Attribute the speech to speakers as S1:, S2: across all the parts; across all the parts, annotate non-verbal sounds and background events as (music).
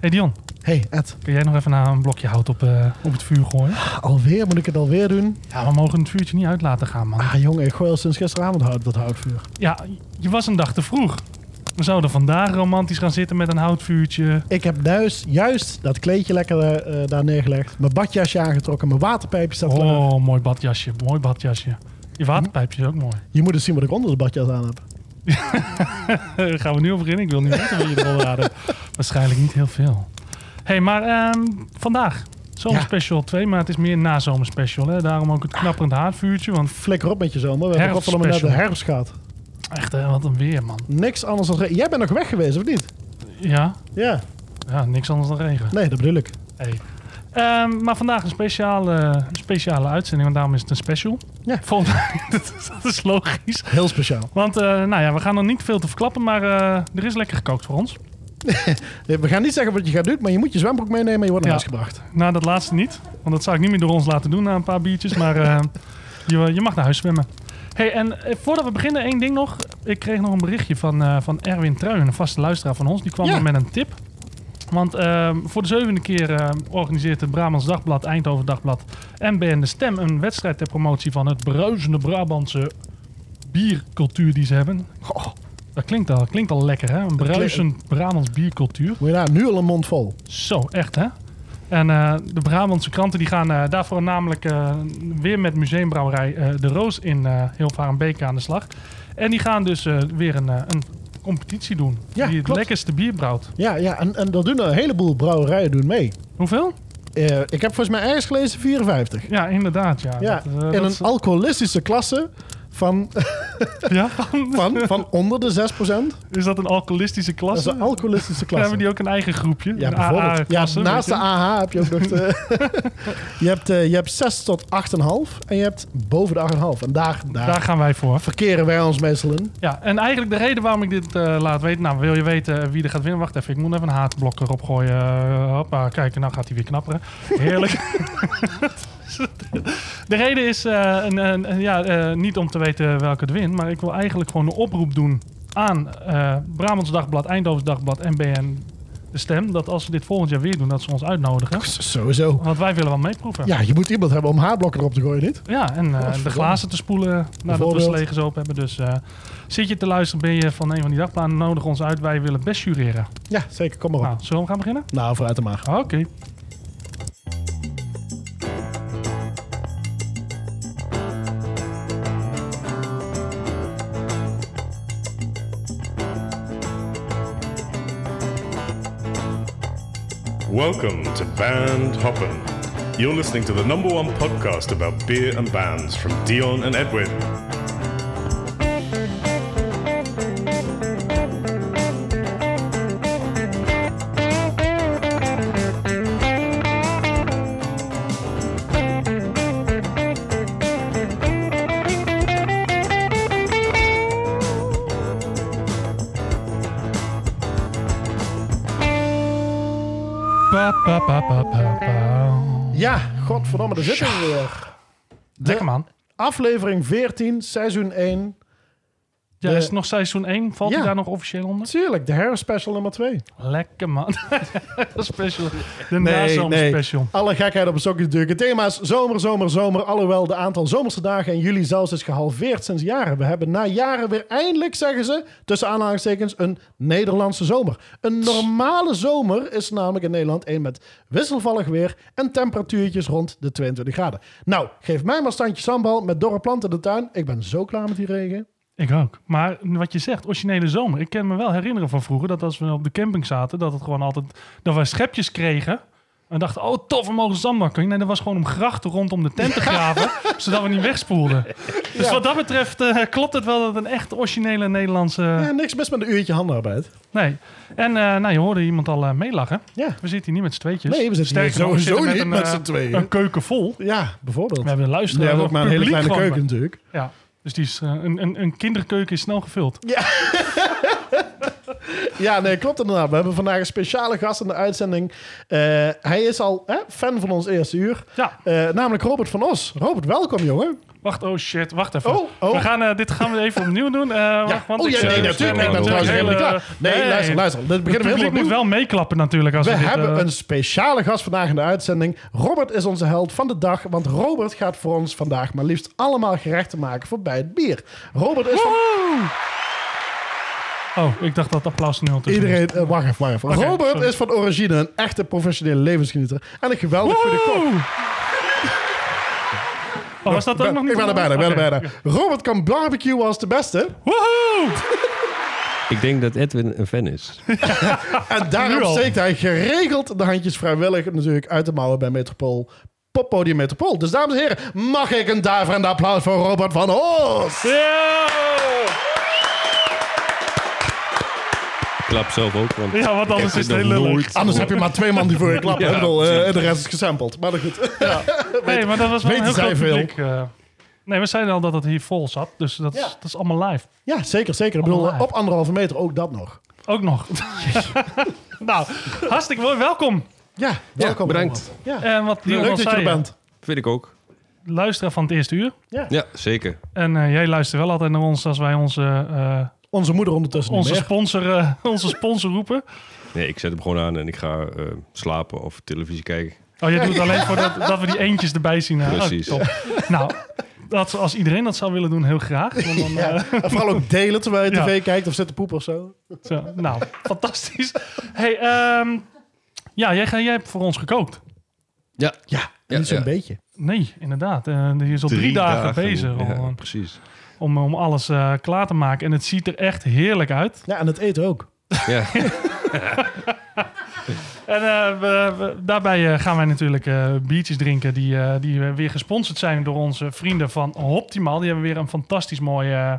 S1: Hey Dion,
S2: Hey Ed,
S1: kun jij nog even nou een blokje hout op, eh, op het vuur gooien?
S2: alweer moet ik het alweer doen?
S1: Ja, we mogen het vuurtje niet uit laten gaan, man.
S2: Ah jongen, ik gooi al sinds gisteravond hout op dat houtvuur.
S1: Ja, je was een dag te vroeg. We zouden vandaag romantisch gaan zitten met een houtvuurtje.
S2: Ik heb juist, juist dat kleedje lekker eh, daar neergelegd. Mijn badjasje aangetrokken, mijn waterpijpje staat klaar.
S1: Oh, mooi badjasje, mooi badjasje. Je waterpijpje is ook mooi. (laughs)
S2: Je moet eens zien wat ik onder het badjas aan heb.
S1: Daar gaan we nu op beginnen? Ik wil niet weten wat je eronder aan
S2: (laughs)
S1: hebt. Waarschijnlijk niet heel veel. hey, maar ehm, vandaag. Zomerspecial 2, maar het is meer na zomerspecial. Hè? Daarom ook het knapperend haardvuurtje. Want
S2: Flikker op met je zomer, we hebben godverdomme net de
S1: Herfstspecial.
S2: herfst gehad.
S1: echt, hè, wat een weer, man.
S2: Niks anders dan... re- Jij bent nog weg geweest, of niet?
S1: Ja,
S2: Ja,
S1: ja niks anders dan regen.
S2: nee, dat bedoel ik.
S1: Hey. Ehm, maar vandaag een speciale, een speciale uitzending, want daarom is het een special.
S2: Ja.
S1: Volgens mij, (laughs) dat, is- dat is logisch.
S2: Heel speciaal.
S1: Want eh, nou ja, we gaan nog niet veel te verklappen, maar eh, er is lekker gekookt voor ons.
S2: Eh, We gaan niet zeggen wat je gaat doen, maar je moet je zwembroek meenemen en je wordt naar
S1: Ja.
S2: huis gebracht.
S1: Nou, dat laatste niet, want dat zou ik niet meer door ons laten doen na een paar biertjes. Maar eh, je, je mag naar huis zwemmen. Hey, en eh, voordat we beginnen, één ding nog. Ik kreeg nog een berichtje van, eh, van Erwin Truijen, een vaste luisteraar van ons. Die kwam
S2: Ja.
S1: er met een tip. Want eh, voor de zevende keer eh, organiseert het Brabants Dagblad, Eindhoven Dagblad en BN De Stem een wedstrijd ter promotie van het bruisende Brabantse biercultuur die ze hebben. Goh, dat klinkt al, klinkt al lekker, hè? Een
S2: Oh. klinkt-
S1: bruisend Brabants biercultuur.
S2: Moet je daar nu al een mond vol.
S1: Zo, echt hè? En eh, de Brabantse kranten die gaan eh, daarvoor namelijk eh, weer met museumbrouwerij eh, De Roos in eh Hilvarenbeek aan de slag. En die gaan dus eh, weer een, eh, een competitie doen.
S2: Ja,
S1: die het
S2: klopt.
S1: lekkerste bier brouwt.
S2: Ja, ja en, en dat doen een heleboel brouwerijen doen mee.
S1: Hoeveel?
S2: Eh, ik heb volgens mij ergens gelezen 54.
S1: Ja, inderdaad. Ja,
S2: Ja,
S1: Dat, eh,
S2: in
S1: dat
S2: een
S1: is-
S2: alcoholistische klasse van,
S1: (laughs) ja? van-
S2: van, van onder de 6%.
S1: is dat een alcoholistische
S2: Dat is
S1: klasse?
S2: een alcoholistische
S1: Dan
S2: klasse.
S1: hebben die ook een eigen groepje?
S2: ja,
S1: een
S2: bijvoorbeeld. Ja,
S1: AA-klasse,
S2: naast de
S1: weet je?
S2: AH heb je ook nog
S1: (laughs)
S2: de... (laughs) je, hebt, eh, je hebt 6 tot 8,5 en je hebt boven de 8,5. En daar, daar,
S1: Daar gaan wij voor.
S2: verkeren wij ons meestal in.
S1: Ja, en eigenlijk de reden waarom ik dit eh, laat weten. Nou, wil je weten wie er gaat winnen? Wacht even, ik moet even een haatblok erop gooien. Eh, hoppa, kijk, nou gaat hij weer knapperen. Heerlijk. (laughs) de reden is eh, een, een, een- ja, eh, niet om te weten welke het wint. Maar ik wil eigenlijk gewoon een oproep doen aan eh Brabants Dagblad, Eindhovens Dagblad en BN De Stem. Dat als ze dit volgend jaar weer doen, dat ze ons uitnodigen.
S2: Sowieso.
S1: Want wij willen wel meeproeven.
S2: Ja, je moet iemand hebben om haarblokken erop te gooien, niet? Oh,
S1: Ja, en eh, de
S2: verdomme.
S1: glazen te spoelen nadat Nou, we
S2: Bijvoorbeeld.
S1: ze leeg gezopen hebben. Dus eh, zit je te luisteren, ben je van een van die dagplannen, nodig ons uit. Wij willen best jureren.
S2: Ja, zeker. Kom maar op.
S1: Nou, zullen we gaan beginnen?
S2: Nou, vooruit dan maar.
S1: Oké.
S3: Welcome to Band Hoppin'. You're listening to the number one podcast about beer and bands from Dion and Edwin.
S1: Pa, pa, pa, pa, pa, pa.
S2: Ja, godverdomme, daar zitten we weer.
S1: Lekker man.
S2: Aflevering 14, seizoen 1.
S1: Ja,
S2: De-
S1: is het nog seizoen 1? Valt
S2: Ja.
S1: hij daar nog officieel onder?
S2: Tuurlijk, de herfstspecial nummer 2.
S1: Lekker man. (laughs) Dat is special. De nazomerspecial.
S2: Alle gekheid op een sokje duiken. Thema's zomer, zomer, zomer. Alhoewel de aantal zomerse dagen in juli zelfs is gehalveerd sinds jaren. We hebben na jaren weer eindelijk, zeggen ze, tussen aanhalingstekens, een Nederlandse zomer. Een normale zomer is namelijk in Nederland een met wisselvallig weer en temperatuurtjes rond de 22 graden. Nou, geef mij maar standje sambal met dorre planten in de tuin. Ik ben zo klaar met die regen.
S1: Ik ook. Maar wat je zegt, originele zomer. Ik kan me wel herinneren van vroeger dat als we op de camping zaten, dat het gewoon altijd dat we schepjes kregen. En dachten, oh tof, we mogen zandbakken. Nee, dat was gewoon om grachten rondom de tent te graven, zodat we niet
S2: (laughs)
S1: wegspoelden. Dus wat dat betreft eh, klopt het wel dat het een echt originele Nederlandse...
S2: Ja, niks mis met een uurtje handenarbeid.
S1: Nee. En eh, nou, je hoorde iemand al eh, meelachen.
S2: Ja,
S1: We zitten hier niet met z'n tweetjes.
S2: Nee, we zitten hier
S1: Dus nog,
S2: sowieso
S1: zitten
S2: niet
S1: een,
S2: met
S1: eh,
S2: z'n tweeën.
S1: Een keuken vol.
S2: ja bijvoorbeeld.
S1: We hebben een
S2: We
S1: luisteraar.
S2: hebben ook maar een hele
S1: publiek
S2: kleine
S1: gewoon.
S2: keuken natuurlijk.
S1: Ja, dus die is, eh, een, een, een kinderkeuken is snel gevuld.
S2: Ja, nee, klopt inderdaad. We hebben vandaag een speciale gast in de uitzending. Eh, hij is al hè, fan van ons eerste uur.
S1: Ja,
S2: Eh, namelijk Robert van Os. Robert, welkom, jongen.
S1: wacht, oh shit, wacht even.
S2: Oh, oh.
S1: We gaan, eh, dit gaan we even opnieuw doen. eh, wacht, want
S2: oh,
S1: ik,
S2: ja, nee,
S1: eh,
S2: natuurlijk. Ik ben
S1: natuurlijk
S2: trouwens helemaal niet
S1: hele-
S2: klaar. Nee, luister, luister. Dit
S1: eh, Het
S2: beginnen we
S1: publiek
S2: helemaal
S1: moet
S2: opnieuw.
S1: wel meeklappen natuurlijk. Als
S2: We
S1: dit,
S2: hebben
S1: eh,
S2: een speciale gast vandaag in de uitzending. Robert is onze held van de dag, want Robert gaat voor ons vandaag maar liefst allemaal gerechten maken voor bij het bier. Robert is van
S1: Oh, ik dacht dat het applaus nul tussen
S2: iedereen. eh, wacht even, wacht even.
S1: Oké,
S2: Robert
S1: sorry.
S2: is van origine een echte professionele levensgenieter en een geweldig goede kok.
S1: Woe! Oh, was dat ook
S2: Ik
S1: nog
S2: ben-
S1: niet?
S2: ik ben er bijna, ik ben er
S1: Oké.
S2: bijna. Robert kan barbecue als de beste.
S1: Woehoe!
S4: Ik denk dat Edwin een fan is.
S2: (laughs) En daarom
S1: Nu al.
S2: steekt hij geregeld de handjes vrijwillig natuurlijk uit de mouwen bij Metropool. Poppodium Metropool. Dus dames en heren, mag ik een daverend applaus voor Robert van Os?
S1: Ja!
S4: Ik klap zelf ook, want
S1: Ja, want anders is het heel lullig.
S2: Anders heb je maar twee man die voor je klappen.
S4: (laughs) Ja.
S2: Ik bedoel, eh, de rest is gesampled. Maar goed. (laughs)
S1: Nee, maar dat was wel een heel
S2: weten zij
S1: groot
S2: veel.
S1: publiek. eh. nee, we zeiden al dat het hier vol zat. Dus dat,
S2: Ja.
S1: is, dat is allemaal live.
S2: Ja, zeker, zeker. Ik bedoel,
S1: Allemaal.
S2: op anderhalve meter ook dat nog.
S1: Ook
S2: (laughs)
S1: nog. nou, hartstikke mooi. Welkom.
S2: Ja, welkom.
S4: bedankt.
S2: Ja.
S1: (laughs) En wat Dion
S2: Leuk
S1: al
S2: dat je
S1: zei,
S2: er bent.
S4: Vind ik ook.
S1: luisteren van het eerste uur.
S4: Ja, zeker.
S1: En eh, jij luistert wel altijd naar ons als wij onze, eh,
S2: Onze moeder ondertussen
S1: onze,
S2: niet meer.
S1: sponsor, eh, (laughs) onze sponsor roepen.
S4: Nee, ik zet hem gewoon aan en ik ga eh, slapen of televisie kijken.
S1: Oh, jij doet het alleen voor dat, dat we die eentjes erbij zien. hè? Oh,
S4: Precies.
S1: top. Nou, dat, als iedereen dat zou willen doen, heel graag. Want
S2: (laughs)
S1: dan, eh,
S2: En vooral ook delen terwijl je
S1: Ja.
S2: Eh, tv kijkt of zit te poepen of zo.
S1: zo. nou, fantastisch. Hey, ehm, ja, jij, ga- jij hebt voor ons gekookt.
S4: Ja,
S2: Ja,
S4: Ja,
S2: niet zo'n
S4: ja.
S2: beetje.
S1: Nee, inderdaad. Eh, je is al drie, dagen, bezig
S4: Ja,
S1: om,
S4: precies.
S1: om, om alles eh, klaar te maken. En het ziet er echt heerlijk uit.
S2: Ja, en het eten ook.
S4: Ja,
S1: (laughs) En eh, we- we- daarbij eh, gaan wij natuurlijk eh, biertjes drinken die, eh, die weer gesponsord zijn door onze vrienden van Optimaal. Die hebben weer een fantastisch mooi eh,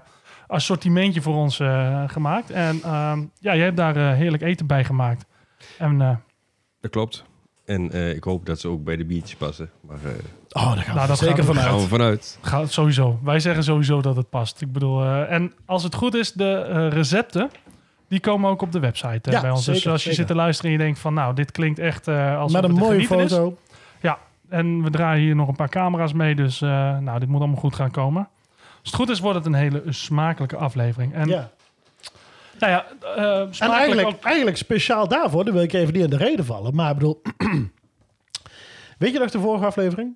S1: assortimentje voor ons eh, gemaakt. En ehm, ja, jij hebt daar eh, heerlijk eten bij gemaakt. En eh,
S4: dat klopt. En eh, ik hoop dat ze ook bij de biertjes passen. Maar eh
S2: Oh, daar gaan we
S1: Nou, dat
S2: zeker
S1: gaat-
S2: vanuit.
S4: gaan we vanuit.
S1: ga, sowieso, wij zeggen sowieso dat het past. Ik bedoel, eh, en als het goed is, de eh, recepten, die komen ook op de website eh,
S2: Ja,
S1: bij ons. dus
S2: zeker,
S1: als je
S2: zeker.
S1: zit te luisteren en je denkt van, nou, dit klinkt echt eh als
S2: Met een mooie
S1: Is.
S2: foto.
S1: En we draaien hier nog een paar camera's mee. Dus eh, nou, dit moet allemaal goed gaan komen. Als het goed is, wordt het een hele smakelijke aflevering. En
S2: Ja.
S1: nou ja, eh,
S2: En
S1: smakelijk
S2: eigenlijk,
S1: ook-
S2: eigenlijk speciaal daarvoor, dan wil ik even niet in de reden vallen. Maar ik bedoel, (clears throat) weet je nog de vorige aflevering?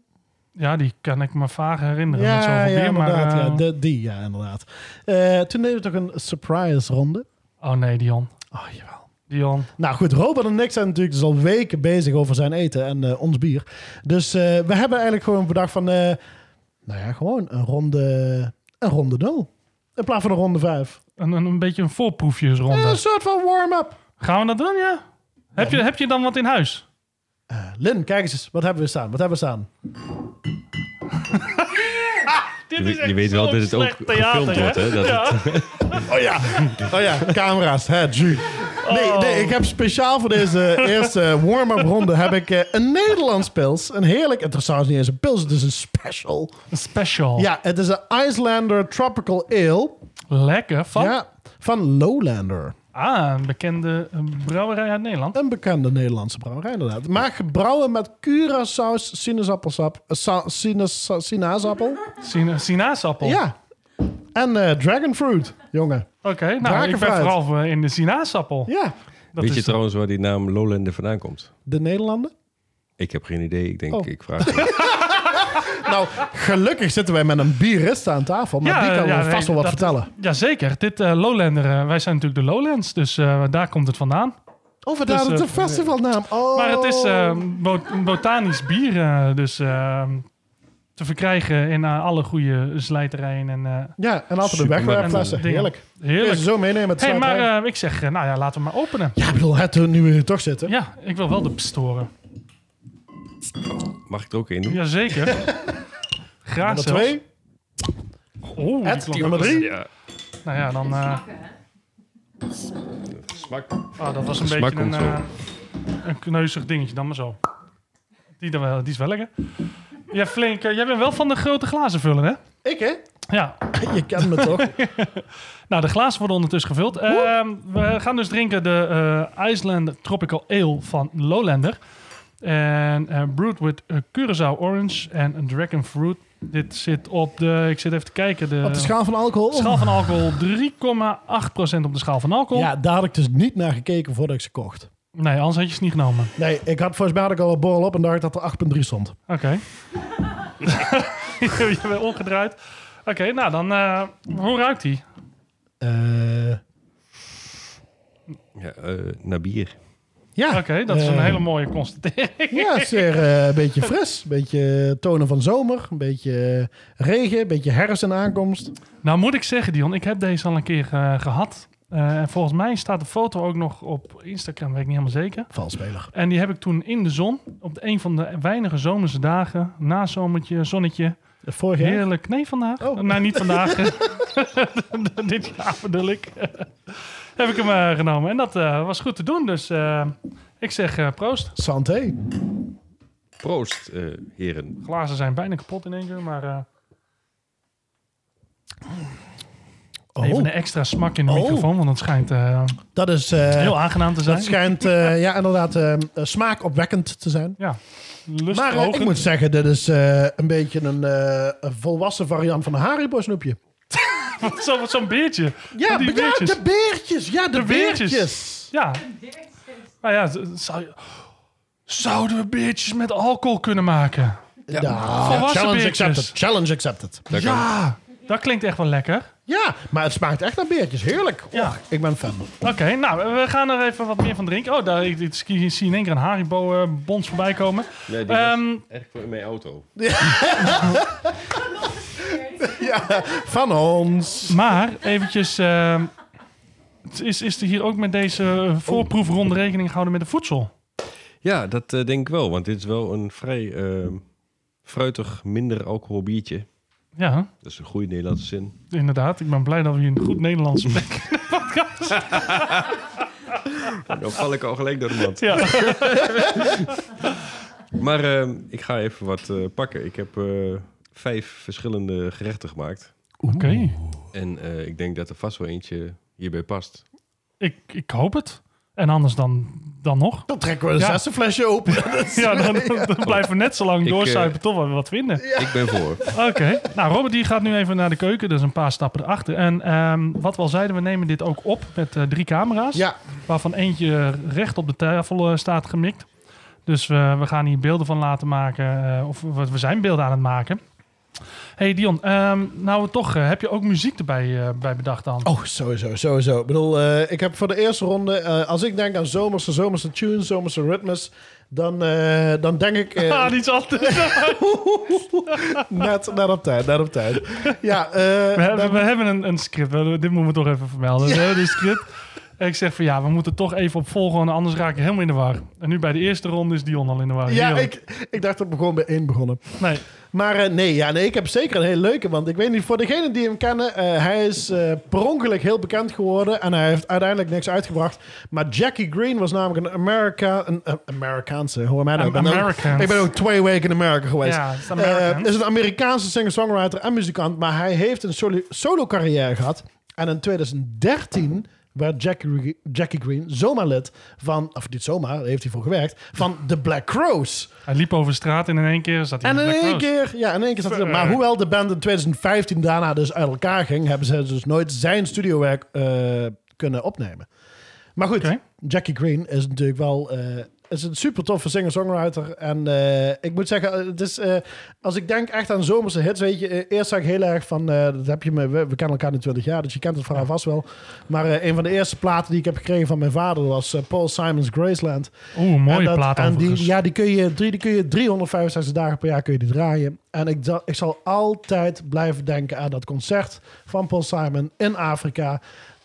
S1: Ja, die kan ik me vaag herinneren. met
S2: ja,
S1: zoveel bier, maar,
S2: inderdaad.
S1: eh,
S2: ja, de, die, ja, inderdaad. Eh, toen deden we toch een surprise ronde.
S1: Oh nee, Dion.
S2: Oh, jawel.
S1: Dion.
S2: Nou goed, Robert en ik zijn natuurlijk dus al weken bezig over zijn eten en eh, ons bier. Dus eh, we hebben eigenlijk gewoon bedacht van, eh, nou ja, gewoon een ronde, een ronde nul. In plaats van een ronde vijf.
S1: Een, een, een beetje een voorproefjesronde.
S2: Een soort van warm-up.
S1: Gaan we dat doen, ja? Heb je, heb je dan wat in huis?
S2: Eh, Lin, kijk eens, wat hebben we staan? Wat hebben we staan?
S1: Dit
S4: Je, je weet wel dat het ook gefilmd wordt, hè? Dat het-
S2: Oh ja, oh ja, camera's, hè, Ju. Nee,
S1: Oh.
S2: nee, ik heb speciaal voor deze eerste warm-up ronde heb ik eh, een Nederlands pils. Een heerlijk, het is trouwens niet eens een pils, het is een special.
S1: Special.
S2: Ja, het is een Icelander Tropical Ale
S1: Lekker. Van?
S2: ja, van Lowlander.
S1: Ah, een bekende eh, brouwerij uit Nederland.
S2: Een bekende Nederlandse brouwerij inderdaad. Maar gebrouwen met curaçaus, sinaasappelsap, eh, sa- sinaas- sinaasappel.
S1: Sina sinaasappel.
S2: Ja, en eh, dragonfruit, jongen.
S1: Oké, nou, ik ben
S2: Drakenfruit.
S1: vooral voor in de sinaasappel.
S2: Ja,
S1: Dat
S4: Weet je
S1: is-
S4: trouwens waar die naam Lowlander vandaan komt?
S2: de Nederlanden.
S4: Ik heb geen idee. Ik denk,
S2: Oh.
S4: ik vraag het.
S2: Nou, gelukkig zitten wij met een bierista aan tafel. Maar
S1: Ja, eh,
S2: die kan
S1: ja,
S2: wel
S1: nee,
S2: vast wel wat
S1: dat-
S2: vertellen.
S1: Jazeker, dit eh, Lowlander, eh, wij zijn natuurlijk de Lowlands, dus eh, daar komt het vandaan.
S2: Oh, vandaar
S1: Dus,
S2: dat het
S1: eh,
S2: een festivalnaam. Oh.
S1: Maar het is eh, bo- een botanisch bier, eh, dus eh, te verkrijgen in eh, alle goede slijterijen en eh,
S2: Ja, en altijd de
S4: Superman.
S2: wegwerpflessen.
S1: En dingen.
S2: Heerlijk. Kun je
S1: heerlijk.
S2: ze zo meenemen met de
S1: hey, maar
S2: sluiterij.
S1: eh, ik zeg, eh, nou ja, laten we maar openen.
S2: Ja, ik bedoel, het, eh, nu we hier toch zitten.
S1: Ja, ik wil wel de pst horen.
S4: Mag ik er ook in doen?
S1: Jazeker. Graag
S2: Nummer
S1: zelfs.
S2: twee.
S1: Oeh, die
S2: Ed,
S1: klonk-
S2: nummer drie.
S4: Ja.
S1: Nou ja, dan... eh,
S4: Smak.
S1: oh, dat was een
S4: Smaak
S1: beetje een,
S4: komt zo.
S1: eh, een kneuzig dingetje, dan maar zo. Die, dan wel, die is wel lekker. Ja, flink. eh, jij bent wel van de grote glazen vullen, hè?
S2: Ik, hè?
S1: Ja,
S2: (laughs) je kent me toch?
S1: (laughs) Nou, de glazen worden ondertussen gevuld. Ehm, we gaan dus drinken de eh Iceland Tropical Ale van Lowlander. En eh, brewed with eh, Curaçao Orange en Dragon Fruit. Dit zit op de, ik zit even te kijken, de,
S2: Op de schaal van alcohol?
S1: schaal van alcohol 3,8% op de schaal van alcohol.
S2: Ja, daar had ik dus niet naar gekeken voordat ik ze kocht.
S1: Nee, anders had je het niet genomen. (laughs)
S2: Nee, ik had volgens mij had ik al een borrel op en dacht dat er 8,3 stond.
S1: Oké. (laughs) je bent omgedraaid. Oké, nou dan, eh, hoe ruikt die?
S2: Eh,
S4: Ja, eh, naar bier.
S2: ja.
S1: Oké, dat is een
S2: Eh,
S1: hele mooie constatering.
S2: Ja, zeer eh, een beetje fris. Een beetje tonen van zomer. Een beetje eh, regen. Een beetje herfst in aankomst.
S1: Nou moet ik zeggen, Dion, ik heb deze al een keer eh, gehad. Eh, en volgens mij staat de foto ook nog op Instagram, weet ik niet helemaal zeker.
S2: Valspeler.
S1: En die heb ik toen in de zon, op een van de weinige zomerse dagen, nazomertje, zonnetje.
S2: Eh, Vorig jaar.
S1: Heerlijk. Nee, vandaag.
S2: Oh.
S1: Nou, niet
S2: (laughs)
S1: vandaag. (laughs) Dit jaar bedoel ik. (laughs) heb ik hem eh, genomen. En dat eh, was goed te doen, dus eh, ik zeg eh, proost.
S2: Santé.
S4: Proost, eh, heren.
S1: Glazen zijn bijna kapot in één keer, maar eh, even
S2: Oh,
S1: een extra smak in de
S2: Oh.
S1: microfoon, (laughs) want het schijnt eh,
S2: dat is... eh,
S1: heel aangenaam te zijn.
S2: dat schijnt
S1: (laughs)
S2: eh, ja, inderdaad eh, eh, smaakopwekkend te zijn.
S1: Ja,
S2: Maar eh, ik
S1: lustrogend.
S2: moet zeggen, dit is eh, een beetje een, eh, een volwassen variant van een Haribo snoepje.
S1: Zo- Zo'n beertje.
S2: Ja,
S1: Van die
S2: be- ja,
S1: beertjes.
S2: de beertjes. Ja, de,
S1: De beertjes.
S2: beertjes.
S1: Ja. Maar ja, z- zou je- zouden we beertjes met alcohol kunnen maken?
S2: Ja,
S1: volwassen
S2: challenge
S1: beertjes.
S2: accepted. Challenge accepted.
S4: Daar kan-
S1: Ja, dat klinkt echt wel lekker.
S2: Ja, maar het smaakt echt naar beertjes. Heerlijk.
S1: Ja.
S2: Och, ik ben fan.
S1: Oké, nou, we gaan er even wat meer van drinken. Oh, daar ik, ik zie zie in één keer een Haribo-bons voorbij komen.
S4: Nee, die was
S1: Ehm,
S4: echt voor in mijn auto.
S2: Van ons.
S1: maar eventjes, ehm, het is, is er hier ook met deze voorproefronde rekening gehouden met de voedsel?
S4: Ja, dat eh, denk ik wel, want dit is wel een vrij eh, fruitig, minder alcohol biertje.
S1: Ja,
S4: Dat is een goede Nederlandse zin.
S1: inderdaad. Ik ben blij dat we hier een goed Nederlands
S2: (laughs)
S1: spreken.
S4: Nou, Dan val ik al gelijk door de mand. (laughs)
S1: Ja.
S4: Maar eh, ik ga even wat eh, pakken. Ik heb eh, vijf verschillende gerechten gemaakt.
S1: Oké,
S4: En eh, ik denk dat er vast wel eentje hierbij past.
S1: ik, ik hoop het. En anders dan, dan nog.
S2: Dan trekken we een
S1: Ja.
S2: zesde flesje open. (laughs) Dat is-
S1: Ja, dan, dan blijven we net zo lang
S4: Ik,
S1: doorsuipen
S4: eh,
S1: tot we wat vinden.
S4: Ik ben voor.
S1: Oké. Nou, Robert die gaat nu even naar de keuken. Dus een paar stappen erachter. En ehm, wat we al zeiden, we nemen dit ook op met eh, drie camera's.
S2: ja,
S1: Waarvan eentje recht op de tafel eh, staat gemikt. Dus eh, we gaan hier beelden van laten maken. eh, of we, we zijn beelden aan het maken. hey Dion, ehm, nou toch, eh, heb je ook muziek erbij eh, bij bedacht dan?
S2: Oh, sowieso, sowieso. Ik bedoel, eh, ik heb voor de eerste ronde... eh, als ik denk aan zomerse, zomerse tunes, zomerse ritmes... dan, eh, dan denk ik eh,
S1: (laughs) Ah, iets
S4: (laughs)
S1: anders.
S2: net, net op tijd, net op tijd. Ja, eh,
S1: We hebben,
S2: dan-
S1: we hebben een, een script. We- dit moeten we toch even vermelden. We hebben een script. En ik zeg van ja, we moeten toch even op volgen, anders raak je helemaal in de war. En nu bij de eerste ronde is Dion al in de war.
S2: ja
S1: Dion.
S2: ik, ik dacht dat we gewoon bij één begonnen.
S1: Nee,
S2: Maar eh, nee, ja, nee, ik heb zeker een hele leuke. Want ik weet niet, voor degenen die hem kennen, eh, hij is eh, per ongeluk heel bekend geworden. En hij heeft uiteindelijk niks uitgebracht. Maar Jackie Green was namelijk een, Amerika, een eh, Amerikaanse, hoor mij nou.
S1: Am-
S2: ik ben ook-
S1: Amerikaans.
S2: Ik ben ook twee weken in Amerika geweest.
S1: Ja, is
S2: Eh,
S1: Amerikaans.
S2: is een Amerikaanse singer-songwriter en muzikant. Maar hij heeft een solo- solo-carrière gehad. En in 2013 werd Jackie, Jackie Green zomaar lid van... Of niet zomaar, daar heeft hij voor gewerkt. Van The Black Crows.
S1: hij liep over de straat en in één keer zat hij
S2: En
S1: de
S2: in
S1: Black
S2: één
S1: Rose.
S2: keer, ja, in één keer zat hij er.
S1: Eh.
S2: Maar hoewel de band in 2015 daarna dus uit elkaar ging, hebben ze dus nooit zijn studiowerk eh, kunnen opnemen. Maar goed,
S1: Oké.
S2: Jackie Green is natuurlijk wel eh, is een super toffe singer-songwriter. En eh, ik moet zeggen, eh, het is, eh, als ik denk echt aan zomerse hits, weet je, eh, eerst zag ik heel erg van, eh, dat heb je me, we, we kennen elkaar nu 20 jaar, dus je kent het verhaal vast wel. Maar eh, een van de eerste platen die ik heb gekregen van mijn vader was eh, Paul Simon's Graceland.
S1: Oeh, mooie
S2: En dat-
S1: plaat
S2: en die,
S1: overigens.
S2: Ja, die kun, je, drie, die kun je 365 dagen per jaar kun je die draaien. En ik, zal- ik zal altijd blijven denken aan dat concert van Paul Simon in Afrika.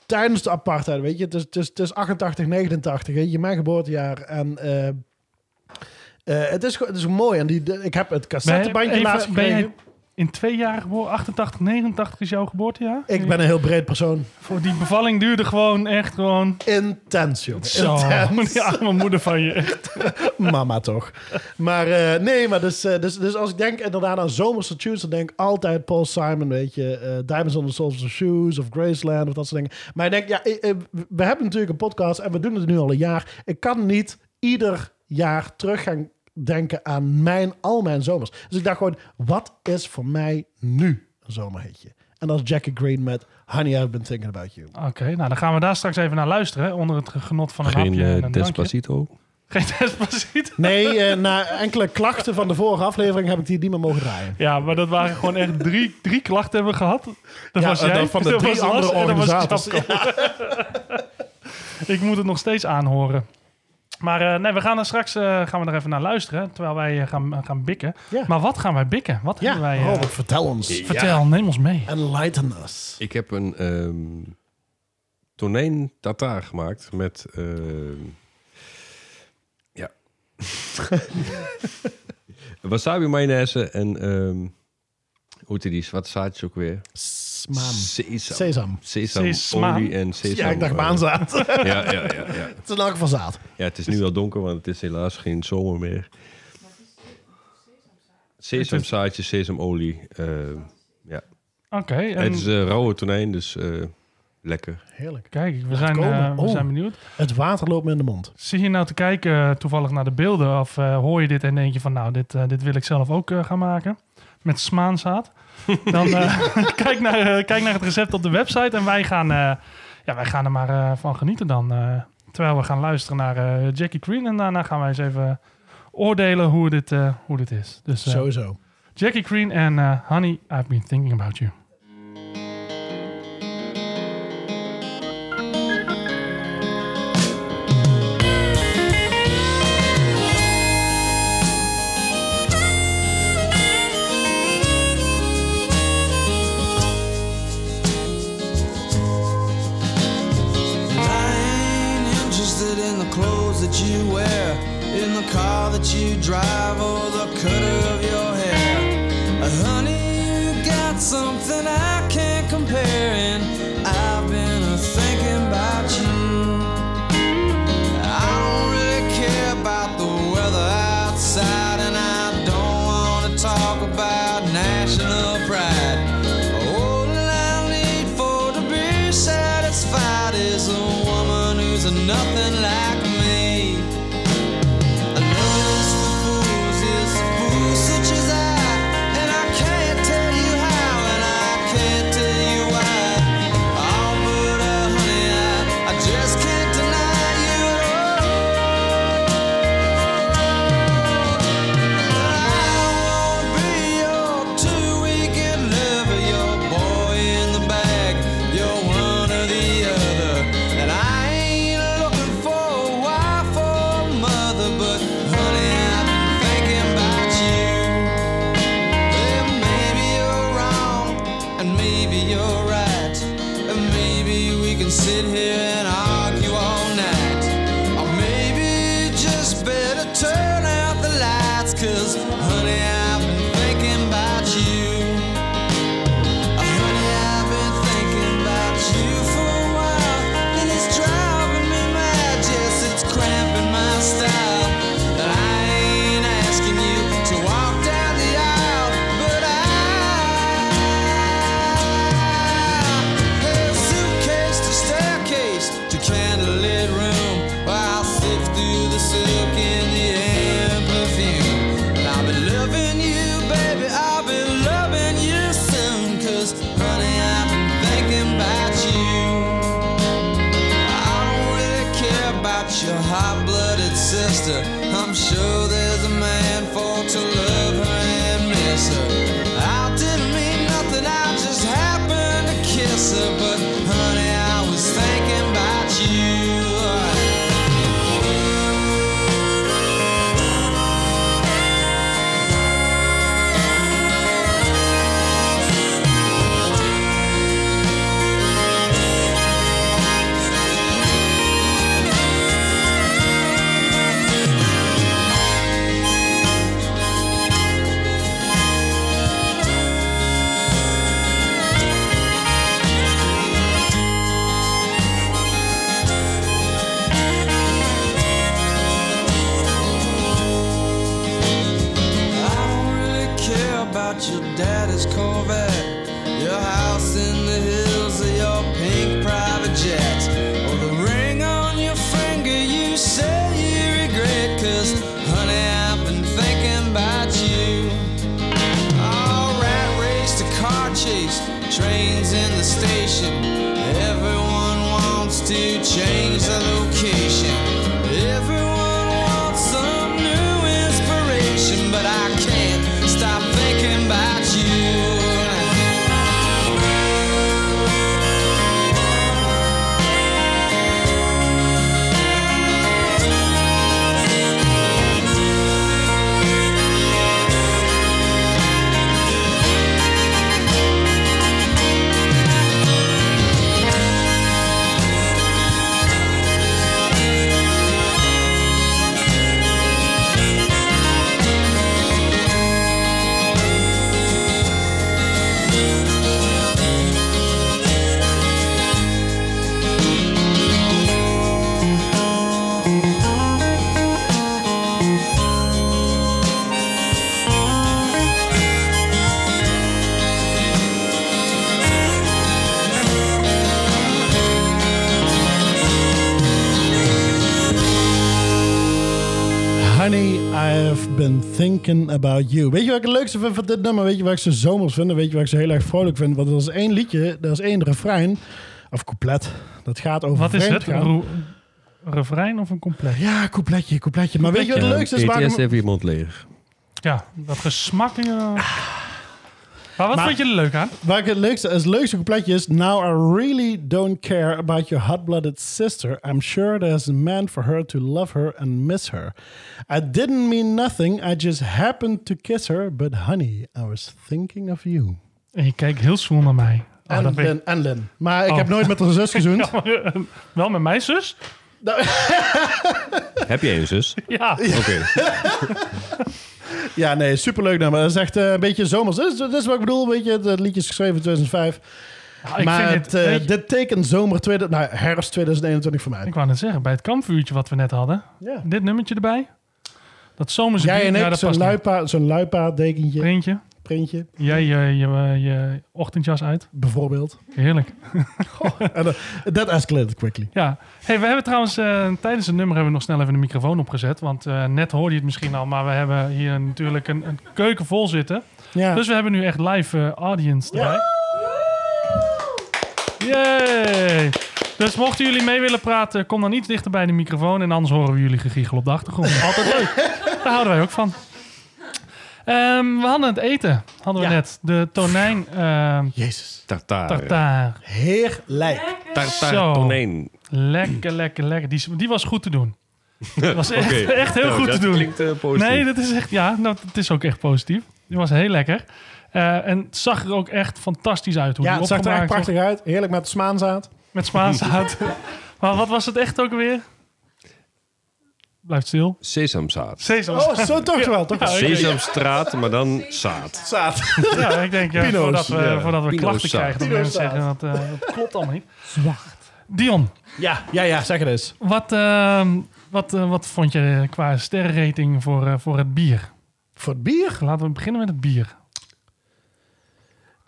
S2: Tijdens de apartheid, weet je. Het is, het is, het is 88, 89, weet je, mijn geboortejaar. En eh, eh, het, is, gewoon- het is mooi. En die, de- ik heb het
S1: Ben je-
S2: cassettebandje
S1: even-
S2: laatst
S1: ben
S2: gekregen.
S1: jij in twee jaar geboren. 88, 89 is jouw geboortejaar.
S2: Ik ben een heel breed persoon.
S1: Voor die bevalling duurde gewoon echt gewoon...
S2: Intens, jongen.
S1: Zo,
S2: Intens. (laughs)
S1: die arme moeder van je. Echt.
S2: Mama toch. Maar eh, nee, maar dus, eh, dus, dus als ik denk inderdaad aan zomerse tunes, dan denk ik altijd Paul Simon, weet je. eh, Diamonds on the Soles of Shoes of Graceland of dat soort dingen. Maar ik denk, ja, eh, eh, we hebben natuurlijk een podcast en we doen het nu al een jaar. Ik kan niet ieder jaar terug gaan denken aan mijn, al mijn zomers. Dus ik dacht gewoon, wat is voor mij nu een zomerhitje? En dat is Jackie Green met Honey, I've Been Thinking About You.
S1: Oké, nou dan gaan we daar straks even naar luisteren. hè, Onder het genot van een
S4: Geen
S1: hapje en
S4: eh,
S1: een drankje.
S4: Despacito.
S1: Geen Despacito.
S2: Nee, eh, na enkele klachten van de vorige aflevering heb ik die niet meer mogen draaien.
S1: Ja, maar dat waren gewoon echt drie, drie klachten hebben we gehad. Dat
S2: Ja,
S1: was
S2: en
S1: jij,
S2: dan van de
S1: dat
S2: drie
S1: was
S2: andere
S1: Lars en dat was
S2: organisators.
S1: Japko. Ik moet het nog steeds aanhoren. Maar eh, nee, we gaan er straks eh, gaan we er even naar luisteren. Terwijl wij eh, gaan, gaan bikken.
S2: Ja.
S1: Maar wat gaan wij bikken? Wat
S2: Ja,
S1: hebben wij... eh,
S2: Robert, Oh, vertel ons.
S1: vertel, neem ons mee.
S2: Enlighten us.
S4: Ik heb een ehm tonijn tartaar gemaakt met... ehm,
S2: (laughs)
S4: ja. Wasabi mayonaise en... ehm hoe heet die? Wat zaadjes ook weer?
S2: Smaam.
S4: Sesam.
S2: Sesam.
S4: Sesamolie
S1: Sesamoem.
S4: en sesam.
S2: Ja, ik dacht
S4: eh,
S2: maanzaad. het
S4: (laughs) Ja, ja, ja, ja.
S2: is een elk van zaad.
S4: Ja, het is nu al donker, want het is helaas geen zomer meer. Sesamzaadjes, sesamolie. eh, ja.
S1: Oké, en
S4: Het is eh, rauwe tonijn, dus eh, lekker.
S2: Heerlijk.
S1: kijk, we zijn,
S2: komen.
S1: eh, we
S2: Oh.
S1: zijn benieuwd.
S2: Het water loopt me in de mond.
S1: Zie je nou te kijken eh, toevallig naar de beelden of eh, hoor je dit en denk je van nou, dit, eh, dit wil ik zelf ook eh, gaan maken met smaanzaad? Dan eh, (laughs) kijk, naar, eh, kijk naar het recept op de website en wij gaan, eh, ja, wij gaan er maar eh, van genieten dan. eh, terwijl we gaan luisteren naar eh, Jackie Green en daarna gaan wij eens even oordelen hoe dit, eh, hoe dit is. Dus eh,
S2: Sowieso.
S1: Jackie Green en eh, Honey, I've been thinking about you.
S5: I ain't interested in the clothes that you wear, in the car that you drive, or the cut of your hair. Uh, honey, you got something I can't compare, and I've been a thinking about you. I don't really care about the weather outside, and I don't want to talk about national pride. Oh, All I need for to be satisfied is a woman who's nothing like me. I know it's for fools, it's for fools such as I, and I can't tell you how, and I can't tell you why. Oh, but uh, honey, I, I just can't deny you at all. Sit here and argue all night. Or maybe you just better turn out the lights, cause honey, I've been thinking about you. Uh, Honey, I've been thinking about you for a while, and it's driving me mad, yes, it's cramping my style. And I ain't asking you to walk down the aisle, but I a suitcase to staircase to candlelit room while I sift through the silk in the air perfume. And I'll be loving you, baby. I'll be loving you soon. Cause, honey, I've been thinking about you. I don't really care about your hot blooded sister. I'm sure there's a man for to love her and miss her. I didn't mean nothing, I just happened to kiss her. But honey, I was thinking about you. I
S2: Honey, I've been thinking about you. Weet je wat ik het leukste vind van dit nummer? Weet je wat ik ze zomers vind? En Weet je wat ik ze heel erg vrolijk vind? Want er is één liedje, er is één refrein. Of couplet. Dat gaat over
S1: Wat is het?
S2: vreemdgaan.
S1: Een roe- een refrein of een compleet?
S2: Ja, coupletje, coupletje. Maar weet je wat het leukste is?
S4: Eet
S2: Waarom...
S4: eerst even je mond leeg.
S1: Ja, dat gesmak. eh. Maar wat
S2: Ah. Maar-
S1: vond je er leuk aan?
S2: Waar ik het leukste, het leukste coupletje is... Now I really don't care about your hot-blooded sister. I'm sure there's a man for her to love her and miss her. I didn't mean nothing. I just happened to kiss her. But honey, I was thinking of you.
S1: En je kijkt heel zwoel naar mij. Oh,
S2: en,
S1: dat vind ik-
S2: Lin, en Lin. Maar ik
S1: Oh.
S2: heb nooit
S1: (laughs)
S2: met haar zus gezoend.
S1: eh, Wel met mijn zus?
S4: Heb je een zus?
S1: (laughs) Ja.
S4: Oké.
S2: Ja, nee, superleuk nummer. Dat is echt eh, een beetje zomers. Dat is, dat is wat ik bedoel, weet je. Het liedje is geschreven in 2005.
S1: Nou, ik
S2: maar
S1: vind
S2: het,
S1: dit,
S2: eh,
S1: weet je-
S2: dit tekent zomer, tweede, nou, herfst 2021 voor mij.
S1: ik wou net zeggen, bij het kampvuurtje wat we net hadden.
S2: Ja.
S1: Dit nummertje erbij. Dat zomerse
S2: Jij en
S1: bier-
S2: ik,
S1: ja, dat
S2: zo'n
S1: past niet.
S2: luipaard, zo'n luipaard, dekentje,
S1: Printje.
S2: printje,
S1: Jij je, je, eh, je ochtendjas uit.
S2: bijvoorbeeld. (laughs)
S1: Heerlijk.
S2: En dat- Dat escalated quickly.
S1: Ja. Hey, we hebben trouwens eh, tijdens het nummer hebben we nog snel even de microfoon opgezet. Want eh, net hoorde je het misschien al, maar we hebben hier natuurlijk een, een keuken vol zitten.
S2: Ja.
S1: Dus we hebben nu echt live eh, audience erbij. Yay! Dus mochten jullie mee willen praten, kom dan iets dichter bij de microfoon. En anders horen we jullie gegiegel op de
S2: (laughs)
S1: achtergrond. Altijd leuk. Daar houden wij ook van. Ehm, we hadden het eten, hadden we
S2: Ja.
S1: net. De tonijn ehm
S2: Jezus.
S4: Tartaar.
S1: tartaar.
S2: Heerlijk.
S1: Zo.
S4: Tartaar tonijn.
S1: Lekker, lekker, lekker. Die, die was goed te doen. Dat was echt,
S4: (laughs) Oké.
S1: echt heel
S4: Nou,
S1: goed te
S4: dat
S1: doen.
S4: klinkt eh, positief.
S1: Nee, dat is echt, ja, nou, het is ook echt positief. Die was heel lekker. Eh, en het zag er ook echt fantastisch uit. Hoe
S2: Ja,
S1: die
S2: het zag er echt
S1: opgemaakt was.
S2: prachtig uit. Heerlijk met smaanzaad.
S1: Met Spaanse hout. (laughs) maar wat was het echt ook weer? Blijft stil.
S4: Sesamzaad.
S1: Sesam.
S2: Oh, zo toch wel. Toch wel.
S1: (laughs) Ja, ik-
S4: Sesamstraat, maar dan zaad.
S2: Zaad.
S1: (laughs) ja, ik denk ja,
S2: Pino's,
S1: voordat we,
S4: ja.
S1: voordat we
S4: Pino's
S1: klachten
S4: zaad.
S1: krijgen, dat
S2: Pino's
S1: mensen zeggen dat, eh, dat klopt allemaal niet. Dion,
S2: Ja, ja, ja, zeg het eens.
S1: wat, ehm, wat, eh, wat vond je qua sterrenrating voor, eh, voor het bier?
S2: Voor het bier?
S1: Laten we beginnen met het bier.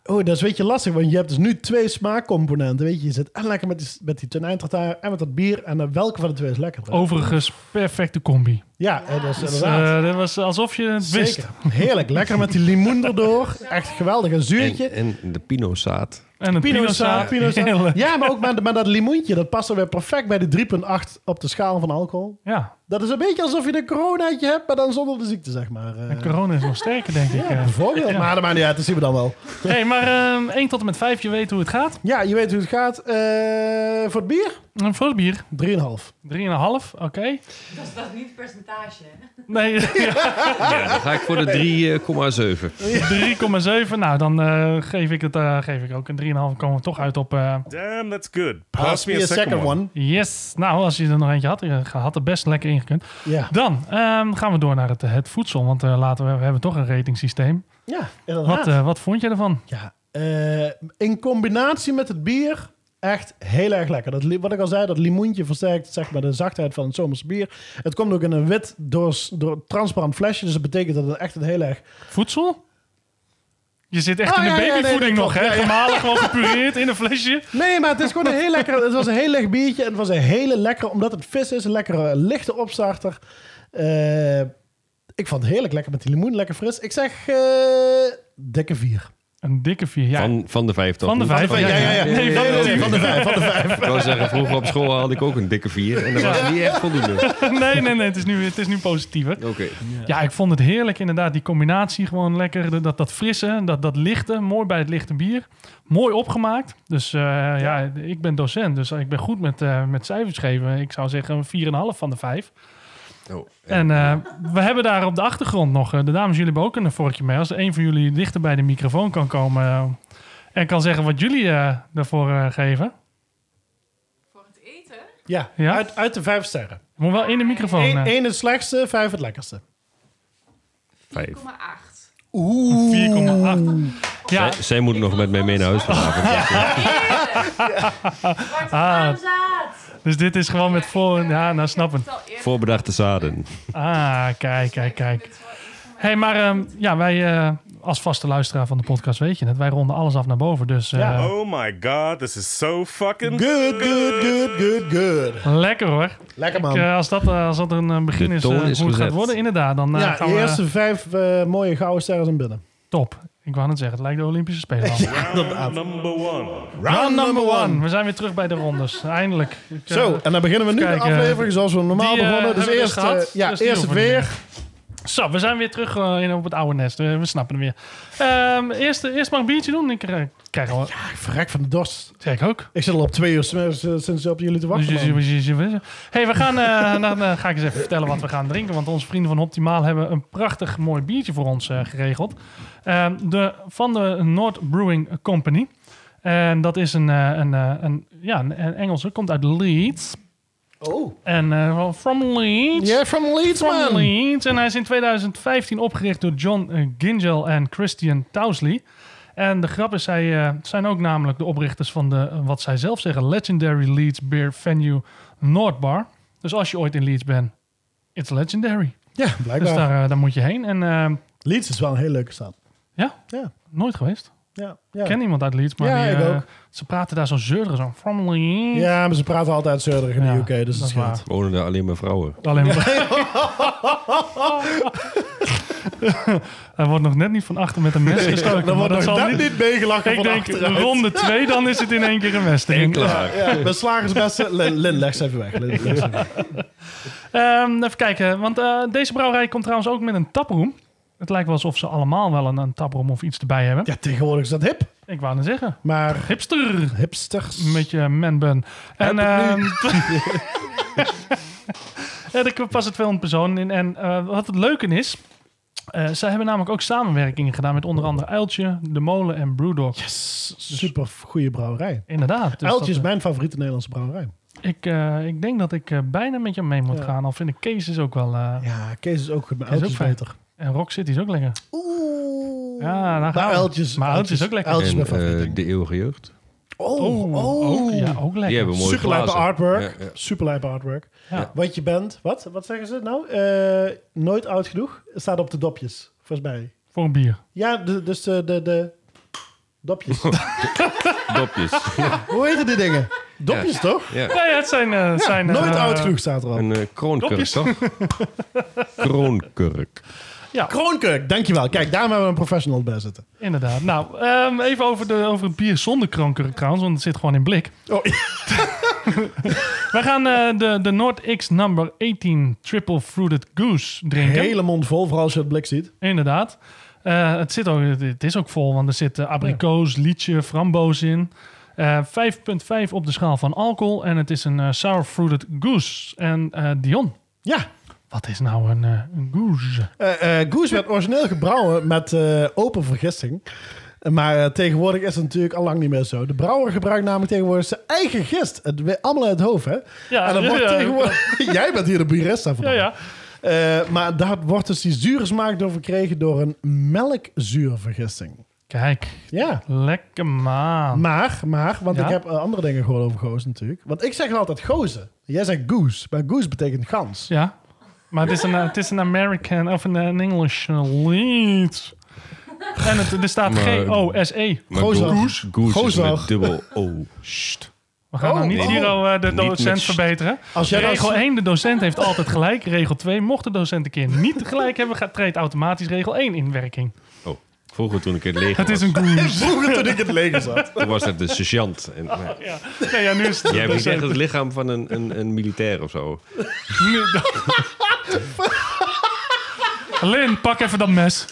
S2: Oh, dat is een beetje lastig, want je hebt dus nu twee smaakcomponenten. Weet je, je zit en lekker met die, met die tonijntartaar en met dat bier. En dan welke van de twee is lekkerder?
S1: Overigens, perfecte combi.
S2: Ja, eh, dat is
S1: Dus,
S2: inderdaad.
S1: eh, dat was alsof je het wist.
S2: Zeker. Heerlijk. Lekker met die limoen erdoor. Echt geweldig. Een zuurtje.
S4: En, en de pinozaad.
S1: En een
S2: Pinoza,
S1: pinozaad. Heerlijk.
S2: Ja, maar ook met, met dat limoentje. Dat past er weer perfect bij de 3,8 op de schaal van alcohol.
S1: Ja,
S2: Dat is een beetje alsof je een coronaatje hebt, maar dan zonder de ziekte, zeg maar. eh.
S1: corona is nog sterker, denk ik. eh.
S2: Bijvoorbeeld. Maar dat maakt niet uit, dat zien we dan wel.
S1: hey, maar ehm 1 tot en met 5, je weet hoe het gaat.
S2: Ja, je weet hoe het gaat. Eh, voor het bier?
S1: Een voor het bier,
S2: 3,5.
S1: 3,5, oké.
S6: Dat is dat niet percentage. hè?
S1: Nee, (laughs) ja,
S4: (laughs) Ja, dan ga ik voor eh, de 3,7.
S1: 3,7. Nou, dan eh, geef ik het eh, geef ik ook een 3,5. Komen we toch uit op eh,
S3: Damn, that's good. Pass, me a, second, one.
S1: yes. Nou, als je er nog eentje had, je had er best lekker in gekund.
S2: Ja.
S1: Dan ehm, gaan we door naar het, het voedsel, want eh, laten we, we hebben toch een ratingsysteem.
S2: Ja, inderdaad.
S1: Wat, eh, wat vond je ervan?
S2: Ja, eh, in combinatie met het bier echt heel erg lekker. Dat, li- wat ik al zei, dat limoentje versterkt zeg maar, de zachtheid van het zomers bier. Het komt ook in een wit, doors, door, transparant flesje. Dus dat betekent dat het echt een heel erg...
S1: Voedsel? Je zit echt
S2: Oh,
S1: in de
S2: ja, ja, nee,
S1: babyvoeding
S2: dat
S1: nog,
S2: klopt.
S1: hè?
S2: Ja, ja.
S1: Gemalen, gewoon gepureerd in een flesje.
S2: Nee, maar het is gewoon een heel lekker... Het was een heel lekker biertje. En het was een hele lekkere... Omdat het vis is, een lekkere lichte opstarter. Eh, ik vond het heerlijk. Lekker met die limoen, lekker fris. Ik zeg eh, dikke vier.
S1: Een dikke vier, ja.
S4: Van, van de vijf toch?
S1: Van de vijf,
S2: Ja, ja, ja.
S1: Nee, van de tien.
S2: van de vijf, van de vijf.
S4: Ik wou zeggen, vroeger op school had ik ook een dikke vier. En dat was niet echt voldoende.
S1: (laughs) Nee, nee, nee, het is nu, het is nu positiever.
S4: Oké.
S1: Ja, ik vond het heerlijk inderdaad. Die combinatie gewoon lekker. De- Dat, dat frisse, dat, dat lichte. Mooi bij het lichte bier. Mooi opgemaakt. Dus eh, ja. ik ben docent. Dus ik ben goed met, eh, met cijfers geven. Ik zou zeggen een 4,5 van de 5.
S4: Oh, en-
S1: En eh, we hebben daar op de achtergrond nog... eh, de dames, jullie hebben ook een vorkje mee. Als een van jullie dichter bij de microfoon kan komen... eh, en kan zeggen wat jullie eh daarvoor eh, geven.
S6: Voor het eten?
S2: Ja,
S1: Ja?
S2: Uit, uit de vijf sterren.
S1: Moet wel in de microfoon.
S2: Eén
S1: eh.
S2: één het slechtste, vijf het lekkerste.
S1: 4,8.
S6: 4,8.
S1: Ja,
S4: Zij, zij moet nog met mij mee naar huis
S1: (laughs)
S4: vanavond.
S6: Zwarte braamzaad.
S1: Ah, dus dit is gewoon met voor... Ja, nou snappen.
S6: Het al eerder.
S4: Voorbedachte zaden.
S1: Ah, kijk, kijk, kijk.
S6: Dit is wel iets van mijn-
S1: Hé, hey, maar ehm, ja, wij, eh, als vaste luisteraar van de podcast weet je het. Wij ronden alles af naar boven. Dus eh,
S2: Ja.
S3: Oh my god, this is so fucking
S2: Good, good, good, good, good.
S1: lekker hoor.
S2: Lekker
S1: Ik,
S2: man.
S1: eh, als, dat, eh, als dat een eh, begin
S4: De
S1: is,
S4: toon
S1: eh,
S4: is
S1: hoe het gaat
S4: gezet.
S1: worden, inderdaad. Dan eh,
S2: ja,
S1: gaan
S2: de
S1: we
S2: eerste vijf eh, mooie gouden sterren zijn binnen.
S1: top. Ik wou net zeggen, het lijkt de Olympische Spelen. al.
S3: round number one.
S1: Round number one. We zijn weer terug bij de rondes. Eindelijk. Ik, eh,
S2: Zo, en dan beginnen we nu
S1: Even
S2: de
S1: kijken.
S2: aflevering zoals we normaal
S1: Die, eh,
S2: begonnen. Dus
S1: hebben we
S2: eerst,
S1: dus gehad.
S2: eh, ja,
S1: Dus die
S2: eerst het
S1: hoeven we niet
S2: weer.
S1: Zo, we zijn weer terug eh, in, op het oude nest. Eh, we snappen hem weer. Ehm, eerst, eerst maar een biertje doen. Ik eh, krijg al.
S2: Ah, Ik verrek van de dorst.
S1: Zeg ik ook. Dus
S2: Ik zit al op twee uur sinds sinds op jullie te wachten. man.
S1: Hey, we gaan. eh, (laughs) dan eh, ga ik eens even vertellen wat we gaan drinken. Want onze vrienden van Optimaal hebben een prachtig mooi biertje voor ons eh, geregeld. Ehm, de, van de Noord Brewing Company. En dat is een, eh, een, eh, een, ja, een, een Engelse. Komt uit Leeds.
S2: Oh.
S1: En eh, from Leeds.
S2: Yeah, from Leeds,
S1: From
S2: man.
S1: Leeds. En hij is in 2015 opgericht door John eh, Gingell en Christian Tousley. En de grap is, zij eh, zijn ook namelijk de oprichters van de, eh, wat zij zelf zeggen, Legendary Leeds Beer Venue Noordbar. Dus als je ooit in Leeds bent, it's legendary.
S2: Ja,
S1: Dus
S2: blijkbaar.
S1: daar, eh, daar moet je heen. En eh,
S2: Leeds is wel een hele leuke stad.
S1: ja,
S2: Ja,
S1: nooit geweest.
S2: ja,
S1: Ik ken
S2: ja.
S1: iemand uit Leeds, maar
S2: Ja,
S1: die,
S2: ik
S1: eh,
S2: ook.
S1: ze praten daar zo zeurderig zo. From Leeds.
S2: Ja, maar ze praten altijd zeurderig in
S1: Ja,
S2: de UK, dus dat
S1: is waar.
S2: scheelt.
S4: Wonen daar alleen maar vrouwen.
S2: (laughs)
S1: Alleen maar. Hij wordt nog net niet van achter met een
S2: (laughs)
S1: mes gestoken.
S2: Dan
S1: maar
S2: wordt nog
S1: dat zal
S2: dat
S1: niet...
S2: niet meegelachen
S1: Ik
S2: van
S1: denk
S2: achteruit.
S1: ronde twee, dan is het in één keer een mesting.
S4: klaar.
S2: Ja, we slagen ze best.
S1: (laughs)
S2: Lin, Lin, leg ze even weg. Lin, leg ze even weg.
S1: Ehm, even kijken, want eh, deze brouwerij komt trouwens ook met een taproom. Het lijkt wel alsof ze allemaal wel een, een taproom of iets erbij hebben.
S2: Ja, tegenwoordig is dat hip.
S1: Ik wou net zeggen.
S2: Maar
S1: Hipster!
S2: hipsters.
S1: Met je manbun. En
S2: Heb
S1: ehm ja, Eh, er passen 200 personen in. En eh, wat het leuke is... eh, zij hebben namelijk ook samenwerkingen gedaan met onder andere Uiltje, De Molen en Brewdog.
S2: Yes, super goede brouwerij.
S1: (laughs) Inderdaad. dus
S2: Uiltje is
S1: dat, eh,
S2: mijn favoriete Nederlandse brouwerij.
S1: ik, eh, ik denk dat ik eh, bijna met je mee moet
S2: Ja.
S1: gaan. Al vind ik Kees is ook wel... eh,
S2: Ja, Kees is ook goed, maar
S1: Kees is
S2: Uiltje is
S1: ook fijn.
S2: beter.
S1: En Rock City is ook lekker.
S2: Oeh.
S1: Ja, daar gaan
S2: maar
S1: we.
S2: Uiltjes,
S1: Maar Uiltje is ook lekker.
S2: Uiltje is
S4: En
S2: mijn favoriet.
S4: eh, de eeuwige jeugd.
S2: oh,
S1: Ook, ja, ook lekker.
S4: Die hebben mooie
S2: Superlijpe
S4: glazen.
S2: artwork.
S4: Ja, ja.
S2: Superlijpe artwork.
S1: Ja.
S2: Want je bent, wat? Wat zeggen ze nou? Eh, nooit oud genoeg. Staat op de dopjes, volgens mij.
S1: Voor een bier.
S2: Ja, de- dus de, de, de dopjes.
S4: (laughs) Dopjes.
S2: Hoe heten die dingen? (laughs) Dopjes, toch?
S4: ja.
S1: Ja, ja, het zijn... eh, het zijn eh,
S2: nooit oud genoeg staat er al.
S4: Een eh, kroonkurk,
S1: Dopjes. (laughs)
S4: toch? kroonkurk.
S1: Ja.
S2: Kroonkurk, dankjewel. Kijk, daarom hebben we een professional bij zitten.
S1: Inderdaad. Nou, ehm, even over, de, over het bier zonder kroonkurk trouwens, want het zit gewoon in blik. (laughs)
S2: Oh,
S1: Wij gaan eh, de, de Noord X number 18 Triple Fruited Goose drinken.
S2: hele mond vol, vooral als je het blik ziet.
S1: Inderdaad. Eh, het, zit ook, het is ook vol, want er zitten abrikoos, liedje, framboos in. Eh, 5,5 op de schaal van alcohol en het is een eh, Sour Fruited Goose. En eh, Dion,
S2: Ja,
S1: wat is nou een, eh, een goose?
S2: Eh, eh, Goose werd origineel gebrouwen met eh, open vergisting. Maar eh, tegenwoordig is het natuurlijk al lang niet meer zo. De brouwer gebruikt namelijk tegenwoordig zijn eigen gist. Het we- allemaal uit het hoofd, hè?
S1: Ja,
S2: en dan
S1: ja,
S2: wordt
S1: ja.
S2: tegenwoordig... (laughs) Jij bent hier de bierista van.
S1: Ja, ja.
S2: Eh, maar daar wordt dus die zure smaak door verkregen door een melkzuurvergisting.
S1: Kijk,
S2: Ja.
S1: lekker man.
S2: Maar, maar, want
S1: Ja?
S2: ik heb eh, andere dingen gehoord over goos natuurlijk. Want ik zeg altijd gozen. Jij zegt goose, maar goose betekent gans.
S1: Ja, maar het is een, het is een American of een, een English lead. En het, er staat
S4: Maar-
S1: G-O-S-E.
S4: Maar
S2: Gozag.
S4: Goose, goose is
S2: Gozag.
S4: met dubbel O. Sst.
S1: We gaan
S2: Oh,
S1: nou niet
S2: oh.
S1: hier al, eh, de
S4: Niet met
S1: docent
S4: st-
S1: verbeteren.
S2: Als jij nou
S1: regel 1, de docent heeft altijd gelijk. Regel 2, mocht de docent een keer niet gelijk hebben, gaat, treedt automatisch regel 1 in werking.
S4: Oh, vroeger toen ik in het leger
S1: Het is
S4: was,
S1: een goose.
S2: Vroeger toen (laughs) ik in het leger zat.
S4: toen was het de sergeant. En, maar
S1: Ja. Nee, ja, nu is het
S4: Jij hebt niet echt
S1: docent.
S4: het lichaam van een, een, een militair of zo.
S1: Lin, pak even dat mes.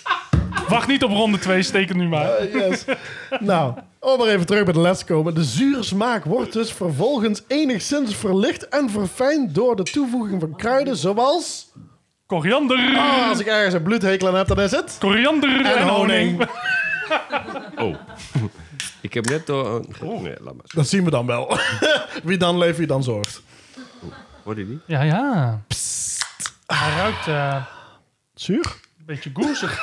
S1: Wacht niet op ronde 2, steek het nu maar.
S2: Eh, Yes. (laughs) nou, om maar even terug bij de les te komen. De zure smaak wordt dus vervolgens enigszins verlicht en verfijnd door de toevoeging van kruiden zoals...
S1: Koriander,
S2: Ah, als ik ergens een bloedhekel aan heb, dan is het...
S1: koriander en, honing. (laughs)
S4: Oh. Ik heb net door...
S1: Oh.
S4: Nee, laat maar.
S2: Dat zien we dan wel. (laughs) wie dan leeft, wie dan zorgt.
S4: Hoor je die?
S1: Ja, ja. Hij ruikt eh,
S2: Zuur?
S1: een beetje goezig.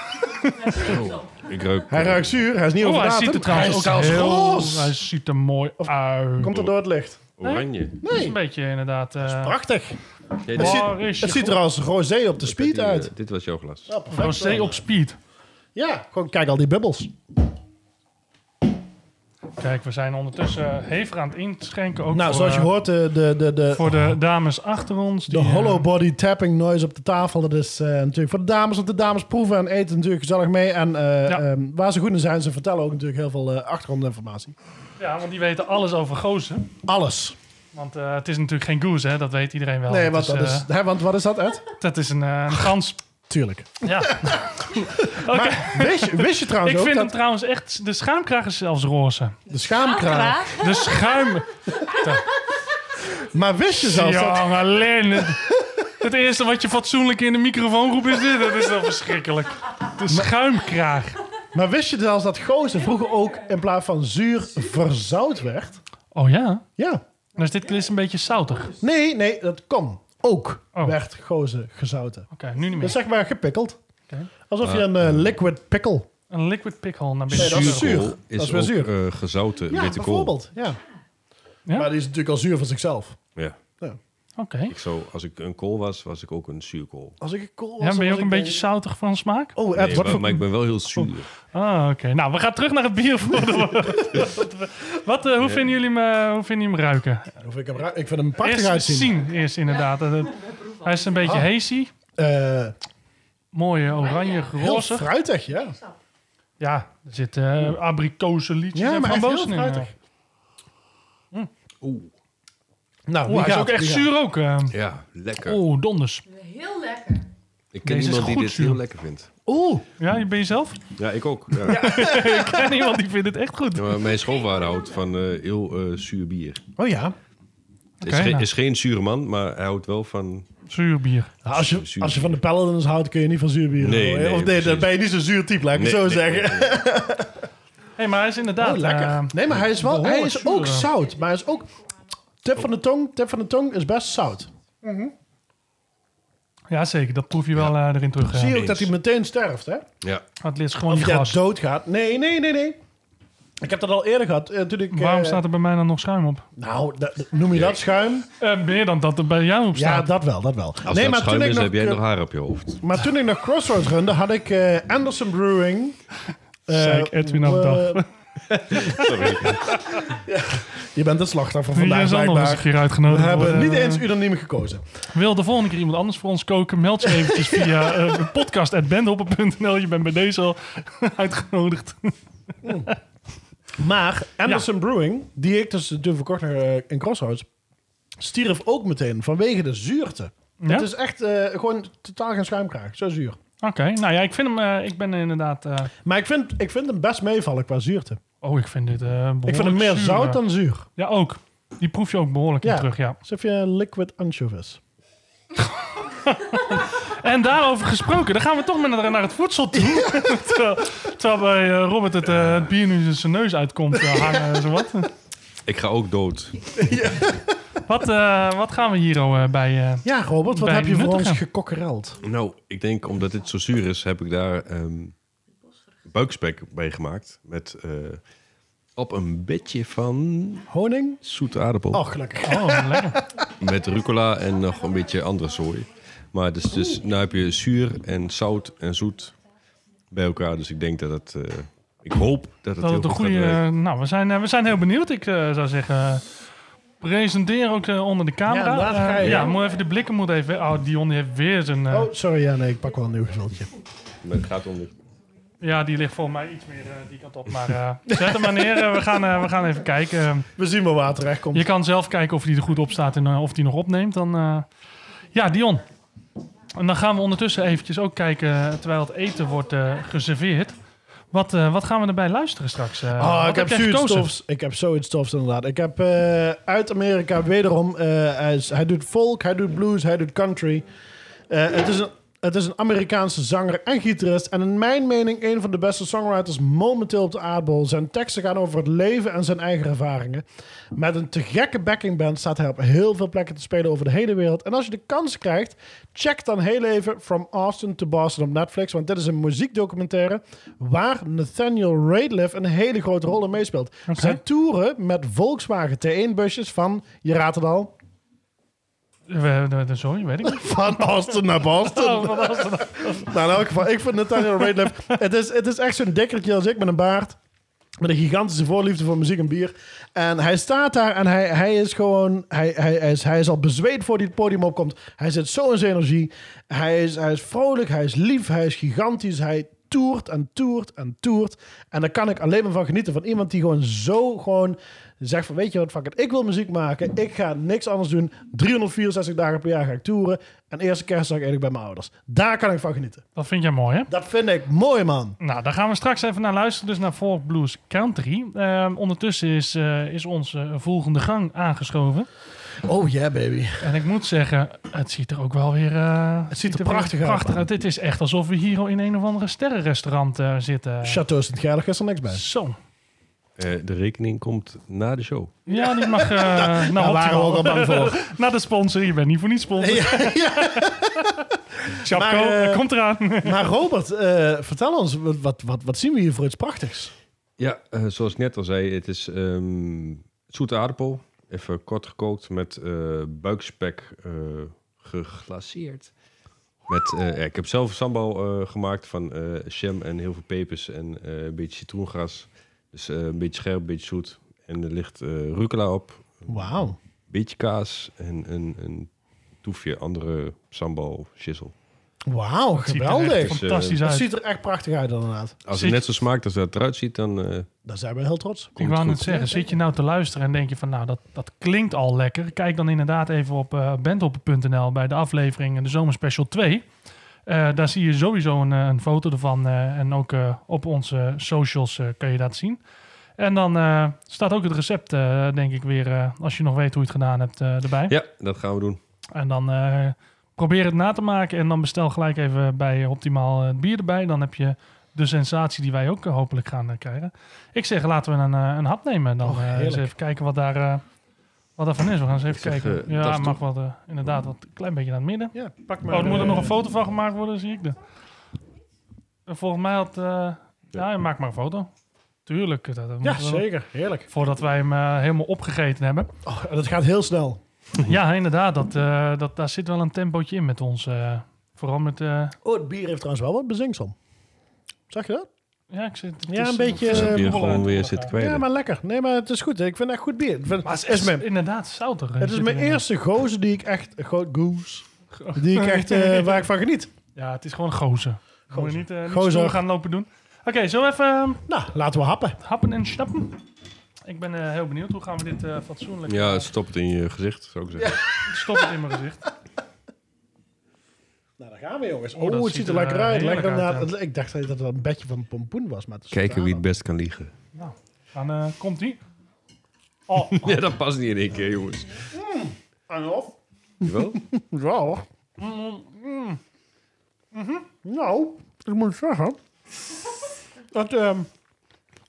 S4: Ik ruik...
S2: Hij ruikt zuur, hij is niet
S1: Oh, hij
S2: overdatum.
S1: ziet er trouwens ook
S2: hij is
S1: heel...
S2: roze.
S1: Hij ziet er mooi uit.
S2: Komt er door het licht.
S4: Oranje.
S1: Het is een beetje inderdaad... eh,
S2: Prachtig.
S4: Nee,
S2: Het
S4: dit-
S1: waar is
S2: ziet, het
S1: je
S2: ziet er als rosé op de speed
S4: eh, dit-
S2: uit.
S4: Dit was jouw glas.
S2: Ja, perfect.
S1: Rosé op speed.
S2: Ja, gewoon kijk al die bubbels.
S1: Kijk, we zijn ondertussen eh, hevig aan het inschenken. Ook
S2: Nou,
S1: voor,
S2: zoals je
S1: eh,
S2: hoort, de, de, de, de, oh,
S1: Voor de dames achter ons.
S2: de
S1: die, eh,
S2: hollow body tapping noise op de tafel. Dat is eh, natuurlijk voor de dames, want de dames proeven en eten natuurlijk gezellig mee. En eh,
S1: Ja.
S2: ehm, waar ze goed in zijn, ze vertellen ook natuurlijk heel veel eh, achtergrondinformatie.
S1: Ja, want die weten alles over gozen.
S2: Alles.
S1: Want eh, het is natuurlijk geen goose, hè? dat weet iedereen wel.
S2: nee,
S1: Het
S2: want dat
S1: eh,
S2: is, hè, want wat is dat, Ed?
S1: dat is een, eh, een gans.
S2: Tuurlijk.
S1: Ja. Oké.
S2: Wist je, wist je trouwens
S1: Ik
S2: ook
S1: vind hem
S2: dat
S1: trouwens echt... De schaamkraag is zelfs roze.
S2: de schaamkraag...
S1: De
S2: (laughs)
S1: schuim...
S2: Maar wist je zelfs dat...
S1: Jongen, Len. Het eerste wat je fatsoenlijk in de microfoon roept is dit. Dat is wel verschrikkelijk. De schuimkraag.
S2: Maar wist je zelfs dat gozer vroeger ook in plaats van zuur verzout werd?
S1: Oh ja?
S2: Ja.
S1: Nou is dit klis een beetje zoutig. Oké,
S2: Nee, nee, dat kan. Ook
S1: Oh.
S2: werd gozer gezouten.
S1: nu niet
S2: Dus
S1: meer.
S2: zeg maar gepikkeld.
S1: Oké.
S2: Alsof
S4: Ah.
S2: je een eh, liquid pickle...
S1: Een liquid pickhole naar binnen.
S2: Nee, dat is
S1: Zuur.
S2: zuur.
S4: Kool
S2: Dat
S4: Is
S2: is weer
S4: ook,
S2: zuur.
S4: eh, gezouten
S2: Ja,
S4: witte kool.
S2: bijvoorbeeld. Ja.
S1: Ja?
S2: Maar die is natuurlijk al zuur van zichzelf.
S4: Ja.
S1: Oké.
S4: Ik zou, als ik een kool was, was ik ook een zuurkool.
S2: Als ik een kool
S1: Ja,
S2: was,
S1: ben je
S2: was
S1: ook een
S2: ik
S1: beetje zoutig van smaak?
S2: Oh, Ed,
S4: Nee,
S2: wat
S4: maar,
S2: voor...
S4: maar ik ben wel heel zuur.
S1: Ah, oké. Nou, we gaan terug naar het bier.
S4: (laughs)
S1: Voor de- wat, eh, hoe, vinden jullie hem, eh, hoe vinden jullie hem ruiken?
S2: Of ik, heb ra- ik vind hem prachtig
S1: Eerst
S2: uitzien. Oh.
S1: zien, eerst inderdaad. Dat het- hij is een beetje hazy.
S2: Eh,
S1: Mooie oranje,
S2: heel
S1: roze.
S2: fruitig, ja.
S1: Ja, er zitten eh, abrikozen liedjes
S2: Ja,
S1: en
S2: maar echt heel
S1: frambozen in. eh.
S2: fruitig. Nou,
S1: Mm. Oeh,
S2: die
S1: hij is
S2: gaat,
S1: ook echt
S2: die gaat.
S1: zuur ook. eh.
S4: Ja, lekker.
S1: Oeh, donders.
S6: Heel lekker.
S4: Ik ken
S1: Deze is
S4: iemand die
S1: goed
S4: dit
S1: zuur.
S4: heel lekker vindt.
S2: Oeh,
S1: Ja, ben je zelf?
S4: Ja, ik ook. (laughs) Ja.
S1: (laughs) Ik ken iemand die vindt het echt goed.
S4: Ja, maar mijn schoonvader houdt van eh, heel eh, zuur bier.
S2: oh ja.
S4: is, geen-
S1: nou.
S4: is geen zure man, maar hij houdt wel van...
S1: Zuur bier.
S2: Nou, als, je,
S4: Zuur.
S2: als je van de paladins houdt, kun je niet van zuur bier
S4: Nee,
S2: houden.
S4: nee,
S2: Of nee,
S4: precies.
S2: dan ben je niet zo'n zuur type, laat ik het zo
S4: Nee, nee,
S2: zeggen.
S4: nee, nee.
S1: Hé, maar hij is inderdaad...
S2: Oh, lekker.
S1: eh,
S2: nee, maar hij is, wel, hij
S1: behoorlijk
S2: is
S1: zuur,
S2: ook
S1: ja.
S2: zout. Maar hij is ook... Tip van de tong, tip van de tong is best zout.
S1: Mhm. ja, zeker. Dat proef je wel eh, erin terug.
S2: Zie
S1: eh.
S2: je ook dat hij meteen sterft, hè?
S4: Ja,
S1: Het is gewoon
S2: Of
S1: die
S2: jij
S1: glas.
S2: doodgaat. Nee, nee, nee, nee. Ik heb dat al eerder gehad. eh, toen ik, eh,
S1: Waarom staat er bij mij dan nog schuim op?
S2: Nou, da- da- noem je dat schuim?
S1: Eh, meer dan dat er bij jou op
S2: Ja,
S1: staat.
S2: dat wel, dat wel.
S4: als nee, dat schuim
S2: toen ik
S4: is,
S2: nog,
S4: heb jij
S2: eh,
S4: nog haar op je hoofd.
S2: Maar toen ik nog Crossroads runde, had ik eh, Anderson Brewing. eh,
S1: (laughs) Zei ik Edwin aan de
S2: eh, (laughs)
S1: dag.
S2: Je bent de slachtoffer
S1: Jij
S2: vandaag,
S1: is al nog eens een
S2: blijkbaar.
S1: keer
S2: We
S1: uitgenodigd.
S2: hebben
S1: worden.
S2: niet eens unaniem gekozen.
S1: Wil de volgende keer iemand anders voor ons koken? Meld je eventjes via eh podcast.bandhopper.nl. Je bent bij deze al (laughs)
S2: (laughs)
S1: uitgenodigd.
S2: Maar Anderson Brewing, die ik dus toen verkocht naar, eh, in Crossroads, stierf ook meteen vanwege de zuurte.
S1: Ja?
S2: Het is echt eh, gewoon totaal geen schuimkraag. Zo zuur.
S1: Oké, nou ja, ik vind hem... eh, ik ben inderdaad... eh,
S2: Maar ik vind, ik vind hem best meevallen qua zuurte.
S1: oh, ik vind dit eh
S2: Ik vind hem
S1: behoorlijk
S2: meer
S1: zuur, eh.
S2: zout dan zuur.
S1: Ja, ook. Die proef je ook behoorlijk in
S2: Ja.
S1: terug, ja.
S2: Alsof je een liquid anchovies.
S1: En daarover gesproken, dan gaan we toch maar naar, naar het
S2: (laughs)
S1: voedsel toe. terwijl, terwijl bij eh, Robert het, eh, het bier nu zijn neus uitkomt eh, hangen en zo wat.
S4: Ik ga ook (laughs) dood.
S1: Wat, eh, wat gaan we hier oh, eh, bij... eh,
S2: Ja, Robert, wat
S1: Bij
S2: heb je voor
S1: nuttige.
S2: ons gekokkereld?
S4: Nou, ik denk omdat dit zo zuur is, heb ik daar ehm, buikspek bij gemaakt. Met eh, op een bedje van
S2: Honing?
S4: zoete aardappel.
S2: Oh, gelukkig.
S1: oh, lekker.
S4: Met rucola en nog een beetje andere zooi. Maar dus, dus, nou heb je zuur en zout en zoet bij elkaar. Dus ik denk dat het... eh, ik hoop dat het
S1: Dat
S4: heel
S1: het een
S4: goed gaat
S1: goede...
S4: werken.
S1: eh, nou, we zijn, eh, we zijn heel benieuwd. Ik eh, zou zeggen... eh, presenteer ook eh, onder de
S2: Ja,
S1: camera.
S2: laat
S1: Eh,
S2: gaan,
S1: ja,
S2: ja.
S1: moet even de blikken moeten even... Oh, Dion die heeft weer zijn... eh,
S2: Oh, sorry, ja, nee, ik pak wel een nieuw geveldje.
S4: Maar het gaat om... de-
S1: Ja, die ligt volgens mij iets meer eh, die kant op.
S2: (laughs)
S1: Maar eh, zet hem maar neer. eh, we, gaan, eh, we gaan even kijken. Eh,
S2: We zien wel waar het terecht komt.
S1: Je kan zelf kijken of die er goed op staat en eh, of die nog opneemt. Dan, eh, Ja, Dion. En dan gaan we ondertussen eventjes ook kijken, eh, terwijl het eten wordt eh, geserveerd. Wat, eh, wat gaan we erbij luisteren straks? eh?
S2: Ah,
S1: Wat
S2: ik heb
S1: jij
S2: zoiets
S1: gekozen?
S2: tofs. Ik heb zoiets tofs, inderdaad. Ik heb eh, uit Amerika wederom... eh, hij, is- hij doet folk, hij doet blues, hij doet country. Eh, het, is een, het is een Amerikaanse zanger en gitarist. En in mijn mening een van de beste songwriters momenteel op de aardbol. Zijn teksten gaan over het leven en zijn eigen ervaringen. Met een te gekke backingband staat hij op heel veel plekken te spelen over de hele wereld. En als je de kans krijgt, check dan heel even From Austin to Boston op Netflix. Want dit is een muziekdocumentaire waar Nathaniel Rateliff een hele grote rol in meespeelt. Zij toeren met Volkswagen T1-busjes van, je raadt het al,
S1: We- de- de- Sorry, weet
S2: (laughs)
S1: ik niet.
S2: Van Austin naar Boston. nou, in elk geval, ik vind Nathaniel Rateliff... het, is, het is echt zo'n dikkertje als ik met een baard. Met een gigantische voorliefde voor muziek en bier. En hij staat daar en hij, hij is gewoon... Hij, hij, hij is, hij is al bezweet voor hij het podium opkomt. Hij zit zo in zijn energie. Hij is, hij is vrolijk, hij is lief, hij is gigantisch. Hij toert en toert en toert. En daar kan ik alleen maar van genieten. Van iemand die gewoon zo gewoon zegt van... Weet je wat, fuck it, ik wil muziek maken. Ik ga niks anders doen. 364 dagen per jaar ga ik toeren. En eerste kerstdag eet ik bij mijn ouders. Daar kan ik van genieten.
S1: Dat vind jij mooi, hè?
S2: Dat vind ik mooi, man.
S1: Nou, daar gaan we straks even naar luisteren. Dus naar Folk Blues Country. Ehm, ondertussen is, eh, is onze volgende gang aangeschoven.
S2: Oh yeah, baby.
S1: En ik moet zeggen, het ziet er ook wel weer... eh, het
S2: ziet er
S1: weer
S2: prachtig uit, man.
S1: Dit is echt alsof we hier al in een of andere sterrenrestaurant eh, zitten.
S2: Chateau Sint-Gerlig is er niks bij.
S1: Zo.
S4: Eh, de rekening komt na de show.
S1: Ja, die mag... eh nou,
S2: (laughs) Daar waren we ook al bang voor.
S1: (laughs) Naar de sponsor. Je bent Eh, niet voor niet sponsor.
S2: Ja,
S1: (laughs)
S2: ja.
S1: Chapeau,
S2: Maar, eh,
S1: eh, komt eraan.
S2: (laughs) Maar Robert, eh, vertel ons, wat- wat, wat, wat zien we hier voor iets prachtigs?
S4: Ja, eh, zoals ik net al zei, het is ehm, zoete aardappel. Even kort gekookt met eh, buikspek eh, geglaseerd. Met, eh, ja, ik heb zelf sambal eh, gemaakt van eh jam en heel veel pepers en eh, een beetje citroengras. Dus eh, een beetje scherp, een beetje zoet. En er ligt eh rucola op,
S2: Wauw.
S4: een beetje kaas en een, een toefje andere sambal shizzle.
S2: Wauw,
S1: Ziet er echt
S2: geweldig.
S4: Dus, eh,
S1: Fantastisch
S2: Het
S1: uit.
S2: ziet er echt prachtig uit inderdaad.
S4: Als
S1: Zit-
S4: het net zo smaakt als dat eruit ziet, dan... eh,
S2: Daar zijn we heel trots.
S1: Ik
S4: Komt
S1: wou net
S4: goed.
S1: zeggen, zit je nou te luisteren en denk je van, nou, dat, dat klinkt al lekker. Kijk dan inderdaad even op eh bandhopper.nl bij de aflevering de Zomerspecial 2. Eh, daar zie je sowieso een, eh, een foto ervan eh, en ook eh, op onze socials eh, kan je dat zien. En dan eh, staat ook het recept, eh, denk ik weer, eh, als je nog weet hoe je het gedaan hebt, eh, erbij.
S4: ja, dat gaan we doen.
S1: En dan eh, probeer het na te maken en dan bestel gelijk even bij Optimaal eh, het bier erbij. Dan heb je de sensatie die wij ook eh, hopelijk gaan eh, krijgen. Ik zeg, laten we een, eh, een hap nemen. Dan
S2: Och,
S1: eh, eens
S2: heerlijk.
S1: even kijken wat daar... eh wat daarvan is, we gaan eens even
S4: Ik zeg,
S1: kijken.
S4: eh,
S1: ja,
S4: tas
S1: het mag
S4: toe.
S1: wat, eh, inderdaad wat een klein beetje naar het midden.
S2: Ja, pak eh,
S1: Oh, er moet er nog een foto van gemaakt worden, zie ik. De. En Volgens mij had... eh, ja, maak maar een foto. Tuurlijk. eh, Dat, dat
S2: Ja,
S1: moeten we-
S2: zeker. Heerlijk.
S1: Voordat wij hem eh, helemaal opgegeten hebben.
S2: Oh, en dat gaat heel snel.
S1: (laughs) Ja, inderdaad. Dat, eh, dat, daar zit wel een tempootje in met ons. eh. vooral met... eh,
S2: Oh, het bier heeft trouwens wel wat bezinksel. Zag je dat?
S1: ja, ik zit, het
S2: Ja,
S1: is-
S2: een beetje,
S1: het is
S2: eh,
S1: een
S4: Hier
S1: borrel aan
S4: gewoon
S1: het
S4: weer
S1: worden.
S4: zitten kwijt.
S2: Ja, maar lekker. Nee, maar het is goed. Ik vind het echt goed bier. Ik vind-
S1: Maar het
S2: is
S1: is
S2: mijn-
S1: inderdaad zouter. eh,
S2: het is
S1: zit
S2: mijn
S1: erin.
S2: eerste gozer die ik echt... Goot goose. Die ik echt, eh, waar ik van geniet.
S1: Ja, het is gewoon gozen. Moet je
S2: Gozer.
S1: niet, eh, niet
S2: Gozer.
S1: stoer gaan lopen doen. Oké, zo even eh,
S2: Nou, laten we happen.
S1: happen en snappen. Ik ben eh, heel benieuwd. Hoe gaan we dit eh, fatsoenlijk...
S4: Ja,
S1: eh,
S4: stop het in je gezicht, zou ik zeggen.
S1: stop het in mijn gezicht.
S2: Nou, daar gaan we jongens. Oh, het
S1: dat ziet
S2: ziet er
S1: er,
S2: lekker
S1: eh,
S2: uit.
S1: heerlijk
S2: Lekker
S1: uit,
S2: inderdaad. ik dacht dat het een bedje van pompoen was. Maar het is
S4: Kijken wie
S2: totaal
S4: het best kan liegen.
S1: Nou, dan eh, komt
S2: (laughs)
S1: die. Oh,
S4: (laughs) Ja, dat past niet in één keer, jongens.
S2: En of?
S4: Jawel?
S2: Ja hoor. Mm, Nou, ik moet zeggen... dat ehm,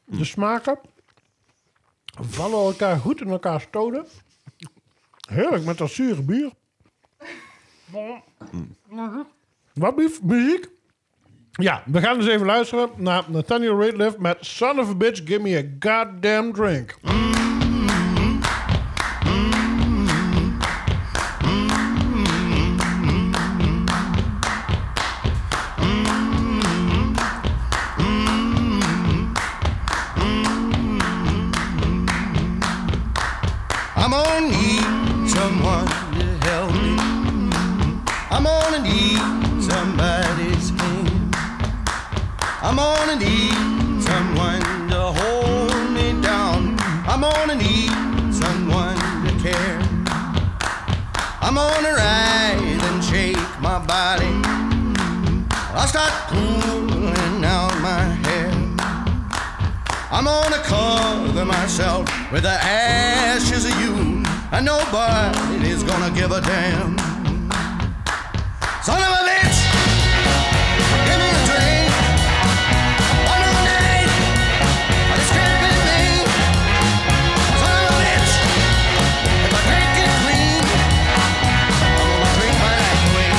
S2: de smaken vallen elkaar goed in elkaar stoten. Heerlijk met dat zure bier.
S1: Mhm.
S2: Wat lief, muziek. Ja, we gaan dus even luisteren naar Nathaniel Rateliff met Son of a Bitch, Give Me a Goddamn Drink.
S7: I'm gonna need someone to help me. I'm gonna need somebody's hand. I'm gonna need someone to hold me down. I'm gonna need someone to care. I'm gonna rise and shake my body. I'll start pulling out my hair. I'm gonna cover myself with the ashes of you, and nobody's gonna give a damn. Son of a bitch, give me a drink. One more night, of this cramping thing. Son of a bitch, if I drink it clean, I'm gonna drink my life away.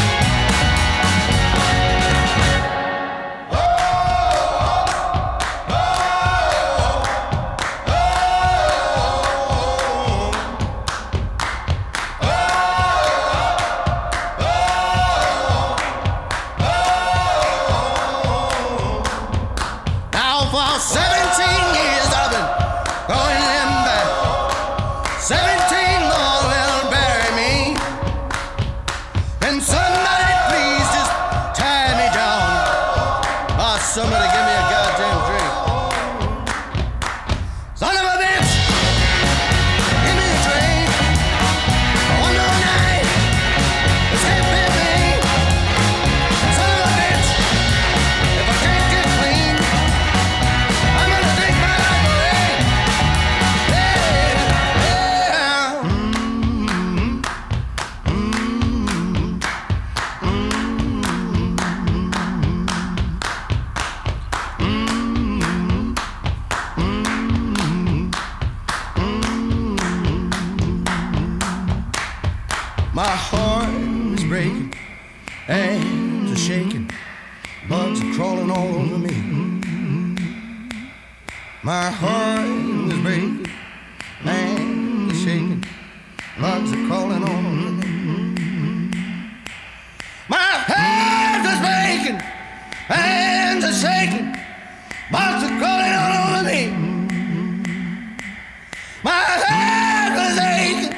S7: shaking. Bugs are crawling all over me. My heart is breaking. Man is shaking. Bugs are crawling all over me. My heart is breaking. Hands are shaking. Bugs are crawling all over me. My head was aching.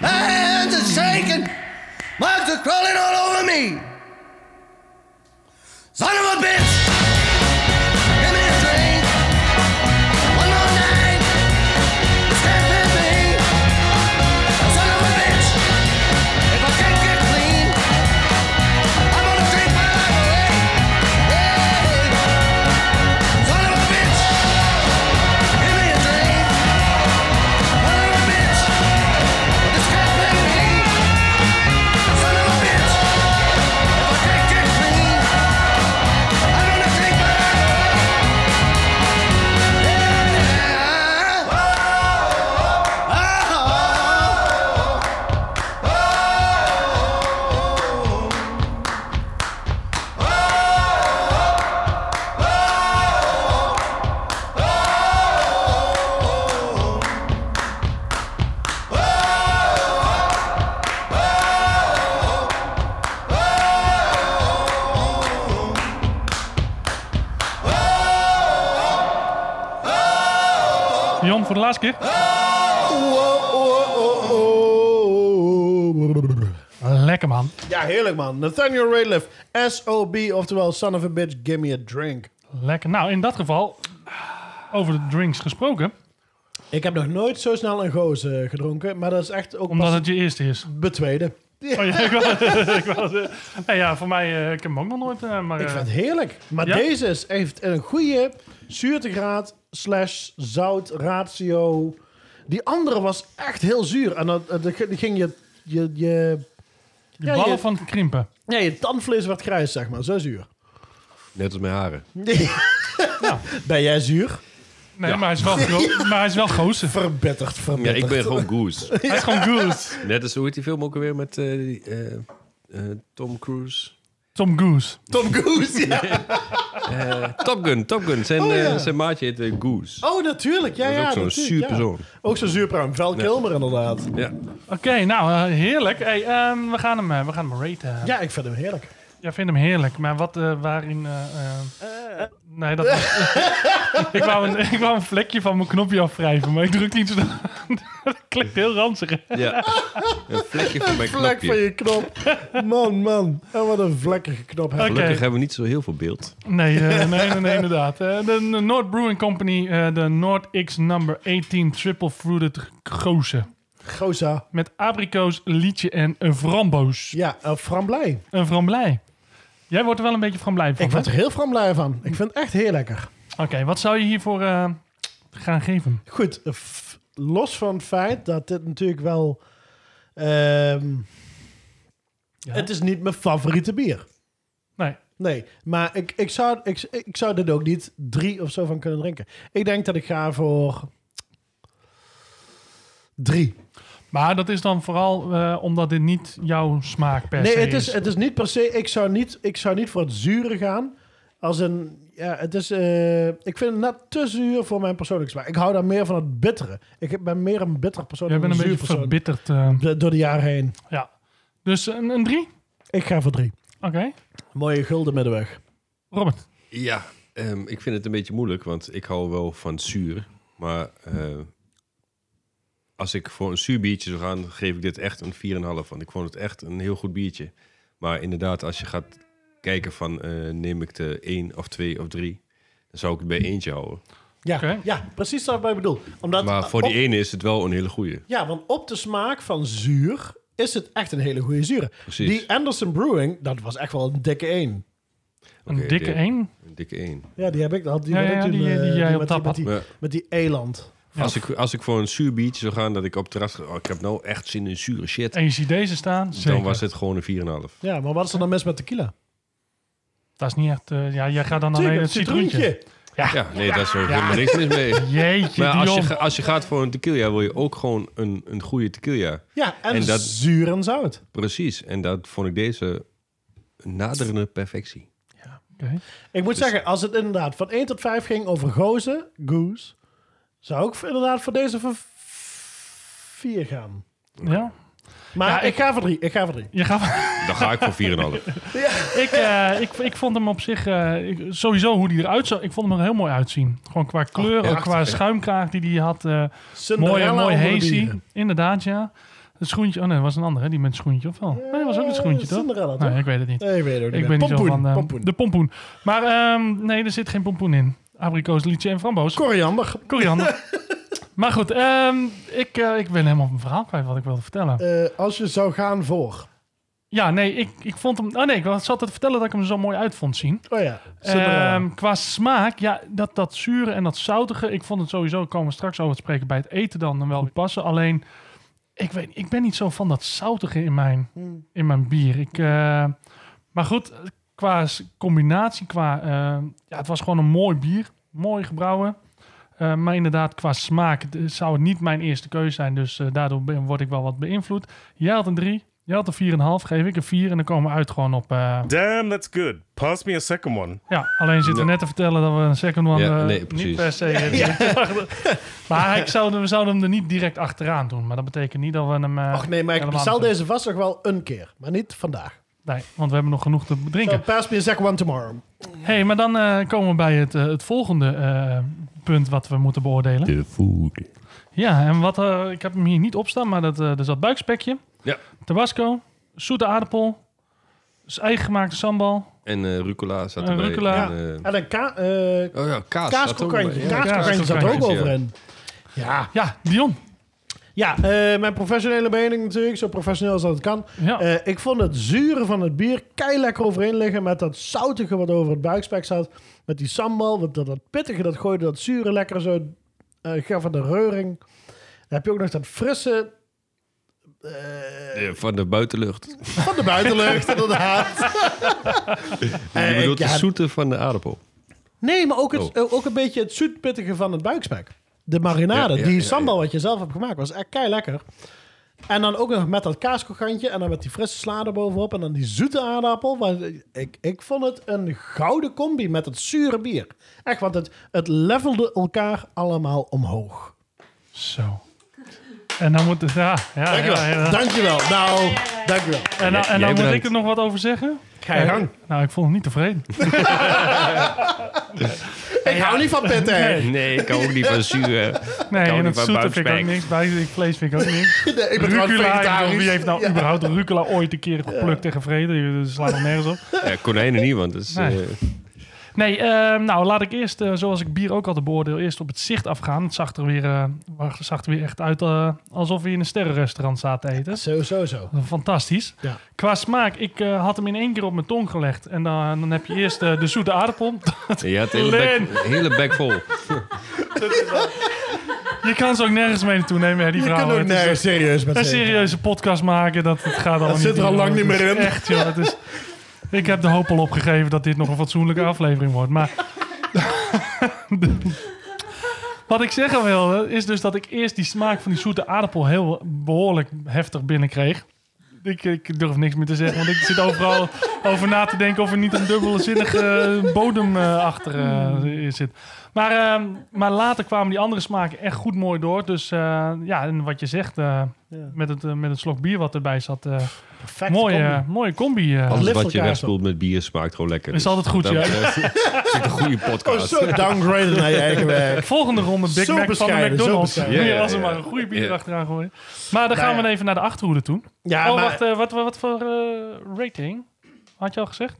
S7: My hands are shaking. Bugs are crawling all over me. Son of a bitch! Give me a drink. One more night. Step with me. Son of a bitch! If I can't get clean, I'm gonna drink my life away. Yeah. Son of a bitch! Give me a drink. Son of a bitch! Just step with me. Son of a bitch! If I can't get clean, I'm gonna drink my life away. Yeah.
S1: Jan, voor de laatste keer. Lekker man.
S2: Ja, heerlijk man. Nathaniel Ratliff, SOB, oftewel Son of a Bitch, Give Me a Drink.
S1: Lekker. Nou, in dat geval, over de drinks gesproken,
S2: Ik heb nog nooit zo snel een goos eh, gedronken, maar dat is echt ook
S1: omdat
S2: pas
S1: het je eerste is.
S2: het betweede.
S1: Oh, ja, (laughs) ik wou, ik wou zeggen. nee, ja, voor mij, eh, ik heb hem ook nog nooit. eh, maar,
S2: Ik
S1: eh,
S2: vind het heerlijk. Maar
S1: Ja?
S2: deze is, heeft een goede zuurtegraad slash zout ratio. Die andere was echt heel zuur. En dat, dat ging- die ging je... je, je
S1: de
S2: ja,
S1: ballen
S2: je-
S1: van het krimpen.
S2: ja, je tandvlees werd grijs, zeg maar. Zo zuur.
S4: Net als mijn haren.
S2: Ben jij zuur?
S1: Nee, maar hij
S4: (laughs)
S1: is wel,
S2: (laughs)
S1: gro- maar hij is wel gozer.
S2: Verbitterd,
S4: Ja,
S2: verbitterd.
S4: ik ben gewoon goose.
S1: (laughs) Hij is gewoon Goose.
S4: Net als, hoe heet die film ook alweer met eh, die, eh, eh, Tom Cruise?
S1: Tom Goose.
S2: Tom Goose, ja.
S4: Eh, Top Gun, Top Gun. Zijn,
S2: Oh, ja.
S4: eh, zijn maatje heet eh, Goose.
S2: Oh, natuurlijk. Ja,
S4: dat is
S2: ja,
S4: ook zo'n
S2: natuurlijk,
S4: zuur
S2: ja.
S1: (laughs)
S4: persoon.
S2: Ook zo'n zuurpruim. Val Kilmer, inderdaad.
S4: Ja.
S1: Oké, nou, eh, heerlijk. Hey, ehm, we, gaan hem, eh, we gaan hem raten.
S2: Ja, ik vind hem heerlijk.
S1: Jij vindt hem heerlijk, maar wat, eh, waarin... eh, eh, nee, dat was, (laughs) ik, wou een, ik wou een vlekje van mijn knopje afwrijven, maar ik druk niet zo... (laughs) dat klinkt heel ranzig. hè?
S4: ja. Een vlekje
S2: (laughs)
S4: van mijn
S2: Vlek van
S4: knopje.
S2: je
S4: (laughs)
S2: knop. Man, man. En wat een vlekkige knop. heb je.
S1: Oké.
S4: Gelukkig hebben we niet zo heel veel beeld.
S1: Nee, eh, nee, nee, nee, inderdaad. Eh, de, de Noord Brewing Company, eh, de Noord X number 18 triple fruited gozer.
S2: Goza.
S1: Met abrikoos, liedje en een framboos.
S2: Ja, eh, framblij.
S1: Een framblij. Jij wordt er wel een beetje framblij van,
S2: Ik
S1: hè?
S2: word er heel framblij van. Ik vind het echt heel lekker.
S1: Oké, wat zou je hiervoor eh, gaan geven?
S2: Goed, f- los van het feit dat dit natuurlijk wel... ehm, Het is niet mijn favoriete bier.
S1: Nee.
S2: Nee, maar ik, ik, zou, ik, ik zou dit ook niet drie of zo van kunnen drinken. Ik denk dat ik ga voor drie.
S1: Maar dat is dan vooral eh, omdat dit niet jouw smaak per
S2: Nee,
S1: se
S2: het is, het is niet per se. Ik zou niet, ik zou niet voor het zure gaan. Als een. Ja, het is. eh, ik vind het net te zuur voor mijn persoonlijke smaak. Ik hou daar meer van het bittere. Ik ben meer een bitter persoon.
S1: Jij
S2: dan
S1: bent een
S2: zuur
S1: beetje
S2: persoon.
S1: verbitterd. eh,
S2: De- Door de jaren heen.
S1: ja. Dus een, een drie?
S2: Ik ga voor drie.
S1: Oké.
S2: Mooie gulden middenweg.
S1: Robert.
S4: Ja, ehm, ik vind het een beetje moeilijk, want ik hou wel van zuur. Maar eh, als ik voor een zuur biertje zou gaan, geef ik dit echt een 4,5. Want ik vond het echt een heel goed biertje. Maar inderdaad, als je gaat kijken van eh, neem ik de 1 of 2 of 3, dan zou ik het bij eentje houden.
S2: Ja,
S1: Oké.
S2: ja precies wat ik bedoel. Omdat,
S4: Maar voor
S2: op-
S4: die
S1: Oh.
S4: e- ene is het wel een hele goede.
S2: Ja, want op de smaak van zuur is het echt een hele goede zuur.
S4: Precies.
S2: Die Anderson Brewing, dat was echt wel een dikke één.
S1: Een
S4: Oké,
S1: dikke
S4: dit-
S1: één.
S4: Een dikke 1.
S2: Ja, die heb ik. Had, die
S1: Ja,
S2: had ik
S1: ja,
S2: toen,
S1: die-
S2: eh,
S1: die jij op
S2: met,
S1: tap
S2: met,
S1: had.
S2: die,
S4: Ja.
S2: met die eland.
S4: Als, ik, als ik voor een zuur biertje zou gaan, dat ik op het terras... Oh, ik heb nou echt zin in zure shit.
S1: En je ziet deze staan. Zeker.
S4: Dan was het gewoon een 4,5.
S2: Ja, maar wat is er dan mis met tequila?
S1: Dat is niet echt... eh, ja, jij gaat dan alleen
S2: Tuurlijk,
S1: het citroentje.
S4: Ja, nee, daar is er helemaal niks mis mee.
S1: (laughs) Jeetje,
S4: Maar als je,
S1: Dion.
S4: ga- als je gaat voor een tequila, wil je ook gewoon een, een goede tequila.
S2: Ja, en,
S4: En dat-
S2: zuur en zout.
S4: Precies. En dat vond ik deze eh, naderende perfectie.
S1: Oké.
S2: Ik
S1: Dus-
S2: moet zeggen, als het inderdaad van 1 tot 5 ging over gozen, goose, zou ik inderdaad voor deze voor 4 gaan.
S1: Ja?
S2: Maar
S1: Ja,
S2: ik,
S1: ik-
S2: ga voor 3. Ik ga voor 3.
S1: Je gaat...
S4: Dan ga ik voor 4,5.
S1: ik, eh, ik, ik vond hem op zich, eh, ik- sowieso hoe hij eruit zag, ik vond hem er heel mooi uitzien. Gewoon qua kleur,
S4: ja.
S1: ook qua schuimkraag die hij had. eh mooi,
S2: Oh, Cinderella
S1: mooi
S2: onder de
S1: hazy.
S2: dieren.
S1: Inderdaad, ja. Het schoentje, oh nee, dat was een andere, hè, die met het schoentje of wel? Nee, dat was ook een schoentje, toch?
S2: Cinderella, toch?
S1: Nee, ik weet het niet.
S2: Nee, ik weet het ook
S1: Ik
S2: niet.
S1: ben
S2: meer.
S1: niet zo
S2: pompoen,
S1: van... eh,
S2: pompoen.
S1: De pompoen. Maar ehm, nee, er zit geen pompoen in. Abrikoos, liedje en framboos.
S2: Koriander.
S1: Koriander. maar goed, ehm, ik, eh, ik ben helemaal op mijn verhaal kwijt wat ik wilde vertellen.
S2: Eh, als je zou gaan voor...
S1: Ja, nee, ik, ik vond hem... Oh nee, ik zat te vertellen dat ik hem er zo mooi uit vond zien.
S2: Oh ja, Cinderella.
S1: Ehm, qua smaak, ja, dat, dat zure en dat zoutige. Ik vond het sowieso, komen we straks over te spreken, bij het eten dan, dan wel weer passen. Alleen, ik, weet, ik ben niet zo van dat zoutige in mijn, in mijn bier. Ik, eh, maar goed, qua s- combinatie, qua, eh, ja, het was gewoon een mooi bier. Mooi gebrouwen. Eh, maar inderdaad, qua smaak d- zou het niet mijn eerste keuze zijn. Dus eh, daardoor ben- word ik wel wat beïnvloed. Jij had een 3, jij had een 4,5, geef ik een 4. En dan komen we uit gewoon op... eh,
S3: Damn, that's good. Pass me a second one.
S1: ja, alleen zitten we net te vertellen dat we een second one
S4: Ja,
S1: eh,
S4: nee,
S1: niet
S4: precies.
S1: per se...
S2: (laughs)
S1: (laughs) maar ik zou, we zouden hem er niet direct achteraan doen. Maar dat betekent niet dat we hem... eh,
S2: Och nee, maar ik
S1: helemaal
S2: bestel
S1: niet doen.
S2: deze vast nog wel een keer. Maar niet vandaag.
S1: Nee, want we hebben nog genoeg te
S2: So,
S1: drinken.
S2: pass me a second one tomorrow.
S1: hey, maar dan eh, komen we bij het, eh, het volgende eh, punt wat we moeten beoordelen.
S4: De food.
S1: Ja, en wat... eh, ik heb hem hier niet opstaan, maar dat, eh er zat buikspekje.
S4: Ja.
S1: Tabasco, zoete aardappel, s- eigen gemaakte sambal.
S4: En eh, rucola staat
S1: Eh,
S4: erbij.
S1: rucola.
S4: En, eh,
S2: En een ka eh
S4: oh ja, kaas. staat er ook bij.
S2: kaaskrokantje.
S4: Ja.
S2: Kaaskrokantje zat er ook
S4: kaaskrokantje,
S2: over
S4: ja.
S2: in. Ja,
S1: Ja, Dion.
S2: ja eh, mijn professionele mening natuurlijk. Zo professioneel als dat het kan.
S1: Ja.
S2: Eh, ik vond het zure van het bier kei lekker overeen liggen met dat zoutige wat over het buikspek zat. Met die sambal, met dat, dat pittige, dat gooide dat zure lekker zo eh gaf het een reuring. Dan heb je ook nog dat frisse
S4: Eh, Van de buitenlucht.
S2: van de buitenlucht, inderdaad.
S4: je
S2: Eh,
S4: bedoelt
S2: (laughs) ja,
S4: de zoete van de aardappel.
S2: Nee, maar ook, het,
S4: Oh.
S2: eh, ook een beetje het zoetpittige van het buikspek. De marinade,
S4: Ja, ja,
S2: die
S4: ja,
S2: sambal wat je zelf hebt gemaakt, was echt kei lekker. En dan ook nog met dat kaaskogantje en dan met die frisse sla bovenop en dan die zoete aardappel. Want Ik, ik vond het een gouden combi met het zure bier. Echt, want het, het levelde elkaar allemaal omhoog.
S1: Zo. En dan moet... Ja, ja, ja, ja.
S2: Dankjewel. Nou, dankjewel.
S1: En, dan- en
S4: Jij
S1: dan moet
S4: bedankt.
S1: ik er nog wat over zeggen?
S2: Ga je gang.
S1: Nou, ik vond hem niet tevreden.
S2: (laughs) Ik hou niet van pitten.
S4: Nee, ik kan ook niet van zuur.
S1: Nee,
S4: ook
S1: en
S4: niet
S1: het
S4: van
S1: zoete vind ik ook
S4: buikspek.
S1: niks. Bij vlees vind ik ook niks.
S2: (laughs) Nee, ik ben trouwens
S1: Rucola, ik bedoel,
S2: vegetarisch.
S1: wie heeft nou überhaupt rucola ooit een keer geplukt en gevreden? Dat slaat nog nergens op.
S4: Ja, konijnen niet, want dat is...
S1: Nee.
S4: eh,
S1: Nee, ehm, nou laat ik eerst, eh, zoals ik bier ook altijd beoordeel, eerst op het zicht afgaan. Het zag er weer, eh, wacht, het zag er weer echt uit eh, alsof we in een sterrenrestaurant zaten te eten.
S2: Zo, zo, zo.
S1: Fantastisch.
S2: Ja.
S1: Qua smaak, ik eh, had hem in één keer op mijn tong gelegd. En dan, dan heb je eerst eh, de zoete aardappel.
S4: eh, je had de hele bek,
S1: Len.
S4: hele bek vol.
S1: je kan ze ook nergens mee naartoe nemen, hè, die
S2: Je
S1: vrouwen.
S2: kunt ook
S1: Het is
S2: nergens serieus met
S1: een
S2: zijn.
S1: serieuze podcast maken, dat het gaat allemaal
S2: Dat
S1: niet
S2: zit er al
S1: in,
S2: lang
S1: hoor.
S2: niet
S1: Het
S2: meer
S1: is
S2: in.
S1: Echt, joh. Het is, ik heb de hoop al opgegeven dat dit nog een fatsoenlijke aflevering wordt. Maar (laughs) wat ik zeggen wil, is dus dat ik eerst die smaak van die zoete aardappel heel behoorlijk heftig binnenkreeg. Ik, ik durf niks meer te zeggen, want ik zit overal over na te denken of er niet een dubbelzinnige eh, bodem eh, achter eh, zit. Maar, ehm, maar later kwamen die andere smaken echt goed mooi door. Dus eh, ja, en wat je zegt, eh, met, het, eh, met het slok bier wat erbij zat. eh,
S2: Perfecte
S1: mooie,
S2: combi.
S1: eh, mooie combi. eh.
S4: Alles
S2: lift
S4: wat je
S2: elkaar
S4: wegspoelt met bier smaakt gewoon lekker.
S1: Is altijd goed, ja.
S4: (laughs)
S1: (laughs)
S4: Dat is een goede
S2: Oh,
S4: podcast.
S2: zo downgraded naar je eigen werk.
S1: Volgende ronde Big
S2: Zo
S1: Mac van de
S2: bescheiden, zo
S1: McDonald's.
S2: bescheiden.
S4: Ja, ja,
S1: Als we
S4: ja.
S1: maar een goede bier
S4: Ja.
S1: achteraan gooien. Maar dan gaan we
S2: ja.
S1: even naar de achterhoede toe.
S2: Ja,
S1: oh,
S2: maar
S1: wacht, eh, wat, wat, wat voor eh, rating? Had je al gezegd?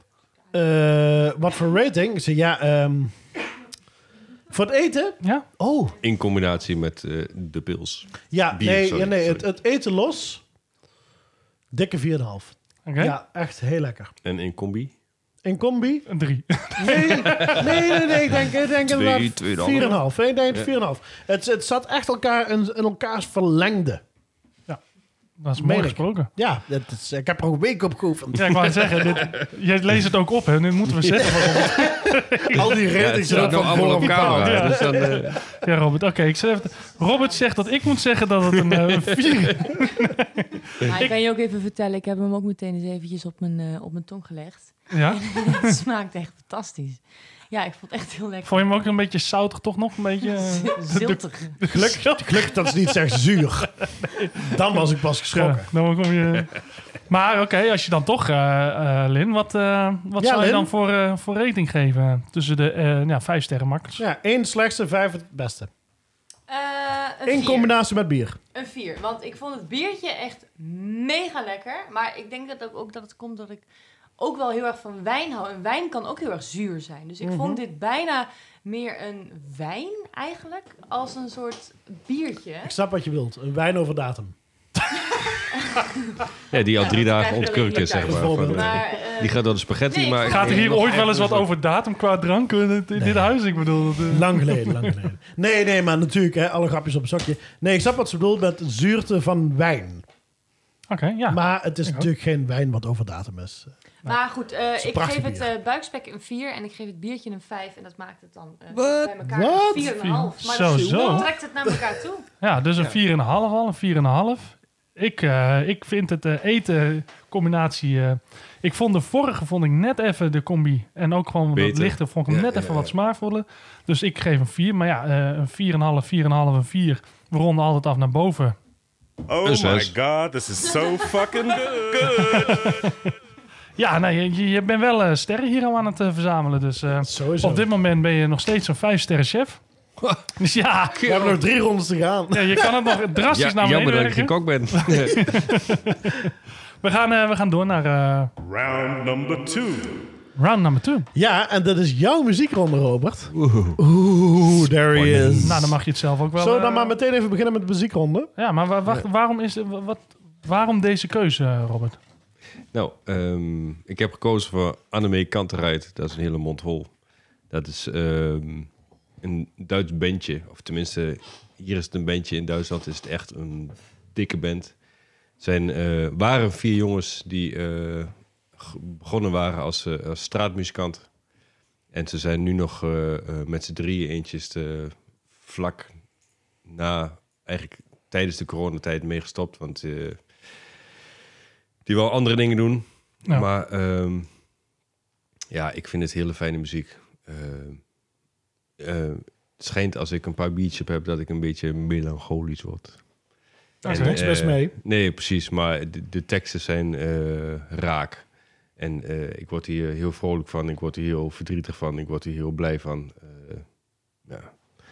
S2: eh, wat voor rating? Ze- Ja, ehm, voor het eten?
S1: Ja?
S2: Oh,
S4: In combinatie met eh, de pils.
S2: ja,
S4: Bier,
S2: nee,
S4: sorry,
S2: ja, nee
S4: sorry.
S2: het, het eten los. Dikke 4,5.
S1: Oké.
S2: Ja, echt heel lekker.
S4: En in combi.
S2: In combi?
S1: Een drie.
S2: Nee, nee, nee, nee, ik denk, ik denk
S4: Twee,
S2: inderdaad 4,5.
S4: tweeënhalf.
S2: Ik denk 4,5. Het, het zat echt elkaar in, in elkaars verlengde.
S1: Dat is
S2: Meen
S1: mooi
S2: ik.
S1: gesproken.
S2: Ja, dat is, ik heb er ook week op geoefend.
S1: Ja, ik wou het
S2: (laughs)
S1: zeggen, dit, je leest het ook op, hè? Nu moeten we zeggen. waarom het-
S2: Al die
S4: Ja, het
S2: ratings zijn
S4: staat
S2: ook
S4: nog
S2: van
S4: allemaal
S2: voor
S4: op camera.
S1: Ja.
S4: Dus dan, eh,
S1: Ja, Robert. Oké, ik zeg even- Robert zegt dat ik moet zeggen dat het een eh, een vier is.
S6: Maar ik kan je ook even vertellen, ik heb hem ook meteen eens eventjes op mijn, eh, op mijn tong gelegd.
S1: Ja?
S8: (laughs) Het smaakt echt fantastisch. Ja, ik vond het echt heel lekker.
S1: Vond je hem ook een beetje zoutig, toch nog? Een beetje... eh,
S8: Ziltig.
S2: Gelukkig, gelukkig dat is niet echt zuur. Dan was ik pas geschrokken.
S1: Ja, dan kom je... Maar oké, als je dan toch, eh, eh, Lin, wat, eh, wat
S2: Ja,
S1: zou je
S2: Lin.
S1: dan voor, eh, voor rating geven tussen de eh ja, vijf sterren makkers?
S2: Ja, één slechtste, vijf het beste.
S6: Eh, een
S2: In
S6: vier.
S2: combinatie met bier.
S6: Een vier. Want ik vond het biertje echt mega lekker. Maar ik denk dat ook, ook dat het komt dat ik ook wel heel erg van wijn hou. En wijn kan ook heel erg zuur zijn. Dus ik
S8: Mhm.
S6: vond dit bijna meer een wijn eigenlijk. Als een soort
S2: (laughs)
S6: biertje.
S2: Ik snap wat je wilt. Een wijn over datum.
S4: Ja, die al
S6: Ja,
S4: drie
S6: dat
S4: dagen
S6: krijg je
S4: ontkurkt is, zeg
S6: redelijk
S4: maar.
S2: thuis.
S4: Van, eh,
S6: Maar, eh,
S4: die gaat door de spaghetti,
S6: Nee, ik
S4: maar...
S6: vond-
S1: Gaat er hier
S6: Nee,
S1: ooit wel eens wat
S4: eigenlijk-
S1: over datum qua drank in, dit- in dit huis? Ik bedoel... dat, eh,
S2: Lang geleden, lang geleden. Nee, nee, maar natuurlijk, hè, alle grapjes op een zakje. Nee, ik snap wat ze bedoelt met zuurte van wijn.
S1: Oké, ja.
S2: Maar het is
S1: Ik ook.
S2: natuurlijk geen wijn wat over datum is.
S6: maar goed, eh,
S2: is een
S6: ik
S2: prachtig
S6: geef het
S2: bier.
S6: eh, buikspek een 4 en ik geef het biertje een 5. En dat maakt het dan eh,
S7: Wat?
S6: bij elkaar
S2: Wat?
S6: een 4,5. Maar
S1: Zo,
S6: dat
S1: zo.
S6: trekt het naar elkaar toe.
S1: Ja, dus een 4,5 al, een 4,5. Ik, eh, ik vind het eh, eten combinatie... eh, ik vond de vorige vond ik net even de combi. En ook gewoon wat
S4: Beter.
S1: lichter. Vond ik hem
S4: Ja,
S1: net
S4: ja,
S1: even
S4: ja.
S1: wat smaakvoller. Dus ik geef een 4. Maar ja, eh, een 4,5, 4,5, een 4. We ronden altijd af naar boven.
S3: Oh
S4: Een
S3: my
S4: zes.
S3: god, this is so fucking good.
S1: Ja, nee, je- je, je bent wel eh, sterren hier al aan het eh, verzamelen. Dus eh,
S2: Sowieso.
S1: op dit moment ben je nog steeds een 5-sterren chef. Dus (laughs) ja,
S2: We hebben nog drie rondes te gaan.
S1: ja, je kan het
S4: (laughs)
S1: nog drastisch
S4: Ja,
S1: naar
S4: jammer
S1: beneden
S4: dat ik
S1: werken.
S4: geen kok ben.
S1: (laughs)
S4: (laughs)
S1: We gaan, eh, we gaan door naar eh,
S3: Round number two.
S1: round number 2.
S2: Ja, en dat is jouw muziekronde, Robert. Oeh, there he is.
S1: Nou, dan mag je het zelf ook wel.
S2: Zullen we
S1: eh,
S2: dan maar meteen even beginnen met de muziekronde?
S1: Ja, maar wa- wacht, waarom, is, wa- wat, waarom deze keuze, eh, Robert?
S4: Nou, ehm, ik heb gekozen voor Annemee Kanteruit. Dat is een hele mond vol. Dat is ehm, een Duits bandje. Of tenminste, hier is het een bandje. In Duitsland is het echt een dikke band. Het zijn, eh, waren vier jongens die eh, g- begonnen waren als, eh, als straatmuzikant. En ze zijn nu nog eh, eh, met z'n drieën eentjes te- vlak na, eigenlijk tijdens de coronatijd meegestopt. Want eh, die wel andere dingen doen.
S1: Ja.
S4: Maar ehm, ja, ik vind het hele fijne muziek. Ehm, eh, het schijnt als ik een paar biertjes op heb dat ik een beetje melancholisch word.
S1: Daar
S4: En,
S2: Nou, niks mis
S4: eh,
S2: mee.
S4: Nee, precies. Maar de, de teksten zijn eh, raak. En eh, ik word hier heel vrolijk van. Ik word hier heel verdrietig van. Ik word hier heel blij van. Eh ja,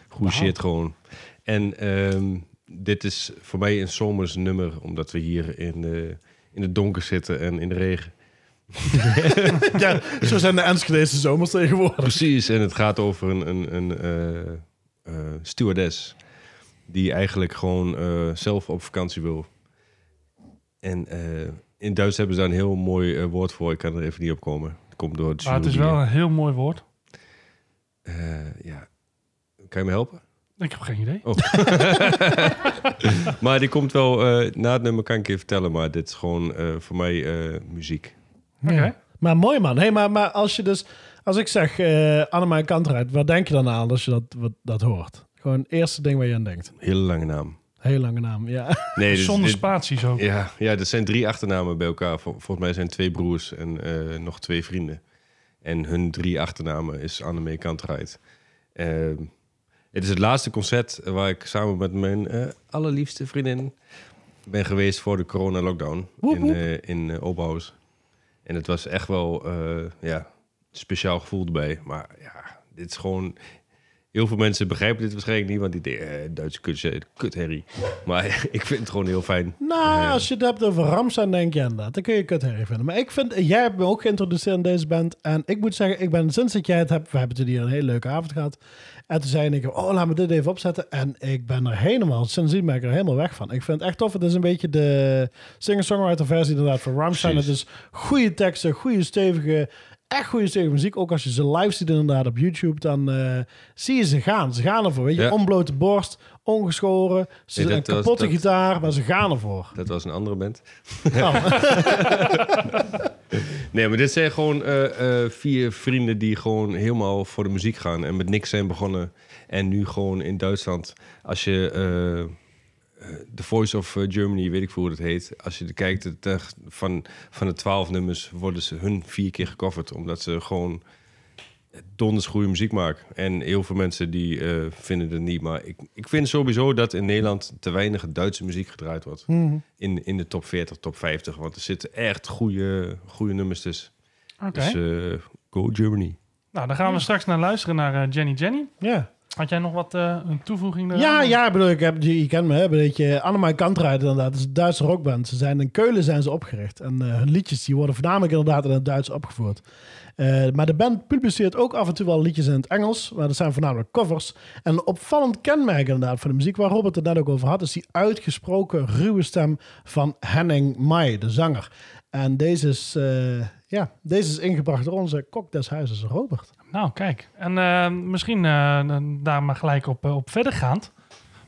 S4: goede shit gewoon. En ehm, dit is voor mij een zomers nummer. Omdat we hier in, de in het donker zitten en in de regen.
S2: Ja, zo zijn de Enschedeze zomers tegenwoordig.
S4: Precies, en het gaat over een, een, een eh, eh, stewardess die eigenlijk gewoon eh, zelf op vakantie wil. En eh, in Duits hebben ze daar een heel mooi eh, woord voor. Ik kan er even niet op komen. Het komt door het
S1: Maar Ah, het is
S4: jury.
S1: wel een heel mooi woord.
S4: Eh, ja. Kan je me helpen? Oh.
S1: Ik heb geen idee.
S4: (laughs) Maar die komt wel... eh, na het nummer kan ik je vertellen, maar dit is gewoon eh, voor mij eh, muziek.
S1: Oké.
S2: Maar mooi man. Hey, maar, maar als je dus, als ik zeg eh Annemai Kanteruit, wat denk je dan aan als je dat, wat, dat hoort? Gewoon het eerste ding waar je aan denkt.
S4: Hele lange naam.
S2: Heel lange naam, ja.
S4: (laughs) Nee, dit-
S1: Zonder
S4: dit-
S1: spaties ook.
S4: Ja, ja, dat zijn drie achternamen bij elkaar. Vol- volgens mij zijn twee broers en eh, nog twee vrienden. En hun drie achternamen is Annemee Kantrijd. Ehm het is het laatste concert waar ik samen met mijn eh, allerliefste vriendin ben geweest voor de corona-lockdown
S2: Woep,
S4: in,
S2: woep.
S4: eh in eh, Oberhausen. En het was echt wel eh, ja, speciaal gevoel erbij. Maar ja, dit is gewoon... Heel veel mensen begrijpen dit waarschijnlijk niet, want die denken, eh, Duitse kut, kut herrie. Maar (laughs) ik vind het gewoon heel fijn.
S2: Nou,
S4: Eh,
S2: als je het hebt over Ramstein, denk je aan dat. Dan kun je kut vinden. Maar ik vind, jij hebt me ook geïntroduceerd aan deze band. En ik moet zeggen, ik ben sinds dat jij het hebt, we hebben toen hier een hele leuke avond gehad. En toen zei ik, oh, laat me dit even opzetten. En ik ben er helemaal, sindsdien ben ik er helemaal weg van. Ik vind het echt tof. Het is een beetje de singer-songwriter versie inderdaad van Ramstein.
S4: Precies.
S2: Het is goede teksten, goede stevige, echt goede stevige muziek. Ook als je ze live ziet inderdaad op YouTube, dan eh, zie je ze gaan. Ze gaan ervoor, weet je.
S4: Ja.
S2: Onblote borst, ongeschoren, ze,
S4: Nee, dat
S2: een
S4: was-
S2: kapotte
S4: dat-
S2: gitaar, maar ze gaan ervoor.
S4: Dat was een andere band.
S2: Oh.
S4: (laughs) Nee, maar dit zijn gewoon eh, eh, vier vrienden die gewoon helemaal voor de muziek gaan en met niks zijn begonnen. En nu gewoon in Duitsland, als je eh, eh, The Voice of eh, Germany, weet ik veel hoe dat heet. Als je er kijkt, het, eh, van, van de twaalf nummers worden ze hun vier keer gecoverd. Omdat ze gewoon donders goede muziek maken. En heel veel mensen die eh, vinden het niet. Maar ik, ik vind sowieso dat in Nederland te weinig Duitse muziek gedraaid wordt. In, in de top 40, top 50. Want er zitten echt goede, goede nummers tussen.
S1: Oké.
S4: Dus eh, go Germany.
S1: nou, dan gaan we straks naar luisteren naar eh, Jenny Jenny.
S2: Ja.
S1: Had jij nog wat eh, een toevoeging? eraan?
S2: Ja, ja, ik bedoel, ik heb, je, je kent me, hè, een beetje Annemai Kantrijd inderdaad. Dat is een Duitse rockband. Ze zijn in Keulen zijn ze opgericht. En eh, hun liedjes die worden voornamelijk inderdaad in het Duits opgevoerd. Eh, maar de band publiceert ook af en toe wel liedjes in het Engels. Maar dat zijn voornamelijk covers. En een opvallend kenmerk inderdaad van de muziek waar Robert het net ook over had... is die uitgesproken ruwe stem van Henning Mai, de zanger. En deze is, eh, ja, deze is ingebracht door onze kok des huizes, Robert.
S1: Nou, kijk. En eh, misschien eh, dan daar maar gelijk op, eh, op verder gaand.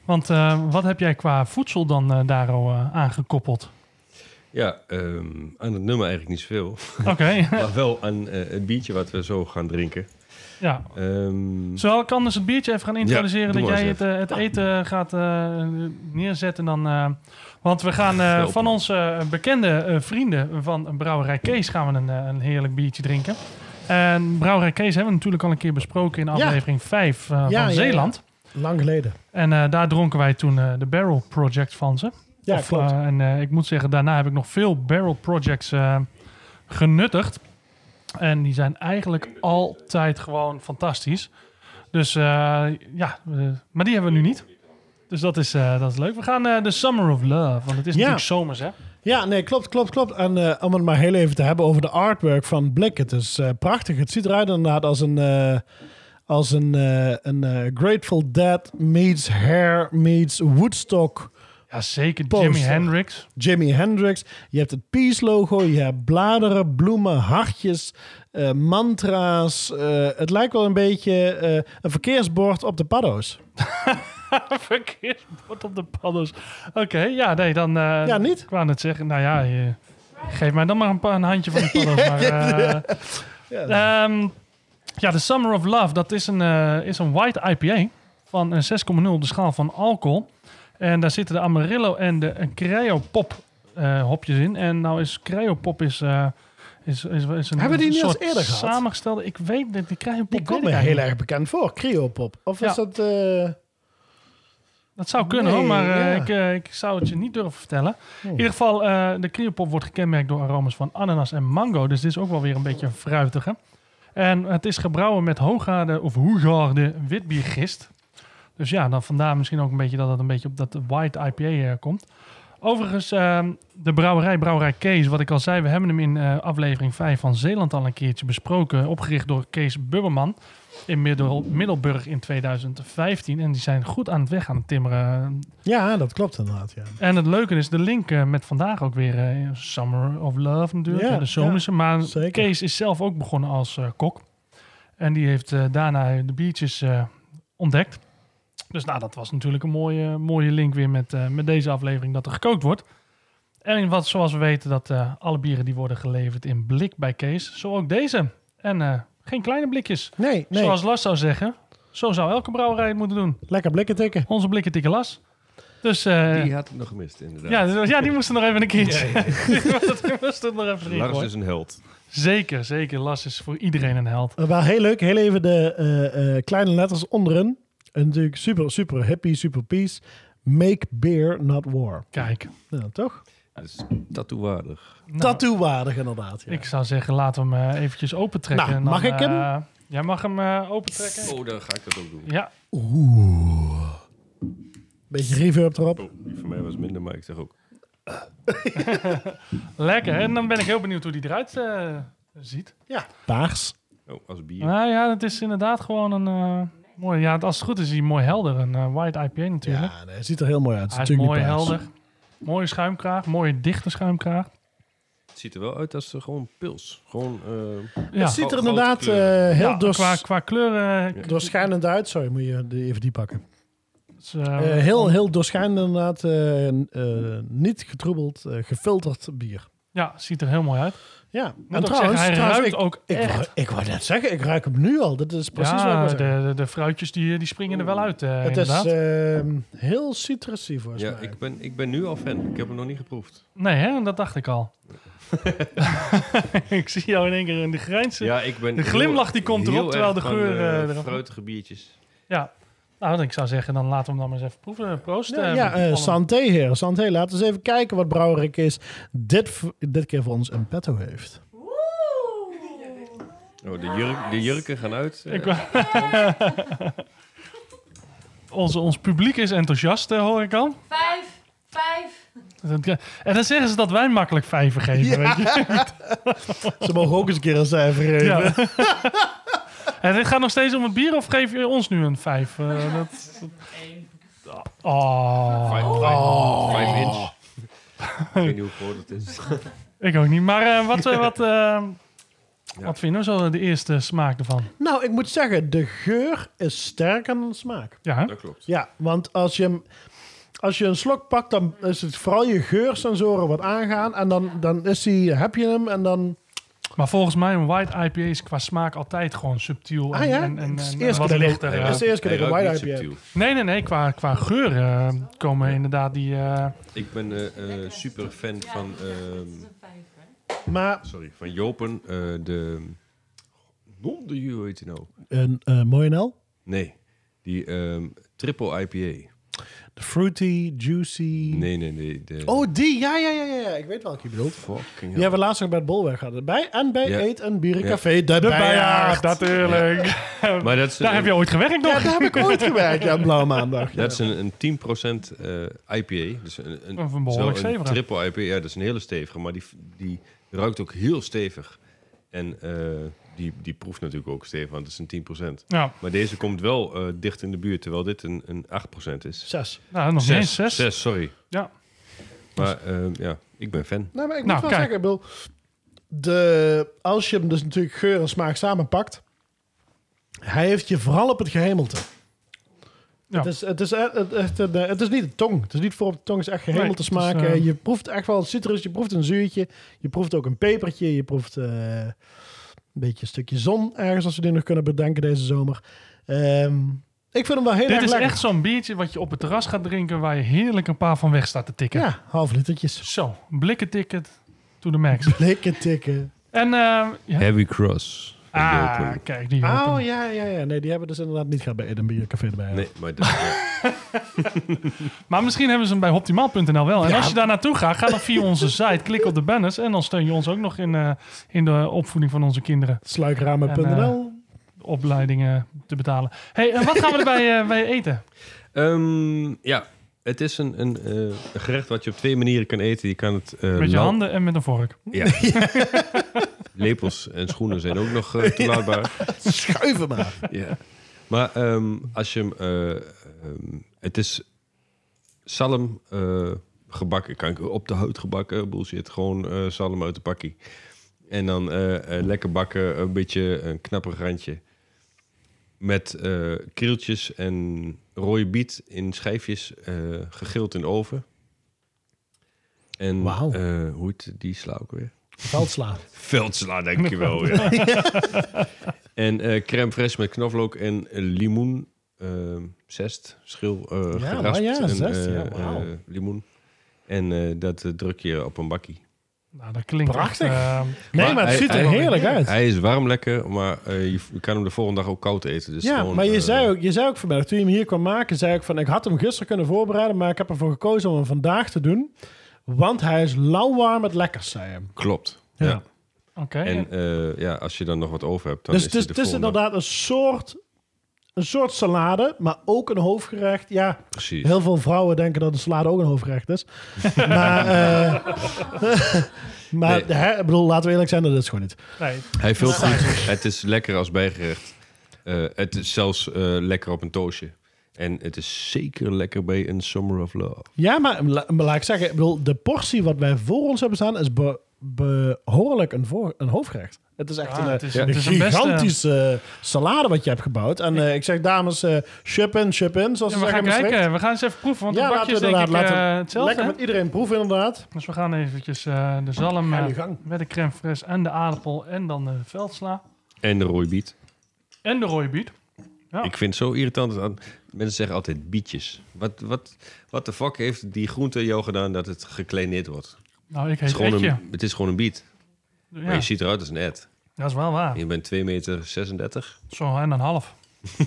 S1: Want eh, wat heb jij qua voedsel dan eh daar al eh, aangekoppeld?
S4: Ja, ehm, aan het nummer eigenlijk niet zoveel.
S1: Oké,
S4: (laughs) maar wel aan eh, het biertje wat we zo gaan drinken.
S1: ja.
S4: Ehm,
S1: Zal ik anders het biertje even gaan introduceren?
S4: Ja, doe
S1: dat
S4: maar
S1: jij
S4: eens Ah.
S1: het, eh, het eten gaat eh, neerzetten dan... eh, want we gaan eh,
S4: Help
S1: van
S4: me.
S1: onze eh, bekende eh, vrienden van Brouwerij Kees... gaan we een, eh, een heerlijk biertje drinken. En Brouwerij Kees hebben we natuurlijk al een keer besproken... in aflevering 5 eh,
S2: Ja,
S1: van
S2: ja, ja.
S1: Zeeland.
S2: Lang geleden.
S1: En eh, daar dronken wij toen eh, de Barrel Project van ze.
S2: Ja,
S1: Of,
S2: klopt.
S1: eh, en eh, ik moet zeggen, daarna heb ik nog veel barrel projects eh, genuttigd. En die zijn eigenlijk altijd gewoon fantastisch. Dus eh, ja, eh, maar die hebben we nu niet. Dus dat is, eh, dat is leuk. We gaan eh, de Summer of Love, want het is
S2: Ja.
S1: natuurlijk zomers, hè?
S2: Ja, nee, klopt, klopt, klopt. En eh, om het maar heel even te hebben over de artwork van Blik. Het is eh, prachtig. Het ziet eruit inderdaad als een, eh, als een, eh, een eh, Grateful Dead meets Hair meets Woodstock.
S1: Ja, zeker.
S2: Poster.
S1: Jimi Hendrix.
S2: Jimi Hendrix. Je hebt het Peace logo, je hebt bladeren, bloemen, hartjes, eh, mantra's. Eh, het lijkt wel een beetje eh, een verkeersbord op de paddo's.
S1: Verkeerd bord op de paddels. Oké, ja, nee, dan... eh,
S2: Ja, niet?
S1: Ik wou net zeggen, nou ja, je- geef mij dan maar een, pa- een
S2: (laughs)
S1: handje van de paddels. maar, eh, Ehm, ja, de Summer of Love, dat is een, eh, is een white IPA van eh, een 6,0 op de schaal van alcohol. En daar zitten de Amarillo en de Cryo Pop eh, hopjes in. En nou is Cryo Pop is, eh, is, is, is een
S2: Hebben we die
S1: een
S2: niet
S1: soort
S2: eens eerder gehad?
S1: samengestelde... Ik weet dat die Cryo Pop
S2: Die
S1: weet
S2: komt me
S1: ik
S2: heel
S1: eigenlijk
S2: erg bekend voor. Cryopop. Of
S1: Ja.
S2: is dat... eh,
S1: Dat zou kunnen
S2: Nee,
S1: hoor, maar eh,
S2: ja.
S1: ik, eh, ik zou het je niet durven vertellen. In ieder geval, eh, de kriopop wordt gekenmerkt door aromas van ananas en mango. Dus dit is ook wel weer een beetje een fruitige. En het is gebrouwen met hooggaarde of hoegaarde witbiergist. Dus ja, dan vandaar misschien ook een beetje dat het een beetje op dat white IPA eh, komt. Overigens, ehm, de brouwerij, brouwerij Kees, wat ik al zei, we hebben hem in eh, aflevering 5 van Zeeland al een keertje besproken. Opgericht door Kees Bubberman in Middel- Middelburg in 2015. En die zijn goed aan het weg aan het timmeren.
S2: ja, dat klopt inderdaad. Ja.
S1: En het leuke is de link eh, met vandaag ook weer eh, Summer of Love natuurlijk.
S2: Ja,
S1: Ja, de zomerse. maar
S2: zeker.
S1: Kees is zelf ook begonnen als eh, kok. En die heeft eh, daarna de biertjes eh, ontdekt. Dus nou, dat was natuurlijk een mooie, mooie link weer met, eh, met deze aflevering dat er gekookt wordt. En wat, zoals we weten dat eh, alle bieren die worden geleverd in blik bij Kees. Zo ook deze. En eh, geen kleine blikjes.
S2: Nee, nee.
S1: Zoals Las zou zeggen, zo zou elke brouwerij het moeten doen.
S2: Lekker blikken tikken.
S1: Onze blikken tikken Las. Dus eh,
S4: die had ik nog gemist, inderdaad.
S1: ja, dus- ja, die moesten nog even een keertje. (laughs) die moesten er nog even erin
S4: Lars
S1: gooien.
S4: is een held.
S1: Zeker, zeker. Las is voor iedereen een held.
S2: Maar Eh, heel leuk, heel even de eh, eh, kleine letters onderin. En natuurlijk super, super hippie, super peace. Make beer, not war.
S1: Kijk.
S2: Nou, toch?
S4: Dat is tattoowaardig.
S1: Nou,
S2: Tattoowaardig inderdaad. Ja.
S1: Ik zou zeggen, laten we hem eh, eventjes opentrekken.
S2: Nou,
S1: en dan,
S2: mag ik hem?
S1: eh, jij mag hem open opentrekken.
S4: Oh, dan ga ik dat ook doen.
S1: Ja,
S2: Beetje reverb erop.
S4: Oh, die voor mij was minder, maar ik zeg ook.
S1: lekker. En dan ben ik heel benieuwd hoe die eruit eh, ziet.
S2: Paars.
S4: Oh, als bier.
S1: Nou ja, het is inderdaad gewoon een... eh, mooi, ja, als het goed is, is hij mooi helder. Een eh, white IPA natuurlijk.
S2: Ja, nee, het ziet er heel mooi uit. Het
S1: Hij is
S2: natuurlijk
S1: mooi
S2: niet paars.
S1: helder. Mooie schuimkraag, mooie dichte schuimkraag.
S4: Het ziet er wel uit als eh, gewoon pils. Gewoon, eh,
S1: Ja,
S2: Het ziet er
S4: Grote
S2: inderdaad eh,
S4: kleuren.
S2: heel
S1: Ja,
S2: doors-
S1: qua, qua kleuren. eh,
S2: doorschijnend uit. Sorry, moet je die- even die pakken.
S1: is, eh,
S2: Eh, heel, heel doorschijnend inderdaad. eh, eh, niet getroebeld, eh, gefilterd bier.
S1: Ja, ziet er heel mooi uit.
S2: Ja,
S1: Moet ook zeggen, hij ruikt
S2: ik,
S1: ook
S2: ik, wou,
S1: echt.
S2: ik wou net zeggen, ik ruik hem nu al. Dat is precies wat ik
S1: ja,
S2: wou
S1: de,
S2: zeggen.
S1: de, de fruitjes die, die springen er wel uit, eh,
S2: Het is
S1: inderdaad.
S2: ehm, heel citrusy volgens
S4: Ja,
S2: mij.
S4: ik ben, ik ben nu al fan. Ik heb hem nog niet geproefd.
S1: Nee, hè? dat dacht ik
S4: (laughs)
S1: al. (laughs) ik zie jou in één keer in de (laughs) grijns. Ja.
S4: Ja, ik ben
S1: De
S4: heel-
S1: glimlach die komt erop,
S4: heel
S1: terwijl de
S4: erg
S1: geur,
S4: van,
S1: eh,
S4: eh,
S1: eraf-
S4: fruitige biertjes.
S1: Nou, dan ik zou zeggen, dan laten we hem dan maar eens even proeven. Proost.
S2: Ja,
S1: eh,
S2: ja
S1: met
S2: eh,
S1: allen.
S2: santé heren. Santé, laten we eens even kijken wat Brouwerik is. Dit, v- dit keer voor ons een petto heeft.
S4: Oh, de, jurk, de jurken gaan uit. eh.
S1: Ik (laughs) Onze, ons publiek is enthousiast, eh, hoor ik al.
S6: Vijf, vijf.
S1: En dan zeggen ze dat wij makkelijk vijven geven, weet je.
S2: (laughs) Ze mogen ook eens een keer een cijfer geven.
S1: Ja. (laughs) en dit gaat nog steeds om het bier, of geef je ons nu een vijf? Eh, dat... Oh,
S4: Vijf, vijf, vijf
S1: (laughs)
S4: inch. ik weet niet hoe groot het is.
S1: ik ook niet. Maar eh, wat, eh, wat, eh,
S4: Ja.
S1: wat vinden we zo de eerste smaak ervan?
S2: Nou, ik moet zeggen, de geur is sterker dan de smaak.
S1: Ja, hè?
S4: Dat klopt.
S2: Ja, want als je, hem- als je een slok pakt, dan is het vooral je geursensoren wat aangaan. En dan, dan is die, heb je hem en dan...
S1: maar volgens mij een white IPA is qua smaak altijd gewoon subtiel en,
S2: Ah ja,
S1: en, en-
S2: het is
S1: en
S2: de eerste
S1: wat
S2: keer dat ik-
S1: lichter.
S2: het
S1: ja.
S2: is de eerste
S4: Hij
S2: keer dat ik een
S4: ruikt
S2: white
S4: niet
S2: IPA heb.
S4: subtiel.
S1: Nee, nee, nee. Qua, qua geur eh, komen inderdaad die... eh,
S4: (laughs) Ik ben eh, eh, super fan van, ehm,
S6: Vijf, hè?
S2: Maar
S4: sorry, van Jopen. eh, de... Non de Ju, heet hij nou?
S2: een eh mooie NL.
S4: Nee, die ehm, triple IPA.
S2: De Fruity, juicy...
S4: Nee, nee, nee. De...
S2: Oh, die. Ja, ja, ja, ja. ja. Ik weet welke je bedoelt.
S4: fucking
S2: Die
S4: hell.
S2: hebben we laatst nog bij het Bolwerk gehad. Bij en bij
S4: Ja.
S2: Eet en Bierencafé. De, de
S1: ja,
S2: Bijaard.
S1: natuurlijk.
S4: Maar dat is,
S1: Daar
S4: een-
S1: heb je ooit gewerkt
S2: Ja,
S1: nog.
S2: daar heb ik ooit gewerkt. Ja, een blauwe maandag. Ja.
S4: dat is een, een 10% eh, IPA. Dus een, een,
S1: Of een behoorlijk
S4: zo'n
S1: stevige.
S4: triple IPA, ja, dat is een hele stevige. Maar die, die ruikt ook heel stevig. En eh, die, die proeft natuurlijk ook stevig, want het is een 10%.
S1: Ja,
S4: Maar deze komt wel eh, dicht in de buurt, terwijl dit een, een 8% is.
S2: Zes.
S1: nou, nog
S4: Zes,
S1: eens zes.
S4: Zes, sorry.
S1: Ja.
S4: Maar eh, ja, ik ben fan.
S2: Nou, maar ik moet
S1: Nou,
S2: wel
S1: kijk.
S2: zeggen, ik bedoel, de, als je hem dus natuurlijk geur en smaak samenpakt, hij heeft je vooral op het gehemelte.
S1: Ja.
S2: Het, is, het, is, e- het, echt een, eh, het is niet de tong. Het is niet voor op de tong. Het is echt gehemelte
S1: Nee, het is,
S2: smaak.
S1: eh,
S2: Eh, je proeft echt wel citrus. Je proeft een zuurtje. Je proeft ook een pepertje. Je proeft eh, een beetje een stukje zon ergens, als we die nog kunnen bedenken deze zomer. Ehm, ik vind hem wel heel
S1: Dit
S2: erg
S1: is
S2: lekker.
S1: echt zo'n biertje wat je op het terras gaat drinken... waar je heerlijk een paar van weg staat te tikken.
S2: Ja, half litertjes.
S1: Zo, blikken ticket to the max.
S2: Blikken tikken.
S1: En, eh, ja.
S4: Heavy Cross. van
S1: Ah,
S4: Jopen.
S1: kijk, die
S2: Oh
S1: open.
S2: ja, ja, ja. Nee, die hebben dus inderdaad niet gehad bij Edinburgh Café erbij.
S4: Nee, maar dat, ja.
S1: Maar misschien hebben ze hem bij optimaal.nl wel. En
S2: Ja.
S1: als je daar naartoe gaat, ga dan via onze site. Klik op de banners en dan steun je ons ook nog in, eh, in de opvoeding van onze kinderen.
S2: Sluikramen.nl.
S1: De opleidingen te betalen. hey, en wat gaan we erbij eh, bij eten?
S4: Ehm, ja. Het is een, een, eh, een gerecht wat je op twee manieren kan eten. Je kan het eh,
S1: Met je
S4: lauw-
S1: handen en met een vork. (laughs)
S4: Ja. Lepels en schoenen zijn ook
S2: (laughs)
S4: nog eh, toelaatbaar.
S2: Schuiven maar.
S4: Ja. Maar ehm, als je hem... eh, ehm, het is zalm eh, gebakken. Kan ik op de hout gebakken. Bullshit. Gewoon eh zalm uit de pakkie. En dan eh, eh, lekker bakken. Een beetje een knapper randje. Met eh krieltjes en rode biet in schijfjes. eh, gegild in de oven. En
S2: Wauw.
S4: eh, hoe heet die sla ook weer?
S2: Veldsla.
S4: Veldsla, denk je wel.
S2: (laughs)
S4: Ja. en eh crème fraîche met knoflook en limoen. ehm, zest, schil, eh
S2: Ja,
S4: geraspt.
S2: maar ja,
S4: en,
S2: zest,
S4: eh,
S2: ja, wauw.
S4: eh, limoen. En eh, dat eh, druk je op een bakkie.
S1: Nou, dat klinkt
S2: Prachtig.
S1: echt, eh,
S2: Nee,
S4: Maar
S2: maar het
S4: hij-
S2: ziet er
S4: hij-
S2: heerlijk uit.
S4: Hij is warm lekker, maar eh, je, je kan hem de volgende dag ook koud eten. (laughs) Dus
S2: ja,
S4: gewoon,
S2: maar je
S4: eh,
S2: zei, ook, je zei ook vanmiddag, toen je hem hier kwam maken, zei ik van, ik had hem gisteren kunnen voorbereiden, maar ik heb ervoor gekozen om hem vandaag te doen. Want hij is lauwwarm het lekkers, zei hij.
S4: Klopt.
S2: Ja.
S4: Ja.
S1: Oké.
S4: En eh, ja, als je dan nog wat over hebt, dan
S2: Dus
S4: is
S2: het is,
S4: de
S2: het is
S4: volgende
S2: inderdaad een soort, een soort salade, maar ook een hoofdgerecht. Ja,
S4: precies.
S2: heel veel vrouwen denken dat een salade ook een hoofdgerecht is. (laughs) maar eh, (laughs) maar
S4: Nee.
S2: hè, ik bedoel, laten we eerlijk zijn, dat is gewoon niet.
S1: Nee,
S4: Hij vult goed. Het is lekker als bijgerecht. Eh, het is zelfs eh, lekker op een toosje. En het is zeker lekker bij een Summer of Love.
S2: Ja, maar, la- maar laat ik zeggen, ik bedoel, de portie wat wij voor ons hebben staan is be- behoorlijk een, voor, een hoofdgerecht. Het is echt
S1: Ja,
S2: een,
S1: Ah,
S2: eh,
S1: het is-
S2: een
S1: het is een beste-
S2: gigantische eh, salade wat je hebt gebouwd. En eh, ik zeg, dames, eh ship in, ship in. Zoals
S1: Ja,
S2: ze zeggen
S1: we gaan
S2: in Maastricht.
S1: kijken. We gaan eens even proeven. Want
S2: Ja,
S1: de
S2: laten
S1: bakje
S2: we
S1: is denk ik
S2: inderdaad. Laten
S1: eh,
S2: we
S1: hetzelfde.
S2: lekker
S1: hè?
S2: met iedereen proeven, inderdaad.
S1: Dus we gaan eventjes eh, de zalm
S2: Ga
S1: eh,
S2: je gang.
S1: met de crème fraîche en de aardappel en dan de veldsla.
S4: En de rooibiet.
S1: En de rooibiet. Ja.
S4: Ik vind het zo irritant. dat aan- Mensen zeggen altijd bietjes. Wat, wat, wat de fuck heeft die groente jou gedaan dat het gekleineerd wordt? Het
S1: Nou, ik
S4: is
S1: heet
S4: gewoon
S1: Etje.
S4: een, het is gewoon een biet.
S1: Ja,
S4: Maar je ziet eruit als een ad.
S1: dat is wel waar.
S4: Je bent 2,36 meter. 36.
S1: Zo, en een half.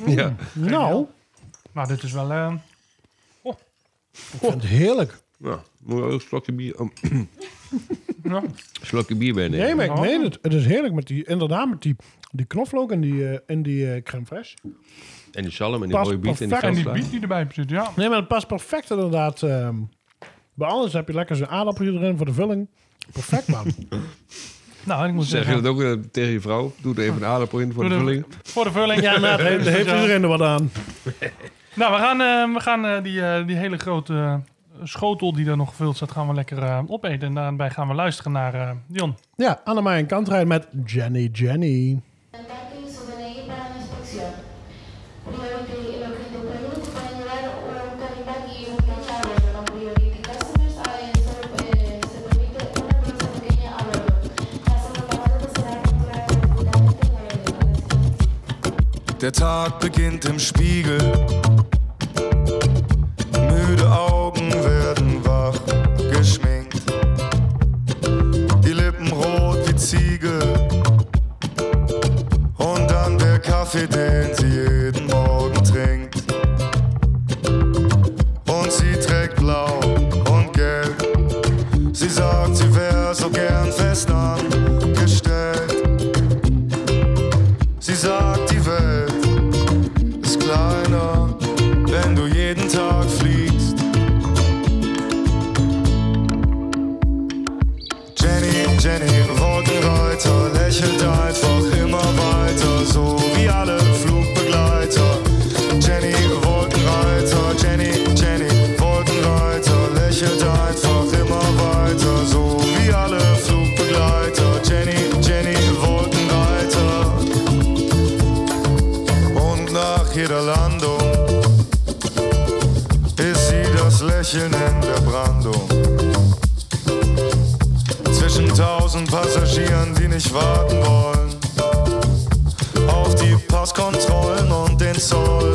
S4: Ja.
S2: Nou,
S1: Maar dit is wel... eh,
S2: ik vind het heerlijk.
S4: ja. Moet je ook een slokje bier, (clears throat) een
S1: ja. Oh.
S4: slokje bier bij
S2: Nee,
S4: nemen?
S2: maar ik meen het. Het is heerlijk met die, inderdaad, met die, die knoflook en die, eh, en die eh, crème fraîche.
S4: En die zalm en die
S2: Pas
S4: rooibiet en die
S2: perfect.
S1: En die
S4: veldsla.
S1: biet die erbij zit, ja.
S2: Nee, maar het past perfect inderdaad. eh, bij alles heb je lekker zo'n aardappeltje erin voor de vulling. Perfect,
S4: (laughs)
S2: man.
S1: Nou, en ik moet
S4: Zeg je
S1: zeggen...
S4: dat ook eh, tegen je vrouw? Doe er even een aardappel in voor de
S1: Doe er-
S4: vulling.
S1: Voor de vulling.
S2: ja, (laughs) nou, daar heeft, daar heeft
S1: Ja.
S2: iedereen er wat aan.
S1: (laughs) Nou, we gaan, eh, we gaan eh, die, eh, die hele grote eh, schotel die daar nog gevuld staat, gaan we lekker eh, opeten. En daarbij gaan we luisteren naar eh, Dion.
S2: Ja, Annemai en Kantrijn met Jenny Jenny.
S9: y su DNI para la inspección. Dígame que lo que te pregunto pueden llevar un calibre y un cacharro, pero priority customers hay, se, eh, se permite una pizza pequeña a bordo. La zona pagada será controlada completamente por el establecimiento.
S10: Der Tag beginnt im Spiegel. Müde Augen werden wach geschminkt. Die Lippen rot wie Ziegel. Und dann der Kaffee, den sie jeden Morgen trinkt. Und sie trägt blau und gelb. Sie sagt, sie wär so gern fest angestellt. Sie sagt, die Welt ist kleiner, wenn du jeden Tag fliegst. Jenny, Jenny, Wolkenreiter, lächelt einfach immer weiter, so wie alle Flugbegleiter. Jenny, Wolkenreiter, Jenny, Jenny, Wolkenreiter, lächelt einfach immer weiter, so wie alle Flugbegleiter. Jenny, Jenny, Wolkenreiter. Und nach jeder Landung ist sie das Lächeln in der Brandung. Zwischen tausend Passagieren, die nicht warten wollen. Auf die Passkontrollen und den Zoll.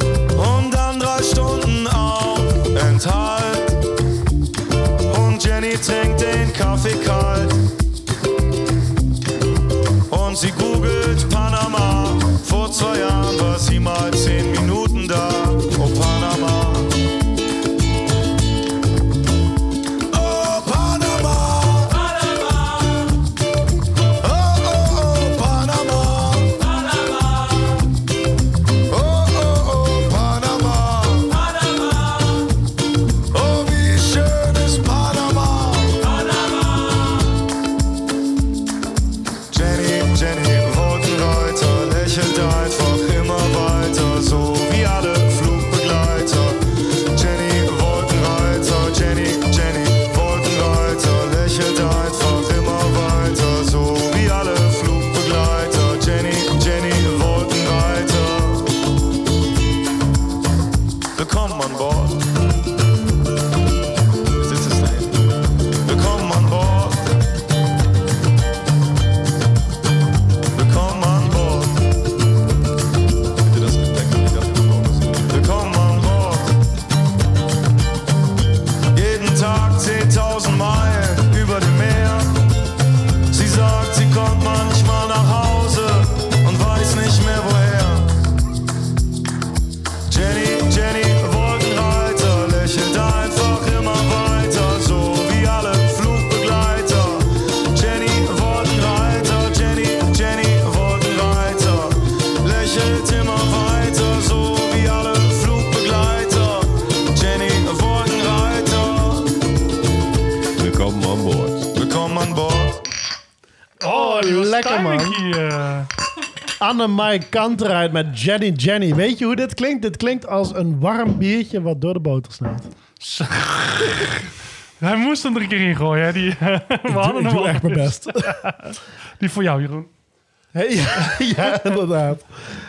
S10: Und dann drei Stunden Aufenthalt. Und Jenny trinkt den Kaffee kalt und sie googelt Panama. Vor zwei Jahren war sie mal zehn Minuten da. Oh Panama. Oh Panama. Oh, oh, oh, Panama. Oh, oh, oh, Panama. Oh, wie schön ist Panama. Jenny, Jenny, Wolkenreiter, lächelt einfach immer weiter, so wie alle Flugbegleiter. Jenny, Wolkenreiter, Jenny, Jenny, Wolkenreiter, lächelt einfach immer weiter, so wie alle Flugbegleiter. Jenny, Jenny, Wolkenreiter. Willkommen an Bord. This is name. Willkommen an Bord. Willkommen an Bord. Bitte das Gepäck nicht abgeworfen. Willkommen an Bord. Jeden Tag 10.000 Meilen über dem Meer. Sie sagt, sie kommt manchmal nach Hause und weiß nicht mehr woher. Jenny, Jenny, Wolkenreiter, lächelt einfach immer weiter, so wie alle Flugbegleiter. Jenny, Wolkenreiter, Jenny, Jenny, Wolkenreiter, lächelt immer weiter, so wie alle Flugbegleiter. Jenny, Wolkenreiter,
S4: Welkom aan boord.
S10: willkommen an Bord.
S2: Oh, lekker man.
S1: Timingkie, eh.
S2: Annemai Kantrijn met Jenny Jenny. Weet je hoe dit klinkt? Dit klinkt als een warm biertje wat door de boter snelt.
S1: Hij moest hem er een keer in gooien. Hè? Die, (laughs) we
S2: Ik doe,
S1: hadden hem
S2: ik doe
S1: al.
S2: echt mijn best.
S1: (laughs) Die voor jou, Jeroen.
S2: Hey, (laughs) ja, ja, inderdaad.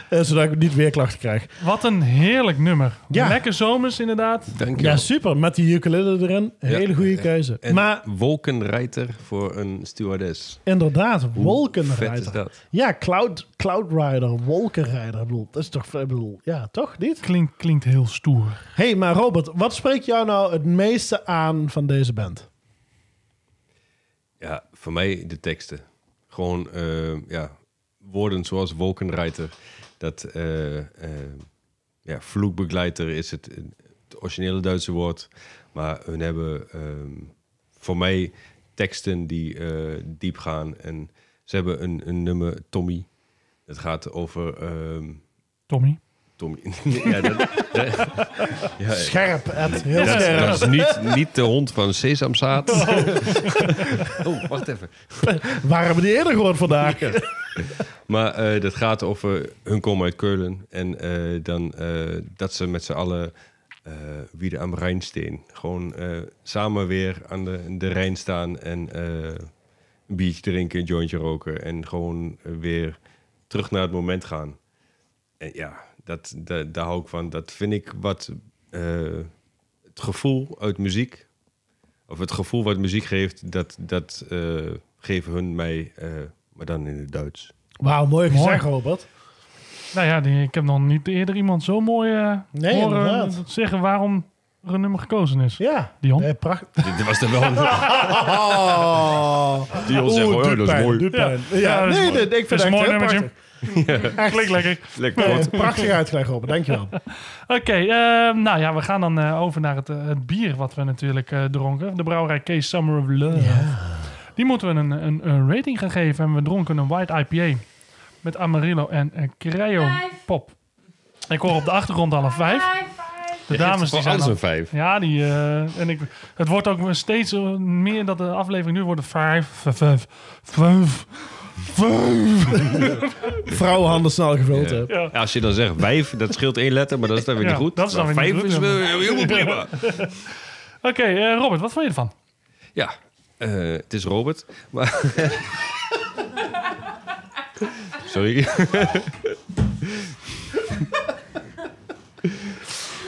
S2: Eh, zodat ik niet weer klachten krijg.
S1: Wat een heerlijk
S2: (laughs)
S1: nummer. (laughs)
S2: Ja.
S1: Lekker zomers inderdaad.
S4: Dank je
S2: Ja,
S4: wel.
S2: super. Met die ukulele erin. Hele
S4: Ja,
S2: goede
S4: ja.
S2: keuze.
S4: En
S2: Maar
S4: Wolkenrijter voor een stewardess.
S2: inderdaad,
S4: Vet is
S2: Wolkenrider.
S4: dat.
S2: Ja, Cloud, Cloud Rider, Wolkenrider. Ik bedoel, dat is toch... Ik bedoel, ja, toch? Niet?
S1: Klinkt, klinkt heel stoer.
S2: Hé, hey, maar Robert, wat spreekt jou nou het meeste aan van deze band?
S4: Ja, voor mij de teksten. Gewoon eh, ja, woorden zoals wolkenrijter. Dat eh, eh, ja, vloekbegeleider is het, eh, het originele Duitse woord. Maar hun hebben ehm, voor mij teksten die eh, diep gaan. En ze hebben een, een nummer, Tommy. Het gaat over... ehm,
S1: Tommy.
S4: Tommy. (laughs) ja, dat, dat- ja,
S2: Scherp, Ed. Heel
S4: dat,
S2: scherp.
S4: dat is niet, niet de hond van Sesamzaad. oh, wacht even.
S2: Waar hebben we die eerder gehoord
S4: (laughs)
S2: vandaag?
S4: Maar eh, dat gaat over hun komen uit Keulen. En eh, dan eh, dat ze met z'n allen eh wieder am Rijn steen. Gewoon eh, samen weer aan de, de Rijn staan en eh, een biertje drinken, een jointje roken. En gewoon eh, weer terug naar het moment gaan. En ja, dat, da- daar hou ik van. Dat vind ik wat eh, het gevoel uit muziek, of het gevoel wat muziek geeft, dat, dat eh, geven hun mij, eh, maar dan in het Duits.
S2: Wauw, mooi
S1: Mooi.
S2: gezegd, Robert.
S1: Nou ja, die, ik heb nog niet eerder iemand zo mooi eh,
S2: Nee,
S1: horen
S2: inderdaad.
S1: zeggen waarom er een nummer gekozen is.
S2: Ja.
S1: Dion?
S2: Nee, prachtig.
S4: Dit was er wel een...
S2: Oh.
S4: Die ons zeggen,
S2: Oeh,
S4: oh,
S2: doet
S4: dat is
S2: pijn,
S4: mooi.
S2: doet pijn. Ja,
S1: dat is
S2: nee,
S1: mooi.
S2: nee, ik vind het echt
S1: Dat is mooi
S2: heel
S1: nummertje.
S2: prachtig. Echt.
S1: Klinkt lekker.
S4: Lekker
S2: Nee,
S4: woord.
S2: prachtig uitgelegd, Robert. Dankjewel.
S1: (laughs) Oké, ehm, nou ja, we gaan dan eh, over naar het, eh, het bier wat we natuurlijk eh, dronken. De brouwerij Case Summer of Love. Die moeten we een, een, een rating gaan geven. En we dronken een white IPA met Amarillo en eh, Cryo
S6: Vijf.
S1: Pop. Ik hoor op de achtergrond al een vijf. De dames die
S4: Voor
S1: zijn
S4: alles
S1: al-
S4: een vijf.
S1: Ja, die, eh, en ik, het wordt ook steeds eh, meer dat de aflevering nu wordt een vijf, vijf, vijf, vijf.
S2: (laughs) Vrouwenhanden snel gevuld. hè.
S1: Ja.
S4: Ja, als je dan zegt wijf, dat scheelt één letter, maar dat is dan weer
S1: Ja,
S4: niet goed.
S1: dat is dan
S4: Maar
S1: weer niet
S4: vijf
S1: goed,
S4: is
S1: ja.
S4: wel
S1: (laughs)
S4: helemaal prima.
S1: Oké, eh, Robert, wat vond je ervan?
S4: Ja, eh, het is Robert. Maar (laughs) Sorry. (laughs)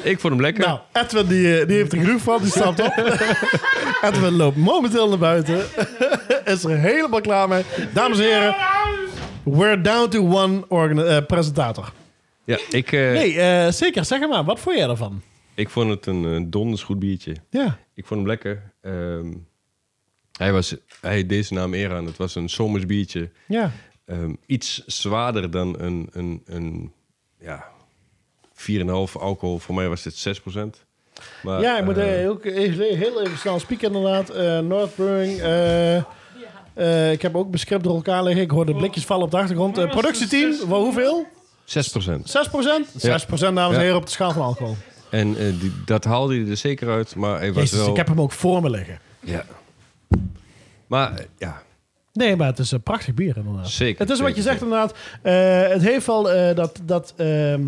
S4: ik vond hem lekker.
S2: Nou, Edwin die, eh, die heeft er genoeg van, die stapt
S4: (laughs)
S2: op. Edwin loopt momenteel naar buiten. (laughs) Is er helemaal klaar mee. Dames en heren, we're down to one organ- eh, presentator.
S4: Ja, ik, eh,
S2: Nee, eh, zeker. Zeg maar, wat vond jij ervan?
S4: ik vond het een eh, donders goed biertje.
S2: Ja.
S4: Ik vond hem lekker. Ehm, hij, was, hij deed zijn naam eer aan. Het was een zomers biertje.
S2: Ja.
S4: Ehm, iets zwaarder dan een, een, een ja, 4,5 alcohol. Voor mij was dit 6%. Maar,
S2: Ja, ik moet
S4: eh,
S2: eh, ook even, heel even snel spieken inderdaad. Eh North Brewing. eh, eh, ik heb ook mijn script door elkaar liggen. Ik hoor de blikjes vallen op de achtergrond. Eh, productieteam, wel hoeveel?
S4: 6%.
S2: 6%? 6% dames en heren op de schaal van alcohol.
S4: En eh, die, dat haalde hij er zeker uit, maar hij was
S2: Jezus,
S4: wel...
S2: ik heb hem ook voor me liggen.
S4: ja. Maar eh, ja,
S2: Nee, maar het is een prachtig bier inderdaad.
S4: Zeker,
S2: Het is wat
S4: zeker,
S2: je zegt
S4: zeker.
S2: inderdaad. Eh, het heeft wel eh, dat... dat ehm,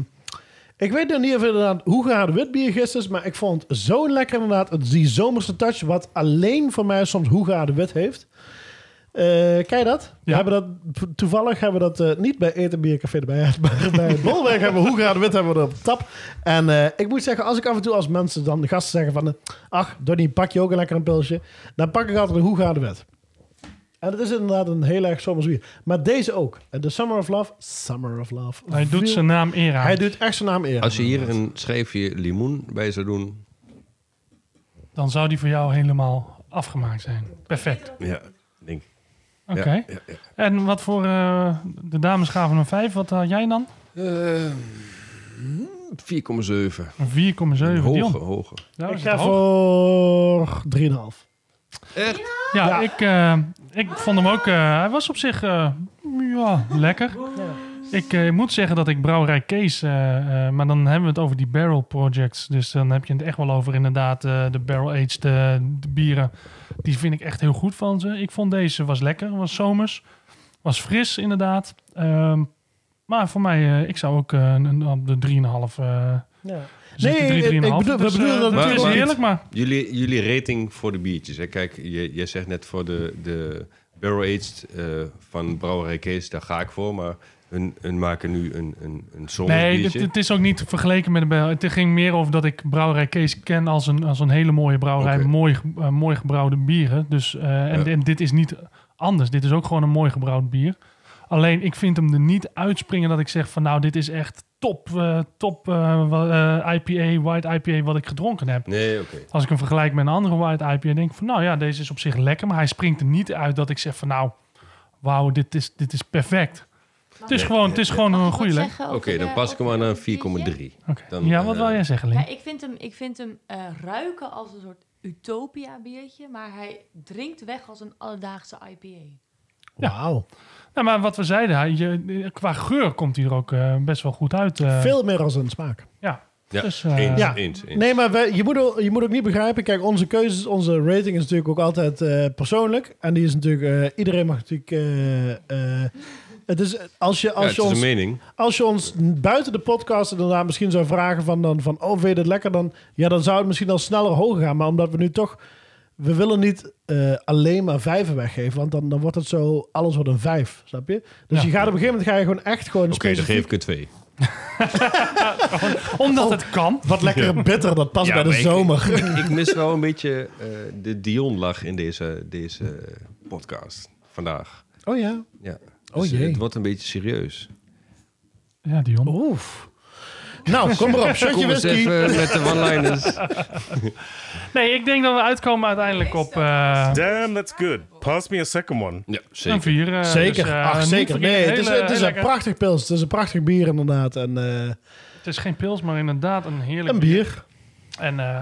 S2: ik weet nog niet of inderdaad hoe gaar de witbier gisteren is, maar ik vond het zo lekker inderdaad. Het- Die zomerse touch, wat alleen voor mij soms hoe gaar de wit heeft. Eh ken je dat? We
S1: Ja.
S2: hebben dat? Toevallig hebben we dat eh, niet bij Eten Bier Café erbij, gehad, (laughs) maar bij het Bolwerk hebben we hoe gaar de wit hebben we er op tap. En eh, ik moet zeggen, als ik af en toe als mensen dan de gasten zeggen van... eh, Ach, Donnie, pak je ook een lekker een pilsje? Dan pak ik altijd een hoe gaar de wit. En het is inderdaad een heel erg zomers bier. Maar deze ook. En De Summer of Love. Summer of Love.
S1: Hij doet
S2: Viel-
S1: zijn naam eer aan.
S2: Hij doet echt zijn naam eer.
S4: als je hier een schijfje limoen bij zou doen...
S1: Dan zou die voor jou helemaal afgemaakt zijn. Perfect.
S4: Ja, denk ik.
S1: Oké.
S4: Ja, ja, ja.
S1: En wat voor... eh, de dames gaven een 5. Wat had jij dan?
S4: Eh, hmm, 4,7.
S1: Een 4,7. Dion.
S4: Hoger, hoger.
S1: Nou,
S2: Ik
S1: is het
S2: ga voor
S1: hoog.
S2: 3,5.
S1: Ja, Ik, eh, ik vond hem ook... eh, hij was op zich eh, ja, lekker. Ik eh, moet zeggen dat ik Brouwerij Kees... eh, eh, maar dan hebben we het over die barrel projects. Dus dan heb je het echt wel over inderdaad eh, de barrel-aged eh, de bieren. Die vind ik echt heel goed van ze. Ik vond deze was lekker. Was zomers. Was fris inderdaad. Ehm, maar voor mij... eh, ik zou ook eh, een- een- op de 3,5... eh,
S2: Ja.
S1: Zit er
S2: Nee,
S1: drie,
S2: ik-
S1: drieënhalf,
S2: ik bedoel-
S1: dus,
S2: we bedoelen
S1: eh,
S2: dat
S1: dat is
S4: natuurlijk-
S1: heerlijk, maar
S4: Jullie, jullie rating voor de biertjes. Hè? Kijk, je- jij zegt net voor de, de barrel-aged eh, van Brouwerij Kees, daar ga ik voor. Maar hun, hun maken nu een, een, een somber
S1: Nee, het,
S4: biertje.
S1: het is ook niet vergeleken met een bel. Het ging meer over dat ik brouwerij Kees ken als een, als een hele mooie brouwerij.
S4: Oké.
S1: Mooi, ge- eh, mooi gebrouwde bieren. Dus, eh, en,
S4: Ja.
S1: en dit is niet anders. Dit is ook gewoon een mooi gebrouwd bier. Alleen ik vind hem er niet uitspringen dat ik zeg van nou, dit is echt top, eh, top eh, wa- eh, IPA, white IPA wat ik gedronken heb.
S4: Nee, oké.
S1: Als ik hem vergelijk met een andere white IPA, denk ik van nou ja, deze is op zich lekker. Maar hij springt er niet uit dat ik zeg van nou, wauw, dit is, dit is perfect. Het is gewoon, het is gewoon een goede lek.
S4: Oké, dan pas ik hem aan een 4,3.
S1: Oké.
S4: Dan,
S1: Ja, wat
S4: eh,
S1: wil jij zeggen, Link?
S6: Ja, ik vind hem, ik vind hem eh, ruiken als een soort utopia biertje, maar hij drinkt weg als een alledaagse IPA.
S1: Ja.
S2: Wauw.
S1: Nou, maar wat we zeiden, hij- je, qua geur komt hij er ook eh, best wel goed uit. eh.
S2: Veel meer als een smaak.
S1: Ja.
S4: Ja,
S1: Dus, eh,
S4: eens,
S2: ja.
S4: eens, eens.
S2: Nee, maar wij- je, moet ook, je moet ook niet begrijpen. Kijk, onze keuzes, onze rating is natuurlijk ook altijd eh, persoonlijk. En die is natuurlijk... eh, iedereen mag natuurlijk... eh, eh, het is, als je,
S4: Ja,
S2: als
S4: het
S2: je
S4: is een
S2: ons
S4: mening.
S2: Als je ons buiten de podcast inderdaad misschien zou vragen van, dan, van oh, vind je dit lekker? Dan, ja, dan zou het misschien al sneller hoger gaan. Maar omdat we nu toch... We willen niet eh, alleen maar vijven weggeven. Want dan, dan wordt het zo... Alles wordt een vijf, snap je? Dus
S1: Ja.
S2: je gaat op een gegeven moment ga je gewoon echt gewoon...
S4: Oké, dan
S2: specifiek-
S4: geef ik een 2.
S1: omdat het kan.
S2: Oh, Wat lekker bitter, dat past bij de zomer.
S4: (laughs) Ik,
S2: (laughs)
S4: ik mis wel een beetje eh, de Dion-lach in deze, deze podcast vandaag.
S2: Oh ja.
S4: Ja.
S2: Oh
S4: Dus, eh,
S2: jee.
S4: Het wordt een beetje serieus.
S1: Ja, Dion.
S2: Oef. Nou,
S4: (laughs)
S2: kom erop. Shotje
S4: Dus Kom eens
S2: whisky.
S4: even met
S2: (laughs)
S4: de one-liners.
S1: Nee, ik denk dat we uitkomen uiteindelijk op eh
S3: Damn, that's good. Pass me a second one.
S4: Ja,
S1: een
S4: zeker.
S1: vier. eh,
S2: Zeker.
S1: dus, eh,
S2: Ach,
S1: niet
S2: zeker.
S1: vergeten,
S2: Nee, het is,
S1: hele-
S2: het is een
S1: lekker-
S2: prachtig pils. Het is een prachtig bier inderdaad. En eh,
S1: Het is geen pils, maar inderdaad een heerlijk
S2: een bier.
S1: En eh,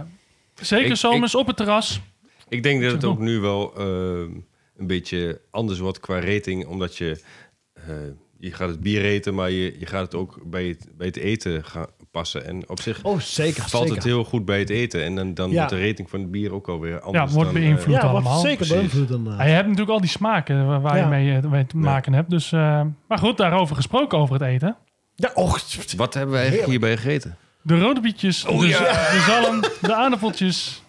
S1: zeker
S4: Ik-
S1: zomers op het terras.
S4: Ik denk dat het ook nu wel ehm, een beetje anders wordt qua rating. Omdat je, eh, je gaat het bier eten, maar je, je gaat het ook bij het, bij het eten gaan passen. En op zich
S2: Oh, zeker.
S4: valt
S2: zeker.
S4: het heel goed bij het eten. En dan, dan
S2: Ja.
S4: wordt de rating van het bier ook alweer anders.
S1: wordt
S4: dan, eh,
S1: beïnvloed.
S2: ja, wordt
S1: allemaal.
S2: zeker
S4: Precies.
S2: beïnvloed inderdaad.
S1: Maar je hebt natuurlijk al die smaken waar, waar
S2: Ja.
S1: je mee, eh, mee te
S4: eh. Ja.
S1: maken hebt. Dus, eh, maar goed, daarover gesproken over het eten.
S2: Ja, och.
S4: wat hebben we eigenlijk hierbij gegeten?
S1: De rode bietjes,
S4: Oh
S1: de, Dus de zalm, de aardappeltjes,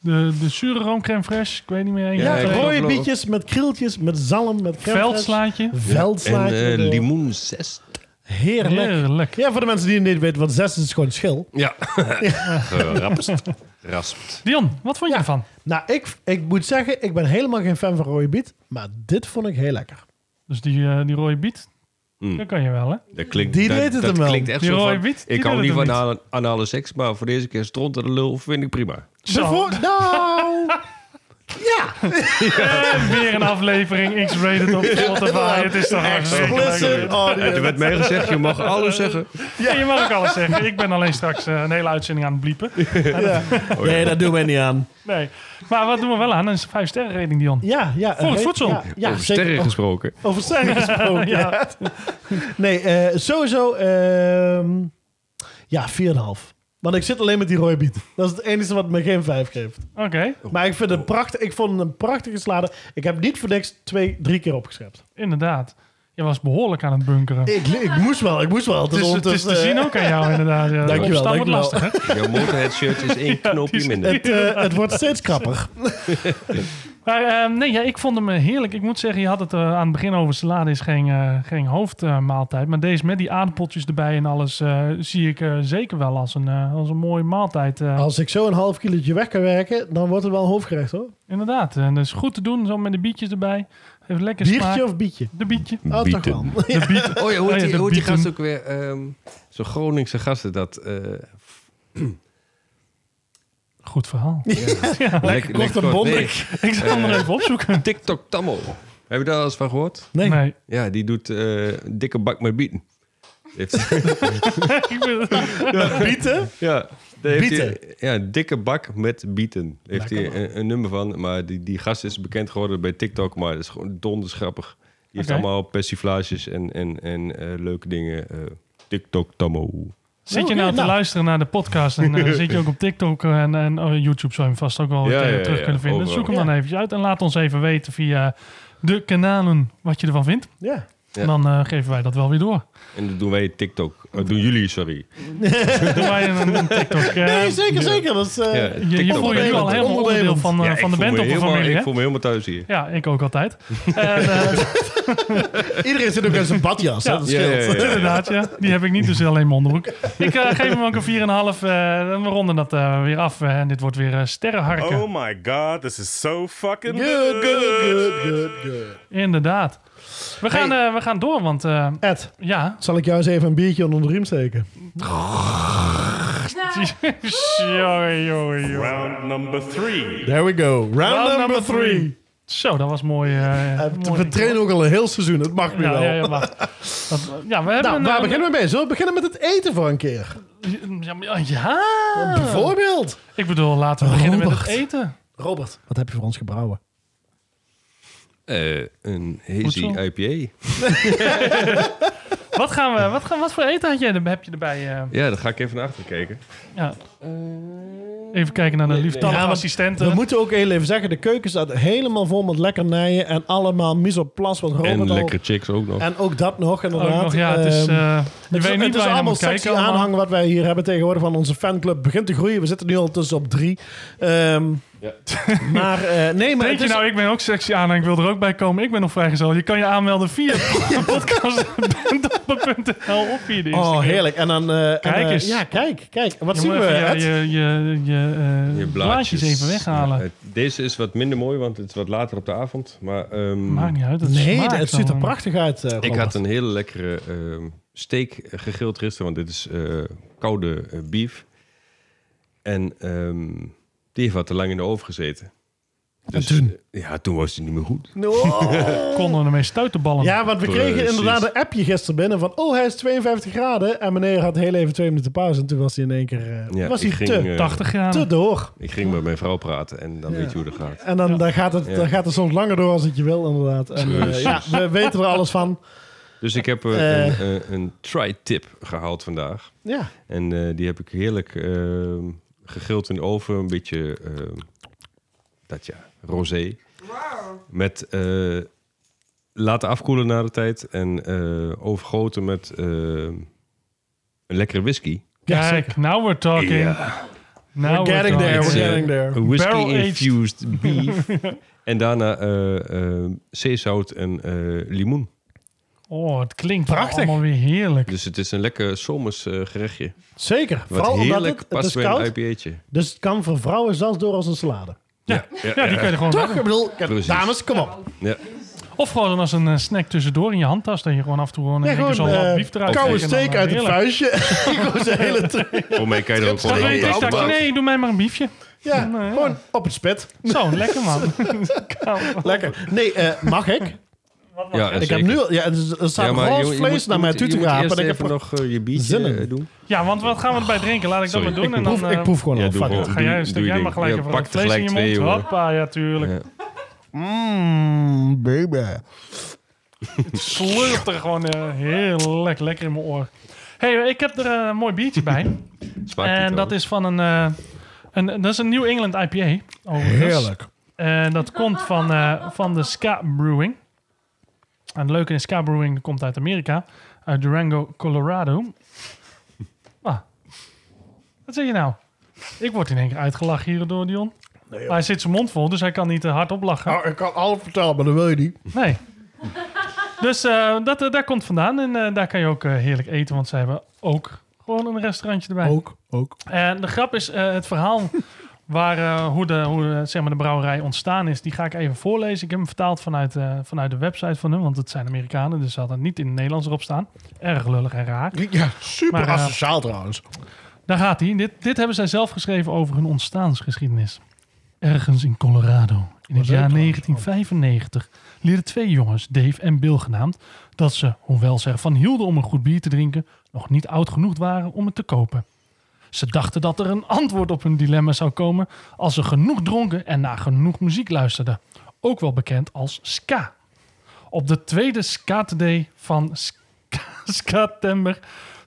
S1: de, de zure roomcrème fraîche. Ik weet niet meer. één,
S2: Ja,
S4: Ja,
S1: twee.
S4: ik
S2: rode
S4: geloof-
S2: bietjes met krieltjes, met zalm, met crème
S1: Veldslaatje.
S2: fraîche. Veldslaatje.
S4: en
S2: door.
S4: eh limoen 6.
S2: Heerlijk.
S1: Heerlijk.
S2: Ja, voor de mensen die het niet weten, want zes is gewoon (laughs) schil.
S4: (laughs) Ja, gerapst. Raspt.
S1: Dion, wat vond je
S2: Ja.
S1: ervan?
S2: Nou, ik, ik moet zeggen, ik ben helemaal geen fan van rode biet, maar dit vond ik heel lekker.
S1: Dus die, eh, die rode biet,
S4: Mm.
S1: dat kan je wel, hè?
S4: Dat klinkt,
S2: Die
S4: dat,
S2: deed het
S4: dat
S2: hem wel.
S4: klinkt echt
S1: Die
S4: zo
S1: rode
S4: van,
S1: wiet, die
S4: Ik hou
S1: deed
S4: niet
S1: het
S4: van
S1: hem
S4: anale, anale seks, maar voor deze keer stront en de lul vind ik prima.
S2: De
S1: Zo,
S2: vo-
S1: (laughs)
S2: nou,
S1: weer een aflevering X-rated op Spotify. Het is toch
S2: explicit
S1: hartstikke
S4: Er
S2: audio.
S4: werd mij gezegd, je mag alles zeggen.
S1: ja. Je mag ook alles zeggen. Ik ben alleen straks eh, een hele uitzending aan het bliepen. (laughs)
S2: Nee, dat doen wij niet aan.
S1: Nee. Maar wat doen we wel aan? Een 5 sterren rating, Dion.
S2: Ja, ja.
S1: Voor het
S2: eh,
S1: voedsel.
S2: Ja, ja,
S4: Over
S2: zeker. Oh,
S4: sterren
S2: Over-
S4: gesproken.
S2: Over sterren
S1: (laughs)
S2: gesproken. ja. Nee, eh, sowieso, ehm ja, 4,5. Want ik zit alleen met die rode biet. Dat is het enige wat me geen 5 geeft.
S1: Oké.
S2: Maar ik, vind het prachtig, ik vond het een prachtige slader. Ik heb niet voor niks twee, drie keer opgeschept.
S1: Inderdaad. Je was behoorlijk aan het bunkeren. Het
S2: Ik, ik moest wel, ik moest wel. Het eh,
S1: is, het is te zien ook aan jou, inderdaad.
S2: (laughs)
S1: Ja,
S2: Dankjewel,
S1: opstaan wordt
S2: dankjewel.
S1: lastig, hè?
S4: (laughs) Jouw motorhead shirt is
S1: (laughs)
S4: één
S1: die
S4: knoopje
S1: is-
S4: minder.
S2: Het, eh, het wordt steeds krapper.
S1: Maar ehm, nee, ja, ik vond hem eh, heerlijk. Ik moet zeggen, je had het eh, aan het begin over salade is geen, eh, geen hoofdmaaltijd. maar deze met die aardappeltjes erbij en alles eh, zie ik eh, zeker wel als een, eh, als een mooie maaltijd. eh.
S2: Als ik zo een half kilootje weg kan werken, dan wordt het wel een hoofdgerecht hoor.
S1: Inderdaad. eh, En dat is goed te doen, zo met de bietjes erbij. Even lekker smaak.
S2: Biertje of bietje?
S1: De bietje.
S2: Oh, toch wel. (laughs)
S1: De biet.
S4: (laughs) Oh ja, hoe
S1: Oh
S4: heet
S1: ja,
S4: die,
S1: de
S4: hoe heet die
S1: bieten.
S4: gast ook weer? ehm Zo'n Groningse gasten dat... eh,
S1: Goed verhaal.
S4: lekker
S2: kort en
S4: lekker kort. Nee,
S1: (laughs)
S4: Eh,
S1: Ik zal hem er even opzoeken.
S4: TikTok Tammo. Heb je daar al eens van gehoord?
S2: Nee.
S1: Nee.
S4: Ja, die doet eh, een dikke bak met bieten.
S1: (laughs)
S4: Heeft,
S1: Ik ben-
S2: Bieten?
S4: ja, daar heeft
S2: Bieten.
S4: hij- ja, een dikke bak met bieten. Daar heeft hij een, een nummer van. Maar die, die gast is bekend geworden bij TikTok. Maar dat is gewoon donders grappig. Die heeft
S1: Oké.
S4: allemaal persiflages en, en, en eh, leuke dingen. eh, TikTok Tammo.
S1: Zit je
S2: Oké,
S1: nou te
S2: nou.
S1: luisteren naar de podcast
S2: (laughs)
S1: en eh, zit je ook op TikTok en, en oh, YouTube zou je hem vast ook wel
S4: Ja,
S1: eh,
S4: ja, ja,
S1: terug kunnen vinden.
S4: overal.
S1: Zoek hem dan
S2: Ja.
S1: eventjes uit en laat ons even weten via de kanalen wat je ervan vindt.
S2: Ja.
S1: En dan eh, geven wij dat wel weer door.
S4: En dat doen wij TikTok. Eh, doen jullie, sorry.
S1: (laughs) Doen wij een, een TikTok. eh,
S2: Nee, zeker, zeker. Dat is, eh,
S4: Ja,
S1: je, je
S4: TikTok.
S1: voelt je nu al helemaal onderdeel van, eh,
S4: Ja, ik
S1: van de
S4: voel me
S1: band op de
S4: helemaal-
S1: familie,
S4: Ik
S1: hè?
S4: voel me helemaal thuis hier.
S1: Ja, ik ook
S4: (laughs)
S1: altijd. En, eh,
S2: Iedereen zit ook in zijn badjas, hè? dat
S4: Ja,
S2: scheelt.
S4: ja, ja, ja.
S1: inderdaad, ja. Die heb ik niet, dus alleen mijn onderbroek. Ik eh, geef hem ook een 4,5. eh, en we ronden dat eh, weer af. eh, en dit wordt weer eh, sterrenharken.
S3: Oh my god, this is so fucking
S2: Good,
S3: good.
S2: good, good, good,
S1: (laughs)
S2: good.
S1: Inderdaad. We gaan, eh, we gaan door, want eh,
S2: Ed,
S1: ja.
S2: zal ik jou eens even een biertje onder de riem steken?
S1: Jongen, jongen, jongen.
S3: Round number three.
S2: There we go. Round,
S1: number three. Zo, dat was mooi. eh,
S2: Eh,
S1: mooi.
S2: we trainen ook al een heel seizoen, dat mag nu
S1: Ja,
S2: wel.
S1: ja, ja, wacht. Dat- ja, we hebben
S2: Nou,
S1: een,
S2: waar
S1: eh,
S2: beginnen we mee? Zullen we beginnen met het eten voor een keer?
S1: Ja, maar- ja.
S2: Bijvoorbeeld.
S1: Ik bedoel, laten we beginnen met het
S2: Robert.
S1: eten.
S2: Robert, wat heb je voor ons gebrouwen?
S4: Eh, een hazy
S1: Goed zo.
S4: IPA.
S1: Wat, gaan we, wat, gaan, wat voor eten had jij, er- heb je erbij? eh?
S4: Ja, daar ga ik even naar achter kijken.
S1: ja. Even kijken naar de lieftallige
S2: Ja, maar
S1: assistenten.
S2: We moeten ook heel even zeggen, de keuken staat helemaal vol met lekkernijen en allemaal misoplas wat Robert
S4: en
S2: al...
S4: lekkere chicks ook nog.
S2: En ook dat nog,
S1: Ook
S2: inderdaad.
S1: nog, ja, het is,
S2: Ehm,
S1: eh,
S2: Het
S1: je
S2: is-
S1: weet
S2: het
S1: niet
S2: is
S1: waar je naar
S2: allemaal
S1: moet
S2: sexy
S1: kijken. allemaal.
S2: aanhang wat wij hier hebben tegenwoordig van onze fanclub. Begint te groeien. We zitten nu al tussen op drie. Ehm, (laughs) Maar eh, nee, maar
S1: Denk
S2: het
S1: je
S2: is,
S1: nou, ik ben ook sexy aanhang, ik wil er ook bij komen. Ik ben nog vrijgezel. Je kan je aanmelden via podcast.nl of via de
S2: oh
S1: Instagram.
S2: heerlijk. En dan eh, en,
S1: Kijk
S2: eh,
S1: eens.
S2: ja, kijk, kijk. Wat
S1: Je
S2: zien
S1: moet
S2: we?
S1: even
S2: Ed?
S1: je, je, je, je, eh,
S4: Je
S1: blaadjes even weghalen.
S4: Ja, het- deze is wat minder mooi, want het is wat later op de avond. Maar ehm,
S1: Maakt niet uit. Het
S2: nee,
S1: smaakt
S2: het ziet er
S1: gewoon.
S2: prachtig uit. eh,
S4: ik
S2: Robert.
S4: had een hele lekkere ehm, steak gegrild gisteren, want dit is eh, koude eh, beef. En ehm, die heeft wat te lang in de oven gezeten. Dus,
S2: toen?
S4: eh, Ja, toen was die niet meer goed.
S2: Oh.
S1: (laughs) Konden we ermee stuitenballen.
S2: Ja, want we kregen
S4: Precies.
S2: inderdaad een appje gisteren binnen van... Oh, hij is 52 graden. En meneer had heel even twee minuten pauze. En toen was hij in één keer... eh,
S4: Ja,
S2: was
S4: ik
S2: hij
S4: ging,
S2: te,
S4: eh,
S1: 80
S2: te
S1: graden.
S2: door.
S4: Ik ging met mijn vrouw praten en dan weet je hoe dat gaat.
S2: En dan, dan, gaat het,
S4: Ja.
S2: dan gaat het soms langer door als het je wil, inderdaad. En, eh,
S4: Precies.
S2: ja, we weten er alles van.
S4: Dus ik heb eh,
S2: Eh.
S4: een, eh, een tri-tip gehaald vandaag.
S2: Ja.
S4: En eh, die heb ik heerlijk ehm gegrild in de oven. Een beetje, ehm, dat ja, rosé. Met eh, laten afkoelen na de tijd. En eh, overgoten met eh, een lekkere whisky.
S2: Ja,
S1: Kijk, now we're talking. Now
S2: We're getting there,
S1: talking.
S2: we're
S4: It's, eh,
S2: getting there.
S4: Een whisky-infused
S1: Barrel-aged.
S2: (laughs)
S4: beef. en daarna eh, eh, zeezout en eh, limoen.
S1: Oh, het klinkt
S2: Prachtig.
S1: allemaal weer heerlijk.
S4: Dus het is een lekker zomers eh, gerechtje.
S2: Zeker.
S4: Wat
S2: Vooral omdat
S4: heerlijk
S2: het, het
S4: past
S2: is
S4: bij een
S2: koud.
S4: IPA'tje.
S2: Dus het kan voor vrouwen zelfs door als een salade.
S1: Ja, die kun je er gewoon
S2: Toch? Ik bedoel, ik-
S4: Precies.
S2: dames, kom op.
S4: Ja.
S1: Of gewoon als een eh, snack tussendoor in je handtas. Dat je gewoon af en toe gewoon,
S2: Ja,
S1: een
S2: gewoon
S1: zo'n
S2: eh,
S1: uh, bief eruit
S2: koude
S1: trekt en dan,
S2: steek
S1: eh,
S2: uit het
S1: heerlijk.
S2: vuistje. gewoon zijn hele tri-
S4: Voor mij kan je er ook gewoon
S1: Dan weet
S4: een
S1: ik dat je- nee, doe mij maar een biefje.
S2: Ja,
S1: Nou, ja.
S2: gewoon op het spit.
S1: Zo, lekker man.
S2: (laughs) Lekker. Nee, eh, mag ik?
S4: Ja,
S2: Ik heb nu al- ja, er er staat roze vlees naar mij toe te rapen. en
S4: Ik
S2: Ik,
S4: even
S2: heb,
S4: nog eh, je biertje
S2: zin in.
S4: eh, doen.
S1: Ja, want wat gaan we erbij drinken? Laat ik
S4: Sorry.
S1: dat maar doen.
S2: ik,
S1: en dan,
S2: proef, ik
S1: eh,
S2: proef gewoon
S4: ja,
S2: al.
S4: doe
S2: Fuck
S4: gewoon.
S2: it.
S1: Ga jij een
S4: Doe-
S1: stuk,
S4: doe
S1: jij
S4: je
S1: mag
S4: ding.
S1: gelijk
S4: Ja,
S1: even
S4: pak
S1: wat vlees
S4: tegelijk
S1: in je
S4: twee,
S1: mond.
S4: hoor.
S1: Hoppa, ja tuurlijk.
S4: Ja.
S1: Hmm.
S2: Mm, baby.
S1: slurpt er gewoon eh, heerlijk lekker in mijn oor. hey, ik heb er eh, een mooi biertje bij.
S4: (laughs) Smaakt
S1: en
S4: niet
S1: dat
S4: wel.
S1: is van een, eh, een... Dat is een New England IPA. overigens.
S2: Heerlijk.
S1: En dat komt van, eh, van de Ska Brewing. En het leuke is, Ska Brewing komt uit Amerika. Uit Durango, Colorado. Ah, wat zeg je nou? Ik word in één keer uitgelachen hierdoor, Dion. maar hij zit zijn mond vol, dus hij kan niet eh, hardop lachen.
S2: Nou, ik kan alles vertellen, maar dat wil je niet.
S1: Nee. Dus eh, dat, eh, daar komt vandaan. En eh, daar kan je ook eh, heerlijk eten, want ze hebben ook gewoon een restaurantje erbij.
S2: Ook, ook.
S1: En de grap is eh, het verhaal waar, eh, hoe, de, hoe eh, zeg maar de brouwerij ontstaan is. Die ga ik even voorlezen. Ik heb hem vertaald vanuit, eh, vanuit de website van hun, want het zijn Amerikanen, dus ze hadden niet in het Nederlands erop staan. Erg lullig en raar.
S2: Ja, super
S1: Maar, eh,
S2: asociaal trouwens.
S1: Daar gaat hij. Dit, dit hebben zij zelf geschreven over hun ontstaansgeschiedenis. Ergens in Colorado, in het
S2: leuk
S1: jaar
S2: trouwens.
S1: 1995, leerden twee jongens, Dave en Bill genaamd, dat ze, hoewel ze ervan hielden om een goed bier te drinken, nog niet oud genoeg waren om het te kopen. Ze dachten dat er een antwoord op hun dilemma zou komen als ze genoeg dronken en naar genoeg muziek luisterden. Ook wel bekend als ska. Op de tweede skaterday van ska (laughs) Skatember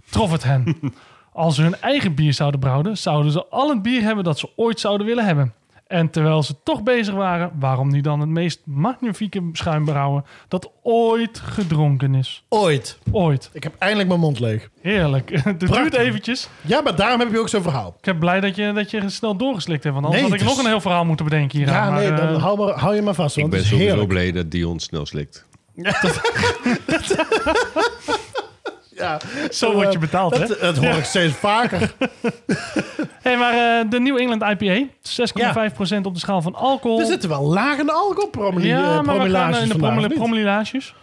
S1: trof het hen.
S2: (laughs)
S1: Als ze hun eigen bier zouden brouwen, zouden ze al het bier hebben dat ze ooit zouden willen hebben. En terwijl ze toch bezig waren, waarom niet dan het meest magnifieke schuimbrouwen dat ooit gedronken is?
S2: Ooit.
S1: Ooit.
S2: Ik heb eindelijk mijn mond leeg.
S1: Heerlijk. (laughs) Het duurt
S2: Prachtig.
S1: eventjes.
S2: Ja, maar daarom heb je ook zo'n verhaal.
S1: Ik ben blij dat je, dat je snel doorgeslikt hebt, want anders
S2: Nee,
S1: had ik
S2: het is-
S1: nog een heel verhaal moeten bedenken hier. eh,
S2: Ja, nee, dan hou, maar, hou je maar vast.
S4: Ik
S2: Want
S4: ben
S2: het is
S4: sowieso
S2: heerlijk.
S4: blij dat Dion snel slikt.
S2: Ja,
S1: Zo word je betaald, hè?
S2: dat, dat hoor ik steeds vaker.
S1: (laughs) hey, maar eh, de New England IPA, 6,5% op de schaal van alcohol.
S2: Er zitten wel lagende alcoholpromulages
S1: Ja, maar we gaan
S2: vandaag.
S1: eh, in de
S2: of
S1: promula-
S2: niet?
S1: promulages.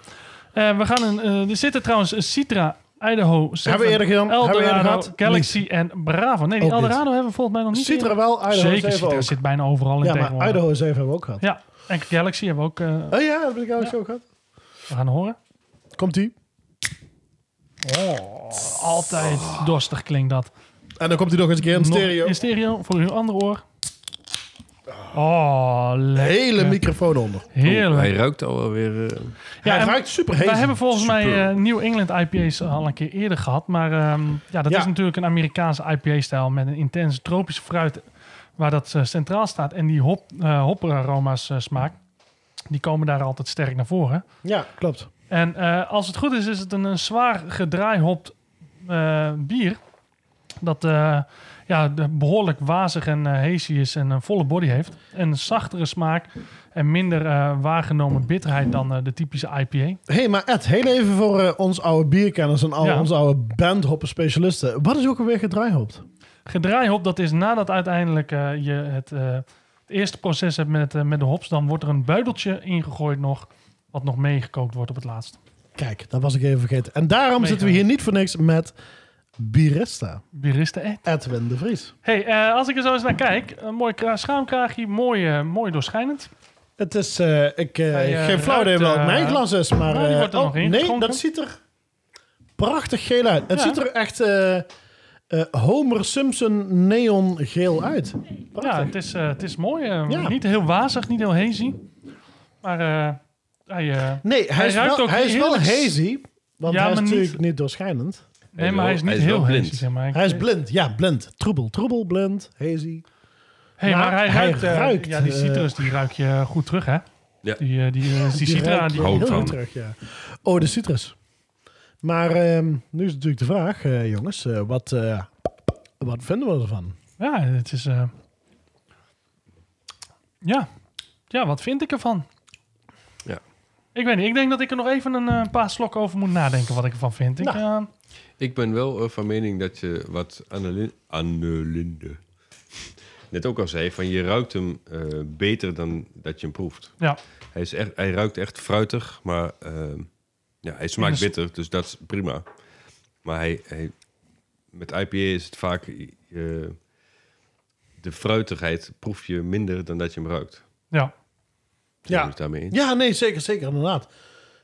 S1: Eh, we gaan een, eh, er zitten trouwens een Citra, Idaho, Seven,
S2: Hebben we eerder gedaan? Hebben we eerder
S1: Eldorado,
S2: gehad?
S1: Galaxy en Bravo. Nee, die
S2: Ook niet.
S1: Eldorado hebben we volgens mij nog niet.
S2: Citra
S1: eerder.
S2: wel, Idaho
S1: Zeker,
S2: 7
S1: Citra
S2: ook.
S1: zit bijna overal in
S2: Ja, maar
S1: tegenwoordig.
S2: Idaho 7 hebben we ook gehad.
S1: Ja, en Galaxy hebben we ook eh,
S2: Oh ja, dat heb ik ook zo gehad.
S1: we gaan horen.
S2: Komt-ie.
S1: Oh, Altijd dorstig klinkt dat.
S2: En dan komt hij nog Oh. eens een keer in
S1: Nog
S2: stereo.
S1: In stereo, voor uw andere oor. Oh, lekker.
S2: Hele microfoon onder.
S4: Oeh, Oh, hij
S1: Heerlijk.
S4: ruikt alweer. eh,
S1: Ja,
S2: Hij
S1: en-
S2: ruikt super
S1: Wij
S2: hezen.
S1: hebben volgens mij
S4: Super.
S1: eh, New England IPA's eh, al een keer eerder gehad. Maar ehm, ja, dat
S2: Ja.
S1: is natuurlijk een Amerikaanse IPA-stijl met een intense tropische fruit waar dat eh, centraal staat. En die hop, eh, hopperaroma's eh, smaak, die komen daar altijd sterk naar voren.
S2: Ja, klopt.
S1: En eh, als het goed is, is het een, een zwaar gedraaihopt eh, bier. Dat eh, ja, de- behoorlijk wazig en eh hazy is en een volle body heeft. En een zachtere smaak en minder eh, waargenomen bitterheid dan eh, de typische IPA.
S2: Hé, hey, maar Ed, heel even voor eh, ons oude bierkenners en al
S1: Ja.
S2: onze oude bandhoppen specialisten. Wat is ook alweer gedraaihopt?
S1: Gedraaihop, dat is nadat uiteindelijk eh, je het, eh, het eerste proces hebt met, eh, met de hops, dan wordt er een buideltje ingegooid nog, wat nog meegekookt wordt op het laatst.
S2: Kijk, dat was ik even vergeten. En daarom
S1: Mega.
S2: zitten we hier niet voor niks met Birista.
S1: Biriste Ed.
S2: Edwin de Vries.
S1: Hey, eh, als ik er zo eens naar kijk, een mooi kra- schaamkraagje, mooi, eh, mooi doorschijnend.
S2: Het is, eh, ik, eh,
S1: Hij, eh,
S2: geen flauw idee
S1: ruikt,
S2: welk
S1: eh,
S2: mijn glas is, maar...
S1: nou, die
S2: eh,
S1: wordt er
S2: oh,
S1: nog in
S2: nee,
S1: geschonken.
S2: dat ziet er prachtig geel uit. Het
S1: Ja.
S2: ziet er echt eh, eh, Homer Simpson neon geel uit.
S1: Ja,
S2: Prachtig.
S1: het is, eh, het is mooi. eh,
S2: Ja.
S1: Niet heel wazig, niet heel hazy. Maar eh, hij... eh,
S2: nee, hij,
S1: hij
S2: is
S1: ruikt
S2: wel,
S1: ook
S2: hij is wel
S1: heerlijk.
S2: hazy, want
S1: Ja,
S2: hij is
S1: maar niet-
S2: natuurlijk niet, doorschijnend.
S1: nee, maar hij is niet
S4: hij is wel
S1: heel
S4: blind.
S1: hazy, zeg maar. Ik-
S2: Hij is blind, ja, blind. Troebel, troebel, blind, hazy.
S1: Hey, maar,
S2: Maar
S1: hij,
S2: hij
S1: ruikt, eh,
S2: ruikt,
S1: Ja, die
S2: eh,
S1: citrus, die ruik je goed terug, hè?
S4: Ja.
S1: Die, eh, die, eh, die citra,
S2: ruikt
S1: die
S2: heel
S4: Hou
S2: goed
S4: van.
S2: terug, ja. Oh, de citrus. Maar ehm, nu is natuurlijk de vraag, eh, jongens, eh, wat, eh, wat vinden we ervan?
S1: Ja, het is. eh, Ja. ja, wat vind ik ervan?
S4: Ja.
S1: Ik weet niet, ik denk dat ik er nog even een eh, paar slokken over moet nadenken wat ik ervan vind. Ik,
S2: Nou.
S1: eh,
S4: Ik ben wel eh, van mening dat je wat Annelin- Annelinde net ook al zei, van je ruikt hem eh, beter dan dat je hem proeft.
S1: ja,
S4: Hij, is echt, hij ruikt echt fruitig, maar ehm, ja, hij
S1: de
S4: smaakt
S1: s-
S4: bitter, dus dat is prima. Maar hij, hij- met IPA is het vaak, eh, de fruitigheid proef je minder dan dat je hem ruikt.
S1: ja.
S4: Zijn
S2: Ja.
S4: jullie het daarmee eens?
S2: Ja, nee, zeker, zeker, inderdaad.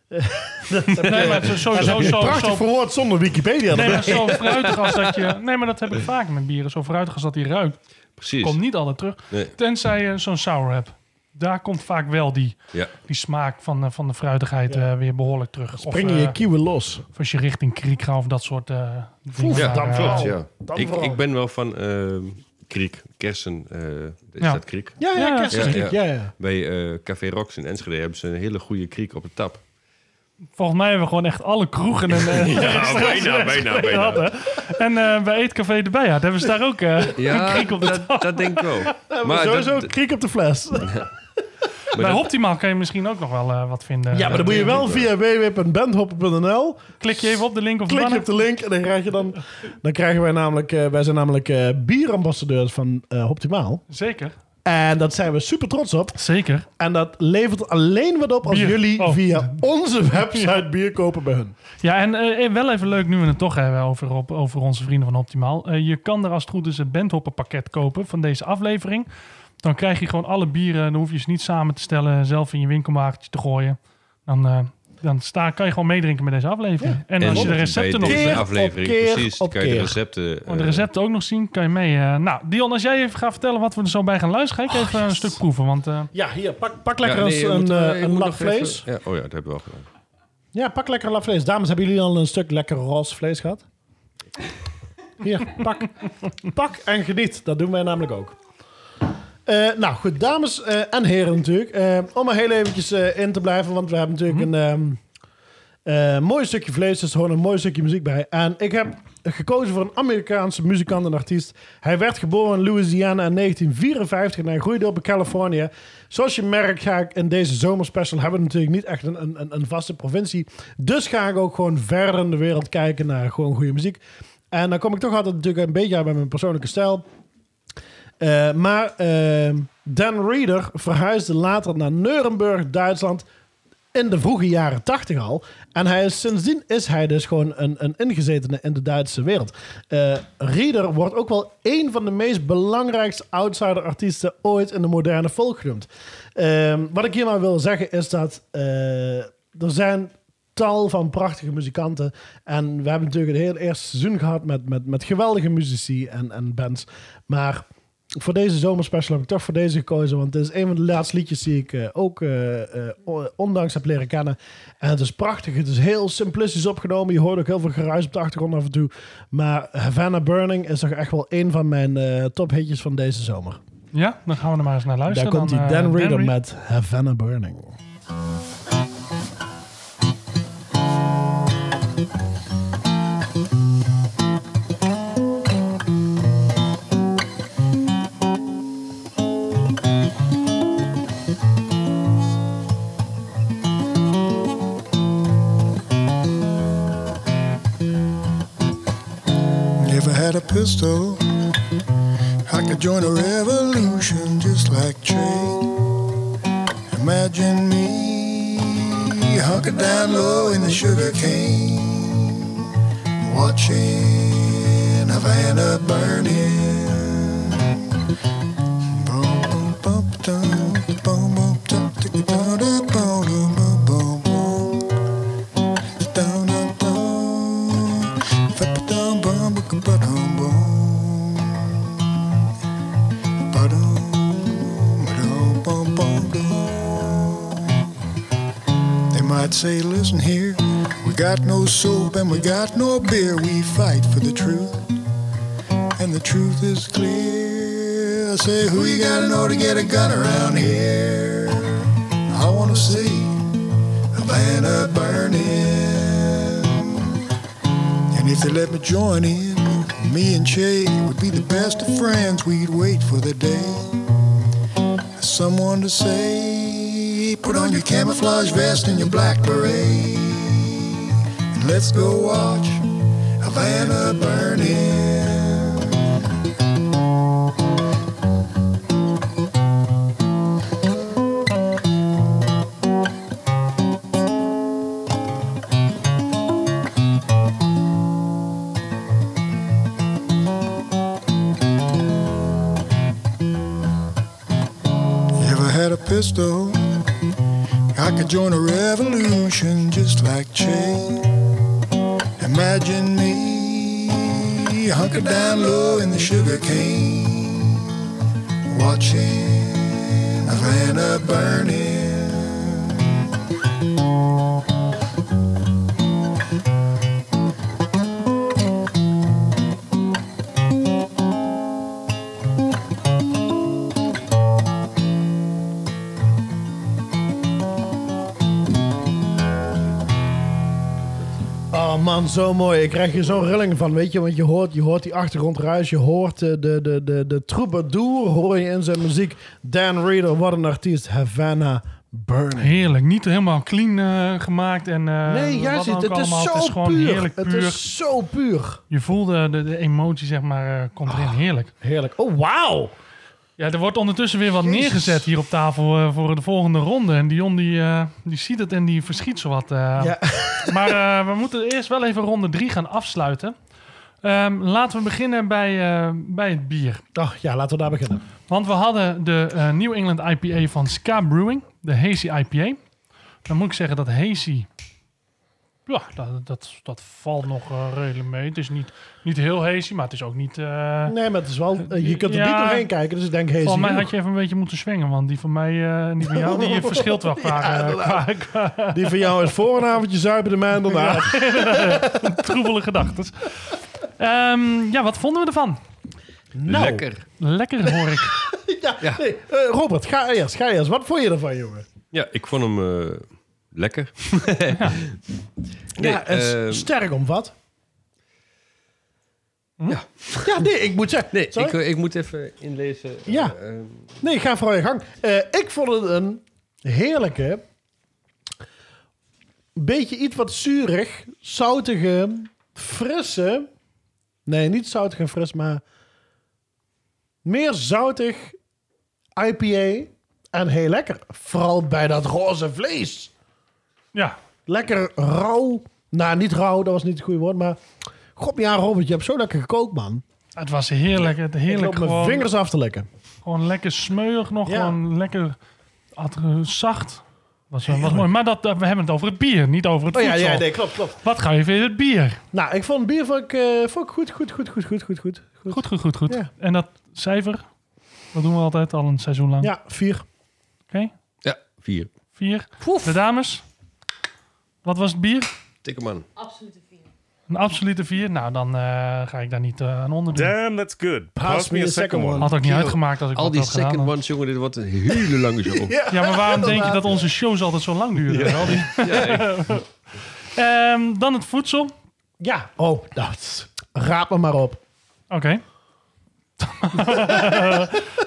S2: (laughs)
S1: Nee, maar het is sowieso zo.
S2: Prachtig
S1: zo
S2: verwoord zonder Wikipedia.
S1: Nee, maar zo fruitig als
S2: (laughs)
S1: dat je... Nee, maar dat heb ik vaak met bieren. Zo fruitig als dat die ruikt.
S4: Precies.
S1: Komt niet altijd terug.
S4: Nee.
S1: Tenzij je zo'n sour hebt. Daar komt vaak wel die,
S4: Ja.
S1: die smaak van, eh, van de fruitigheid eh, weer behoorlijk terug.
S2: Breng
S1: of,
S2: je
S1: eh,
S2: je kieuwen los.
S1: of als je richting kriek gaat of dat soort eh dingen.
S4: Ja,
S1: Maar,
S2: dan
S1: eh,
S2: klopt.
S4: ja.
S2: dan
S4: Ik,
S2: vooral.
S4: ik ben wel van ehm, kriek, kersen, eh, is
S1: Ja.
S4: dat kriek?
S2: Ja, ja,
S1: Ja,
S2: kerstverschrik,
S4: ja,
S2: ja.
S4: ja.
S2: ja,
S4: Bij eh, Café Rox in Enschede hebben ze een hele goede kriek op de tap.
S1: Volgens mij hebben we gewoon echt alle
S4: (laughs)
S1: kroegen en (laughs) eh,
S4: Ja, bijna, bijna,
S1: hadden. En eh, bij Eetcafé de Bijaard hebben ze daar ook eh,
S4: Ja,
S1: (laughs) een kriek op de tafel.
S4: dat, dat denk
S2: (laughs)
S4: ik wel.
S2: Maar sowieso
S4: dat-
S2: kriek op de fles. (laughs)
S1: Bij
S4: dat-
S1: Optimaal kan je misschien ook nog wel eh, wat vinden.
S2: Ja, maar dan moet je wel via www.bandhopper.nl.
S1: Klik je even op de link of de
S2: Klik je
S1: banner.
S2: op de link en dan krijg je dan... Dan krijgen wij namelijk... eh, wij zijn namelijk eh, bierambassadeurs van eh Optimaal.
S1: Zeker,
S2: En dat zijn we super trots op.
S1: zeker.
S2: En dat levert alleen wat op als
S1: Bier.
S2: jullie
S1: Oh.
S2: via onze website bier kopen bij hun.
S1: Ja, en eh, eh, wel even leuk nu we het toch hebben over, op, over onze vrienden van Optimaal. Eh, je kan er als het goed is een bandhoppenpakket kopen van deze aflevering. Dan krijg je gewoon alle bieren. Dan hoef je ze niet samen te stellen, zelf in je winkelwagentje te gooien. Dan, eh, dan sta, kan je gewoon meedrinken met deze aflevering. En als je de
S4: bij
S1: recepten nog
S4: deze
S2: Keer op
S4: aflevering,
S2: keer
S4: precies,
S2: op
S4: kan je de
S2: keer.
S4: recepten...
S1: Om de
S4: eh,
S1: recepten ook nog zien, kan je mee. eh, nou, Dion, als jij even gaat vertellen wat we er zo bij gaan luisteren, ga ik even een stuk proeven. Want eh,
S2: Oh, Ja, hier, pak, pak
S4: ja,
S2: lekker
S4: nee, je
S2: als
S4: moet,
S2: een,
S4: eh,
S2: eh,
S4: je
S2: een
S4: moet
S2: lap
S4: nog even-
S2: vlees.
S4: Ja, oh ja, dat hebben we wel gedaan.
S2: Ja, pak lekker een lap vlees. Dames, hebben jullie al een stuk lekker roze vlees gehad? Hier, pak. pak en geniet. Dat doen wij namelijk ook. Eh, nou goed, dames eh, en heren natuurlijk. Eh, om er heel eventjes eh, in te blijven, want we hebben natuurlijk een ehm, eh, mooi stukje vlees. Dus er hoort een mooi stukje muziek bij. En ik heb gekozen voor een Amerikaanse muzikant en artiest. Hij werd geboren in Louisiana in 1954 en hij groeide op in Californië. Zoals je merkt ga ik in deze zomerspecial hebben we natuurlijk niet echt een, een, een vaste provincie. Dus ga ik ook gewoon verder in de wereld kijken naar gewoon goede muziek. En dan kom ik toch altijd natuurlijk een beetje uit bij mijn persoonlijke stijl. Eh, maar ehm, Dan Reeder verhuisde later naar Nuremberg, Duitsland. In de vroege jaren tachtig al. En hij is, sindsdien is hij dus gewoon een, een ingezetene in de Duitse wereld. Eh Reeder wordt ook wel een van de meest belangrijkste outsider-artiesten ooit in de moderne folk genoemd. Ehm, wat ik hiermee wil zeggen is dat eh, er zijn tal van prachtige muzikanten. En we hebben natuurlijk het hele eerste seizoen gehad met, met, met geweldige muzici en, en bands. Maar voor deze zomerspecial heb ik toch voor deze gekozen. Want het is een van de laatste liedjes die ik eh, ook eh, eh, o- ondanks heb leren kennen. En het is prachtig. Het is heel simplistisch opgenomen. Je hoort ook heel veel geruis op de achtergrond af en toe. Maar Havana Burning is toch echt wel een van mijn eh tophitjes van deze zomer.
S1: Ja, dan gaan we er maar eens naar
S2: Daar
S1: luisteren.
S2: komt die
S1: dan, eh,
S2: Dan Reader
S1: Reed.
S2: met Havana Burning.
S11: If I had a pistol, I could join a revolution just like Che. Imagine me hunkered down low in the sugar cane, watching Havana burning. Boom, boom, boom, dum, boom, boom, dum, ticka, dum, dum, boom, boom, boom, boom. Dum, dum, dum. They might say, listen here, we got no soap and we got no beer. We fight for the truth, and the truth is clear. I say, who you gotta know to get a gun around here? I wanna see Havana burning. And if they let me join in, me and Che would be the best of friends. We'd wait for the day. Someone to say, put on your camouflage vest and your black beret. And let's go watch Havana burning. If I had a pistol, I could join a revolution just like Che. Imagine me hunkered down low in the sugar cane, watching Havana burning.
S2: Oh man, zo mooi. Ik krijg hier zo'n rilling van, weet je. Want je hoort, je hoort die achtergrondruis. Je hoort eh, de, de, de, de troubadour hoor je in zijn muziek. Dan Reader, wat een artiest. Havana Burning.
S1: Heerlijk. Niet helemaal clean eh, gemaakt. En, eh,
S2: Nee,
S1: wat
S2: juist
S1: dan
S2: niet.
S1: ook
S2: Het is
S1: allemaal.
S2: zo
S1: Het is gewoon
S2: puur.
S1: heerlijk puur.
S2: Het is zo puur. Ah,
S1: Je voelde de, de emotie, zeg maar, eh, komt erin. Heerlijk.
S2: Heerlijk. Oh, wauw.
S1: Ja, er wordt ondertussen weer wat neergezet hier op tafel eh, voor de volgende ronde. En Dion, die, eh, die ziet het en die verschiet zowat. eh.
S2: Ja.
S1: (laughs) Maar eh, we moeten eerst wel even ronde drie gaan afsluiten. Ehm, laten we beginnen bij, eh, bij het bier.
S2: Oh, ja, laten we daar beginnen.
S1: Want we hadden de eh, New England IPA van Ska Brewing, de Hazy IPA. Dan moet ik zeggen dat Hazy. Ja, dat, dat, dat valt nog eh, redelijk mee. Het is niet, niet heel hazy, maar het is ook niet. eh,
S2: Nee, maar het is wel... eh, je kunt er
S1: Ja.
S2: niet doorheen kijken, dus ik denk... Hey,
S1: Volgens mij
S2: zie
S1: had je even een beetje moeten swingen, want die van mij eh, en die van
S2: (laughs)
S1: jou, die verschilt wel qua, eh, qua, qua
S2: je. (laughs) Die van jou is voor een avondje zuipen, de mij en daarna.
S1: (laughs)
S4: (laughs)
S1: troebele gedachten. Ehm, ja, wat vonden we ervan?
S2: Nou,
S4: Lekker.
S2: (laughs)
S1: Lekker hoor ik.
S2: Ja,
S4: Ja.
S2: Nee, eh, Robert, ga eerst, ga eerst. Wat vond je ervan, jongen?
S4: Ja, ik vond hem eh,
S2: (laughs)
S4: lekker. Nee,
S2: ja, eh, en s-
S4: ehm,
S2: sterk omvat.
S4: Ja.
S2: Ja, nee, ik moet zeggen...
S4: nee
S2: Sorry?
S4: ik, ik moet even inlezen.
S2: Ja.
S4: Eh, ehm,
S2: Nee, ga vooral je gang. Eh, ik vond het een heerlijke, beetje iets wat zuurig, zoutige, frisse. Nee, niet zoutig en fris, maar meer zoutig IPA. En heel lekker. Vooral bij dat roze vlees.
S1: Ja,
S2: Lekker rauw. Nou, niet rauw, dat was niet het goede woord, maar... God, ja, Robert, je hebt zo lekker gekookt, man.
S1: het was heerlijk. Het heerlijk
S2: ik loop mijn
S1: gewoon,
S2: vingers af te lekken.
S1: gewoon lekker smeuig nog.
S2: Ja.
S1: Gewoon lekker at- eh, zacht. Was, wel- was mooi. Maar dat, dat- we hebben het over het bier, niet over het
S2: Oh ja,
S1: voedsel.
S2: ja, nee, klopt, klopt.
S1: Wat ga je weer het bier?
S2: Nou, ik vond het bier vond ik, eh, vond ik goed, goed, goed, goed, goed, goed, goed. goed.
S1: Goed, goed, Nou, goed, goed.
S2: Ja.
S1: En dat cijfer, dat doen we altijd al een seizoen lang.
S2: Ja, vier.
S1: Oké,
S4: ja, vier.
S1: vier. De dames, wat was het bier?
S4: Tikkerman.
S6: Absoluut een vier.
S1: Een absolute vier. Nou, dan eh, ga ik daar niet eh, aan onder doen.
S3: Damn, that's good. Pass me a second one.
S1: Had ook niet
S4: Kerel,
S1: uitgemaakt als ik
S4: Al
S1: dat
S4: die
S1: had gedaan,
S4: second
S1: hoor.
S4: ones, jongen, dit wordt een hele lange show.
S1: (laughs) Ja, maar waarom denk je
S3: (laughs)
S1: dat onze shows altijd zo lang duren? Al die- (laughs) Ehm, dan het voedsel. Oké.
S2: Ja, oh, dat. Raap me maar op. (laughs)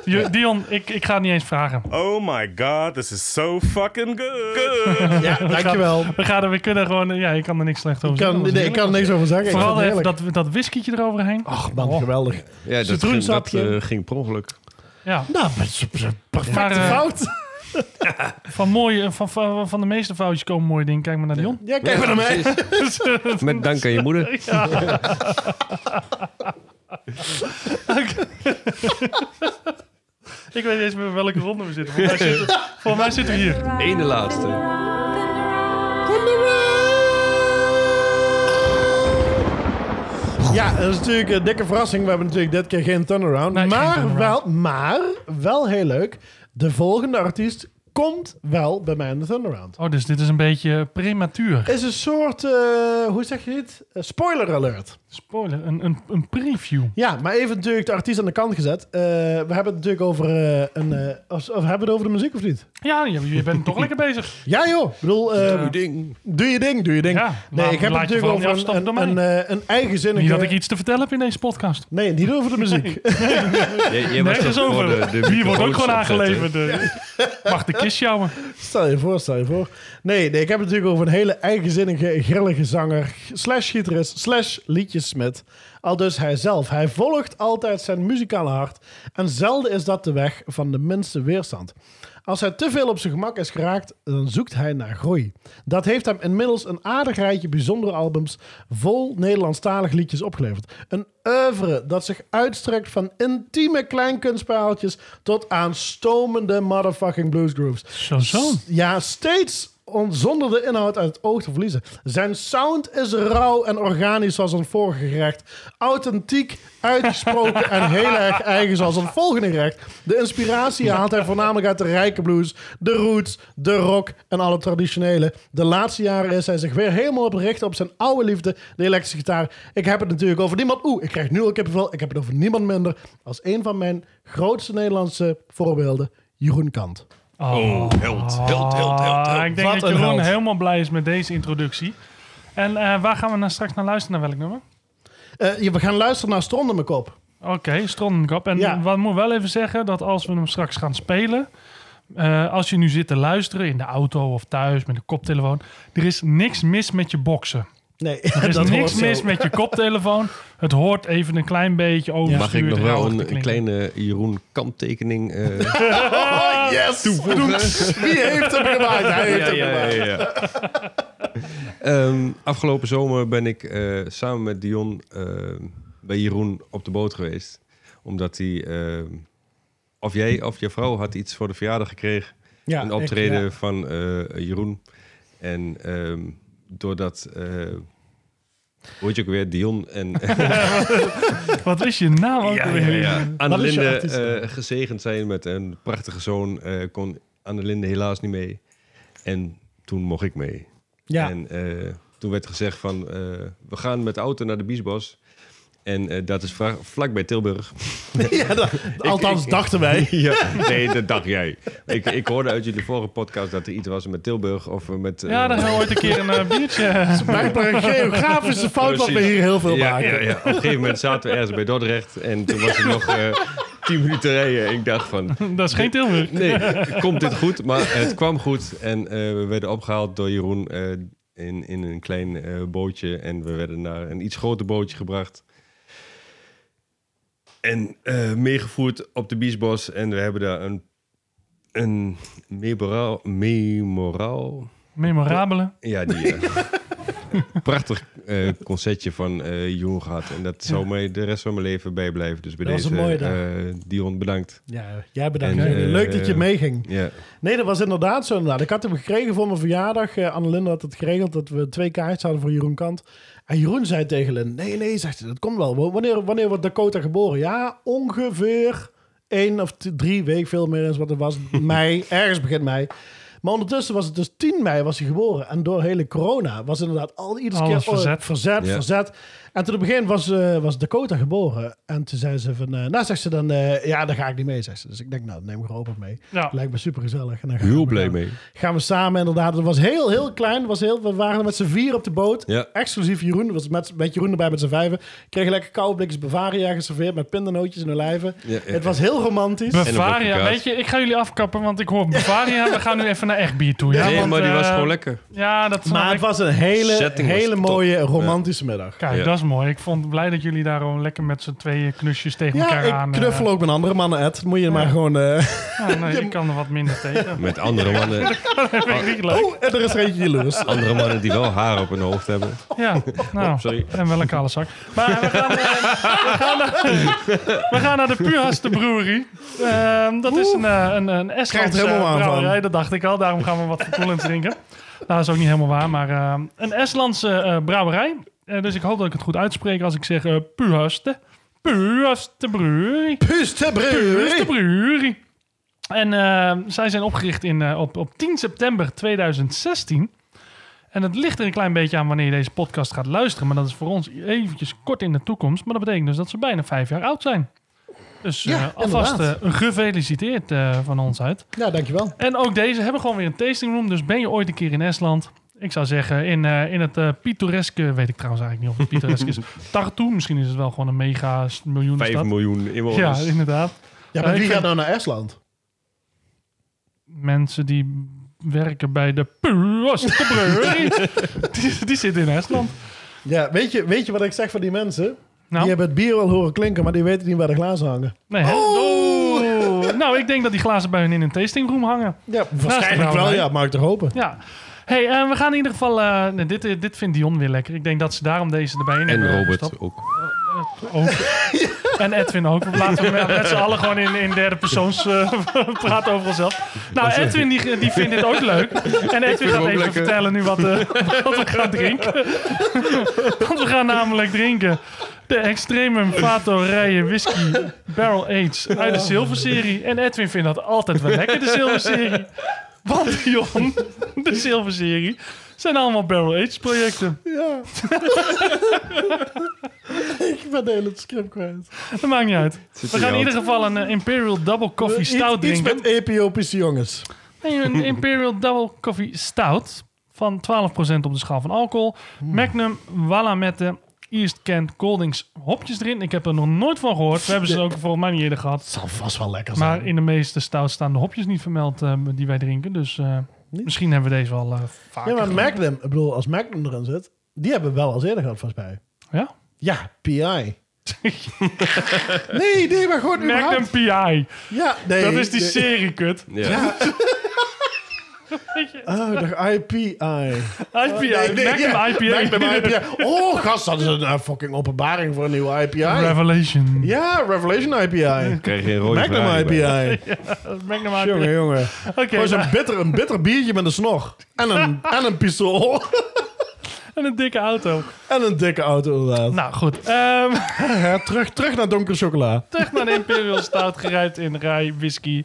S1: Je- Dion, ik, ik ga het niet eens vragen.
S3: Oh my god, this is so fucking
S1: (laughs)
S3: good. Good.
S2: Ja, dankjewel.
S1: We, gaan er, we kunnen gewoon... Ja, ik kan er niks slecht over
S2: Ik kan,
S1: zeggen.
S2: nee, ik kan er niks over zeggen. Ik
S1: Vooral
S2: vind het
S1: even
S2: heerlijk.
S1: dat, dat whiskietje eroverheen.
S2: Ach man, geweldig.
S4: Ja, dat, ging, dat
S2: Citroensapje.
S4: eh, ging per
S1: (laughs)
S4: ongeluk.
S1: Ja,
S2: Nou, dat is een perfecte
S1: Maar, eh,
S2: fout.
S1: van, mooie, van, van, van de meeste foutjes komen mooie dingen. Kijk maar naar Dion.
S2: Ja, kijk maar naar mij.
S4: Met dank aan je moeder.
S1: (laughs) Ik weet niet eens meer welke ronde we zitten. Volgens mij zitten, volgens mij zitten we hier.
S4: (laughs) Ene laatste.
S2: Ja, dat is natuurlijk een dikke verrassing. We hebben natuurlijk dit keer geen turnaround.
S1: Nee, geen
S2: maar,
S1: turnaround.
S2: Wel, maar wel heel leuk. De volgende artiest komt wel bij mij in de turnaround.
S1: Oh, dus dit is een beetje prematuur.
S2: Is een soort, eh, hoe zeg je dit? Eh, spoiler alert.
S1: Spoiler, een, een, een preview.
S2: Ja, maar even natuurlijk de artiest aan de kant gezet. Eh, we hebben het natuurlijk over eh, een... eh, of, of hebben we het over de muziek of niet?
S1: Ja, je, je bent toch lekker bezig.
S2: (laughs) Ja joh, ik bedoel... eh,
S4: Uw ding.
S2: doe je ding, doe je ding.
S1: Ja,
S2: nee,
S1: laat-
S2: ik heb het
S1: laat je
S2: natuurlijk
S1: vooral niet
S2: over een,
S1: afstappen
S2: een,
S1: door
S2: een,
S1: mij.
S2: eh, een eigenzinnige...
S1: Niet dat ik iets te vertellen heb in deze podcast.
S2: Nee, niet over de muziek.
S4: Jij,
S1: (laughs)
S4: jij was
S1: Nee, dat is
S4: toch gewoon
S1: over.
S4: de- de
S1: Hier wordt ook
S4: microfoons
S1: gewoon
S4: opzetten.
S1: aangeleverd. eh. Mag de kist sjouwen.
S2: Stel je voor, stel je voor. Nee, nee, ik heb het natuurlijk over een hele eigenzinnige, grillige zanger, slash gitarist, slash liedjesmid. Al dus hij zelf. Hij volgt altijd zijn muzikale hart en zelden is dat de weg van de minste weerstand. Als hij te veel op zijn gemak is geraakt, dan zoekt hij naar groei. Dat heeft hem inmiddels een aardig rijtje bijzondere albums vol Nederlandstalig liedjes opgeleverd. Een oeuvre dat zich uitstrekt van intieme kleinkunstpaaltjes tot aan stomende motherfucking bluesgrooves.
S1: Zo, zo.
S2: S- Ja, steeds on- zonder de inhoud uit het oog te verliezen. Zijn sound is rauw en organisch zoals een vorige gerecht. Authentiek, uitgesproken en heel erg eigen zoals het volgende gerecht. De inspiratie haalt hij voornamelijk uit de rijke blues, de roots, de rock en alle traditionele. De laatste jaren is hij zich weer helemaal op gericht op zijn oude liefde, de elektrische gitaar. Ik heb het natuurlijk over niemand... Oeh, ik krijg nu al kippenvel. Ik heb het over niemand minder als een van mijn grootste Nederlandse voorbeelden, Jeroen Kant.
S1: Oh,
S3: Held, held, held, held,
S1: Ah,
S3: held.
S1: ik denk
S2: Wat
S1: dat
S2: een
S1: Jeroen
S2: held.
S1: helemaal blij is met deze introductie. En eh, waar gaan we nou straks naar luisteren? Naar welk nummer?
S2: Eh, ja, we gaan luisteren naar Stronde mijn kop.
S1: Oké, Strondenkop. En
S2: Ja.
S1: wat moet wel even zeggen, dat als we hem straks gaan spelen... eh, als je nu zit te luisteren in de auto of thuis met een koptelefoon... er is niks mis met je boksen.
S2: Nee,
S1: Er
S2: (laughs)
S1: is
S2: dat hoort
S1: niks
S2: zo.
S1: mis met je koptelefoon. Het hoort even een klein beetje over.
S4: Mag ik nog wel een, kleine Jeroen kanttekening eh
S2: Oh, (laughs) yes! (laughs) Wie heeft hem gemaakt?
S10: (laughs)
S2: Hij heeft hem gemaakt.
S4: (laughs) Ehm, afgelopen zomer ben ik eh, samen met Dion eh, bij Jeroen op de boot geweest. Omdat hij, ehm, of jij of je vrouw, had iets voor de verjaardag gekregen.
S2: Ja,
S4: een
S2: echt,
S4: optreden
S2: ja.
S4: van eh, Jeroen. En ehm, doordat, eh hoe heet je ook weer, Dion en
S2: (laughs)
S1: (laughs) Wat is je naam ook alweer?
S2: is je
S4: Annelinde
S2: artiest?
S4: eh, gezegend zijn met een prachtige zoon, eh, kon Annelinde helaas niet mee. En toen mocht ik mee.
S2: Ja.
S4: En eh, toen werd gezegd van, eh, we gaan met de auto naar de Biesbos. En eh, dat is vla- vlakbij Tilburg.
S2: (laughs) ja, dat-
S4: (laughs)
S2: althans
S4: ik-
S2: dachten wij.
S4: (laughs) ja, nee, dat dacht jij. Ik, ik hoorde uit jullie vorige podcast dat er iets was met Tilburg of eh, met... eh,
S1: Ja, dan gaan we ooit een keer een eh, biertje.
S2: Blijkbaar een geografische fout wat we
S4: Precies.
S2: hier heel veel
S4: ja,
S2: maken.
S4: ja, ja. Op een gegeven moment zaten we ergens bij Dordrecht en toen was het nog eh tien minuten rijden. En ik dacht van,
S1: (laughs) Dat is geen Tilburg.
S4: nee, komt dit goed? Maar het kwam goed en eh, we werden opgehaald door Jeroen eh, in, in een klein eh, bootje. En we werden naar een iets groter bootje gebracht. En eh, meegevoerd op de Biesbos. En we hebben daar een, een memoraal, memoraal
S1: Memorabele.
S4: ja,
S1: (laughs)
S4: die. eh,
S2: (laughs)
S4: prachtig eh, concertje van eh Jeroen gehad. En dat zou mij de rest van mijn leven bijblijven. Dus bij
S2: Dat was
S4: deze.
S2: een mooie dag.
S4: eh, Dion, bedankt.
S2: Ja, jij bedankt.
S4: En,
S2: Jenny.
S4: eh,
S2: Leuk dat je
S4: eh,
S2: meeging.
S4: Ja.
S2: Nee, dat was inderdaad zo. Inderdaad. Ik had hem gekregen voor mijn verjaardag. Eh Annelinde had het geregeld dat we twee kaartjes hadden voor Jeroen Kant. En Jeroen zei tegen Lynn, nee, nee, zegt hij, dat komt wel. W- Wanneer, wanneer wordt Dakota geboren? Ja, ongeveer één of t- drie weken, veel meer is wat het
S4: (laughs)
S2: was. mei, ergens begin mei. Maar ondertussen was het dus 10 mei was hij geboren. En door hele corona was inderdaad al iedere keer...
S1: Alles
S2: oh,
S1: verzet.
S2: Verzet,
S4: Ja.
S2: verzet. En toen op het begin was, eh, was Dakota geboren. En toen zei ze van... eh, nou, zegt ze dan... eh, ja, daar ga ik niet mee, zegt ze. Dus ik denk, nou, neem gewoon op mee.
S1: Ja.
S2: Lijkt me super gezellig. En dan gaan
S4: Heel
S2: we
S4: blij
S2: dan-
S4: mee.
S2: Gaan we samen inderdaad. Het was heel, heel klein. Het Was heel, we waren er met z'n vier op de boot.
S4: Ja.
S2: Exclusief Jeroen. Was met, met Jeroen erbij met z'n vijven. Kregen lekker koude blikjes Bavaria geserveerd met pindanootjes en olijven.
S4: Ja, ja,
S2: Het was heel romantisch.
S4: En
S1: Bavaria,
S4: een
S1: weet je, ik ga jullie afkappen, want ik hoor Bavaria. We gaan nu even naar echt bier toe. Ja,
S4: nee,
S1: want,
S4: maar die was
S1: eh,
S4: gewoon lekker.
S1: Ja, dat snap
S2: maar het
S1: ik.
S2: was een hele,
S4: Setting was
S2: hele
S4: top.
S2: mooie romantische middag.
S1: Kijk,
S4: Ja.
S1: dat is mooi. Ik vond blij dat jullie daar gewoon lekker met z'n tweeën knusjes tegen
S2: Ja,
S1: elkaar aan.
S2: ik
S1: eh,
S2: knuffel ook met andere mannen, Ed. Moet je maar gewoon... eh, (laughs)
S1: ja, nee, ik kan er wat minder tegen.
S4: Met andere mannen, Ah.
S1: Vind ik niet leuk.
S2: oh, en er is er eentje jaloers. Oh,
S4: andere mannen die wel haar op hun hoofd hebben.
S1: Ja, nou,
S4: sorry.
S1: en wel een kale zak. Maar we gaan, eh, we gaan, naar, we gaan naar de Puurhaste Brewerie. Ehm, dat is een, eh, een, een Estlandse
S2: Krijgt er helemaal aan van.
S1: brouwerij, dat dacht ik al. Daarom gaan we wat verkoelend drinken. Nou, dat is ook niet helemaal waar, maar ehm, een Estlandse eh, brouwerij. Eh, dus ik hoop dat ik het goed uitspreek als ik zeg eh Puurhaste. Puurhaste Brewerie.
S2: Puste brewerie.
S1: Puurste Brewerie. En eh, zij zijn opgericht in, eh, op, op 10 september 2016. En het ligt er een klein beetje aan wanneer je deze podcast gaat luisteren. Maar dat is voor ons eventjes kort in de toekomst. Maar dat betekent dus dat ze bijna vijf jaar oud zijn. Dus eh,
S2: Ja,
S1: alvast
S2: inderdaad.
S1: eh, gefeliciteerd eh, van ons uit.
S2: Ja, dankjewel.
S1: En ook deze hebben gewoon weer een tasting room. Dus ben je ooit een keer in Estland... Ik zou zeggen, in, eh, in het eh pittoreske... Weet ik trouwens eigenlijk niet of het pittoresk
S2: (laughs)
S1: is. Tartu, misschien is het wel gewoon een mega miljoenenstad.
S4: Vijf miljoen
S1: Ja,
S4: inwoners.
S1: inderdaad. Eh,
S2: Ja, maar
S1: ik
S2: wie
S1: vind-
S2: gaat nou naar Estland?
S1: mensen die werken bij de Puurste
S2: (laughs)
S1: Brewerie. die, die zitten in Estland.
S2: Ja, weet je, weet je wat ik zeg van die mensen?
S1: Nou,
S2: Die hebben het bier wel horen klinken, maar die weten niet waar de glazen hangen.
S1: nee, hè?
S2: Oh!
S1: Oeh. Nou, ik denk dat die glazen bij hun in een tastingroom hangen.
S2: Ja,
S1: waarschijnlijk
S2: waarschijnlijk wel.
S1: wel, hè?
S2: Ja, mag ik toch hopen.
S1: Ja. hey, eh, we gaan in ieder geval... eh, nee, dit, eh, dit vindt Dion weer lekker. Ik denk dat ze daarom deze erbij in
S4: En
S2: Eh,
S1: hebben
S4: Robert
S1: gestopt.
S4: ook.
S1: Ook. (laughs) En Edwin ook. Laten we met, met z'n allen gewoon in, in derde persoons eh, (laughs) praten over onszelf. Nou, Edwin die, die vindt dit ook
S4: (laughs)
S1: leuk. En Edwin gaat
S4: ook
S1: even
S4: lekker.
S1: vertellen nu wat, eh, (laughs) wat we gaan drinken. (laughs) Want we gaan namelijk drinken de Extremum Fato Rijen Whisky Barrel Aids uit de Zilverserie. En Edwin vindt dat altijd wel lekker, de Zilverserie. Want Jon, de Zilverserie, zijn allemaal Barrel Aids projecten.
S2: Ja. (laughs) ik ben de hele script kwijt.
S1: Dat maakt niet uit.
S4: Zit
S1: We
S4: in
S1: gaan in
S4: je
S1: ieder geval een eh, Imperial Double Coffee
S2: Eh, Iets-
S1: Stout
S2: iets,
S1: drinken.
S2: met Ethiopische jongens.
S1: Nee,
S2: (laughs)
S1: een Imperial Double Coffee Stout van 12% op de schaal van alcohol.
S2: Hmm.
S1: Magnum, Walamette, East Kent, Coldings hopjes erin. Ik heb er nog nooit van gehoord. We hebben ze ook volgens mij niet eerder gehad.
S2: Zal vast wel lekker zijn.
S1: Maar in de meeste stout staan de hopjes niet vermeld eh, die wij drinken. Dus eh, misschien hebben we deze wel eh vaker.
S2: ja, maar Magnum, ik bedoel, als Magnum erin zit, die hebben we wel als eerder gehad volgens mij.
S1: Ja?
S2: Ja,
S1: (laughs)
S2: PI. nee, nee, maar gewoon
S1: Magnum
S2: überhaupt.
S1: PI.
S2: Ja, nee.
S1: Dat is die
S2: nee.
S1: serie, kut.
S4: Ja.
S1: (laughs)
S2: Oh, de IPI.
S1: IPI.
S2: Oh, Nee, nee,
S1: Magnum
S2: ja.
S1: IPA.
S2: Magnum
S1: (laughs)
S2: IPI. Oh, gast, dat is een eh, fucking openbaring voor een nieuwe IPI.
S1: Revelation.
S2: ja, Revelation IPI.
S4: Krijg je een rode
S2: Magnum
S4: Ferrari bij.
S2: IPI.
S1: Magnum IPA.
S2: Jongen, jongen.
S1: Oké,
S2: Gewoon
S1: nou-
S2: zo'n bitter, een bitter biertje met een snor. En
S1: (laughs)
S2: een, en een pistool.
S1: En een dikke auto.
S2: En een dikke auto inderdaad.
S1: Nou goed. Ehm
S2: Ja, (laughs) terug, terug naar donkere chocola.
S1: terug naar de Imperial Stout. Gerijpt in rij, whisky,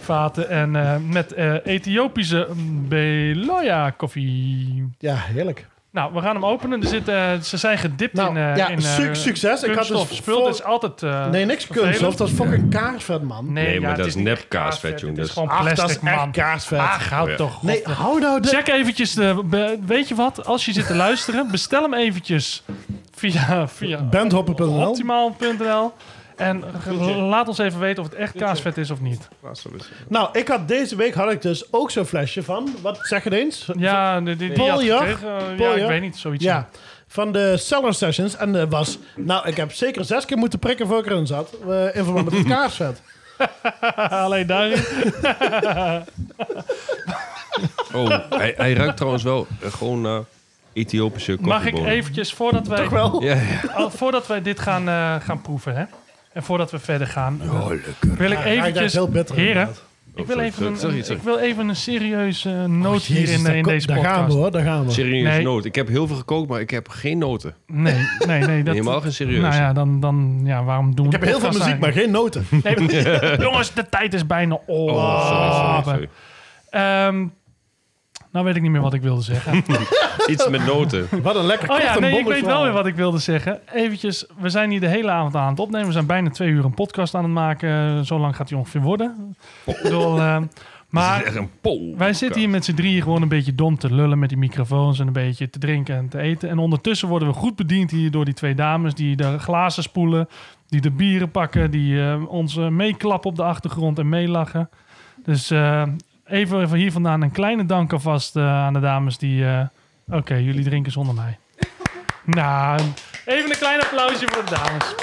S1: vaten. En eh, met eh, Ethiopische Beloya koffie.
S2: Ja, heerlijk.
S1: Nou, we gaan hem openen. Er zit, eh, ze zijn gedipt
S2: Nou,
S1: in, eh
S2: ja,
S1: in eh,
S2: suc- succes. Ik had dus
S1: kunststof. Spul
S2: voor-
S1: is altijd eh,
S2: nee, niks
S1: vervelend.
S2: kunststof. Dat is fucking kaarsvet, man.
S1: Nee,
S4: Nee,
S1: ja,
S4: maar
S1: het
S4: dat is
S1: niet
S4: nep
S1: echt kaarsvet,
S4: kaarsvet, jongen.
S1: Het is
S4: Dat
S1: gewoon
S2: Ach,
S1: plastic,
S2: dat is echt
S1: man.
S2: kaarsvet.
S1: Ach, hou
S4: Ja.
S1: toch.
S2: nee,
S1: godver-
S2: hou nou de...
S1: Check eventjes de... be- Weet je wat? Als je zit te luisteren, bestel hem eventjes via, via
S2: Bandhopper.nl.
S1: optimaal.nl. En ge- laat ons even weten of het echt kaasvet is of niet.
S2: Nou, ik had deze week had ik dus ook zo'n flesje van. Wat zeg het eens?
S1: Ja, die, die, die had
S2: Poljar?
S1: gekregen, eh, ja, ik
S2: Poljar?
S1: weet niet, zoiets.
S2: Ja, van de Cellar Sessions. En dat was... Nou, ik heb zeker zes keer moeten prikken voor ik erin zat. eh, in verband met
S1: (laughs)
S2: het kaarsvet.
S1: Alleen daarin.
S4: Oh, hij, hij ruikt trouwens wel eh, gewoon naar Ethiopische
S1: Mag ik
S4: koffiebonen.
S1: eventjes, voordat wij,
S2: Toch wel?
S4: Ja, ja.
S1: (laughs) al- voordat wij dit gaan, eh, gaan proeven, hè? En voordat we verder gaan, eh, wil ik
S2: Ja, hij ruikt
S1: eventjes...
S2: heel bitter,
S1: heren,
S2: inderdaad. Oh,
S1: ik wil,
S4: Oh, sorry,
S1: even een,
S4: sorry, sorry.
S1: ik wil even een serieuze eh, noot
S2: Jezus,
S1: hier in, eh,
S2: daar
S1: in
S2: ko-
S1: deze
S2: Daar
S1: podcast.
S2: gaan we hoor, daar gaan we.
S4: Serieus
S1: Nee.
S4: noot. Ik heb heel veel gekookt, maar ik heb geen noten.
S1: Nee,
S4: (laughs)
S1: nee, nee. Dat,
S4: Helemaal geen serieuze.
S1: Nou ja, dan, dan ja, waarom doen
S2: Ik
S1: we
S2: heb heel veel muziek, maar geen noten.
S1: (laughs)
S4: (laughs)
S1: jongens, de tijd is bijna om.
S4: Oh, sorry, sorry, sorry.
S1: Ehm, nou weet ik niet meer wat ik wilde zeggen.
S4: (laughs) Iets met noten.
S2: Wat een lekker
S1: Oh
S2: kort
S1: ja,
S2: en
S1: nee, ik
S2: bondig
S1: weet wel
S2: verhaal.
S1: weer wat ik wilde zeggen. Eventjes, we zijn hier de hele avond aan het opnemen. We zijn bijna twee uur een podcast aan het maken. Zo lang gaat die ongeveer worden. Ik
S4: (laughs)
S1: bedoel, ehm, maar
S4: Oh. Echt een pol.
S1: Wij zitten hier met z'n drieën gewoon een beetje dom te lullen met die microfoons en een beetje te drinken en te eten. En ondertussen worden we goed bediend hier door die twee dames die de glazen spoelen, die de bieren pakken, die eh, ons eh, meeklappen op de achtergrond en meelachen. Dus eh, even, even hier vandaan een kleine dank alvast eh, aan de dames die... eh, Oké, jullie drinken zonder mij. nou, even een klein applausje voor de dames.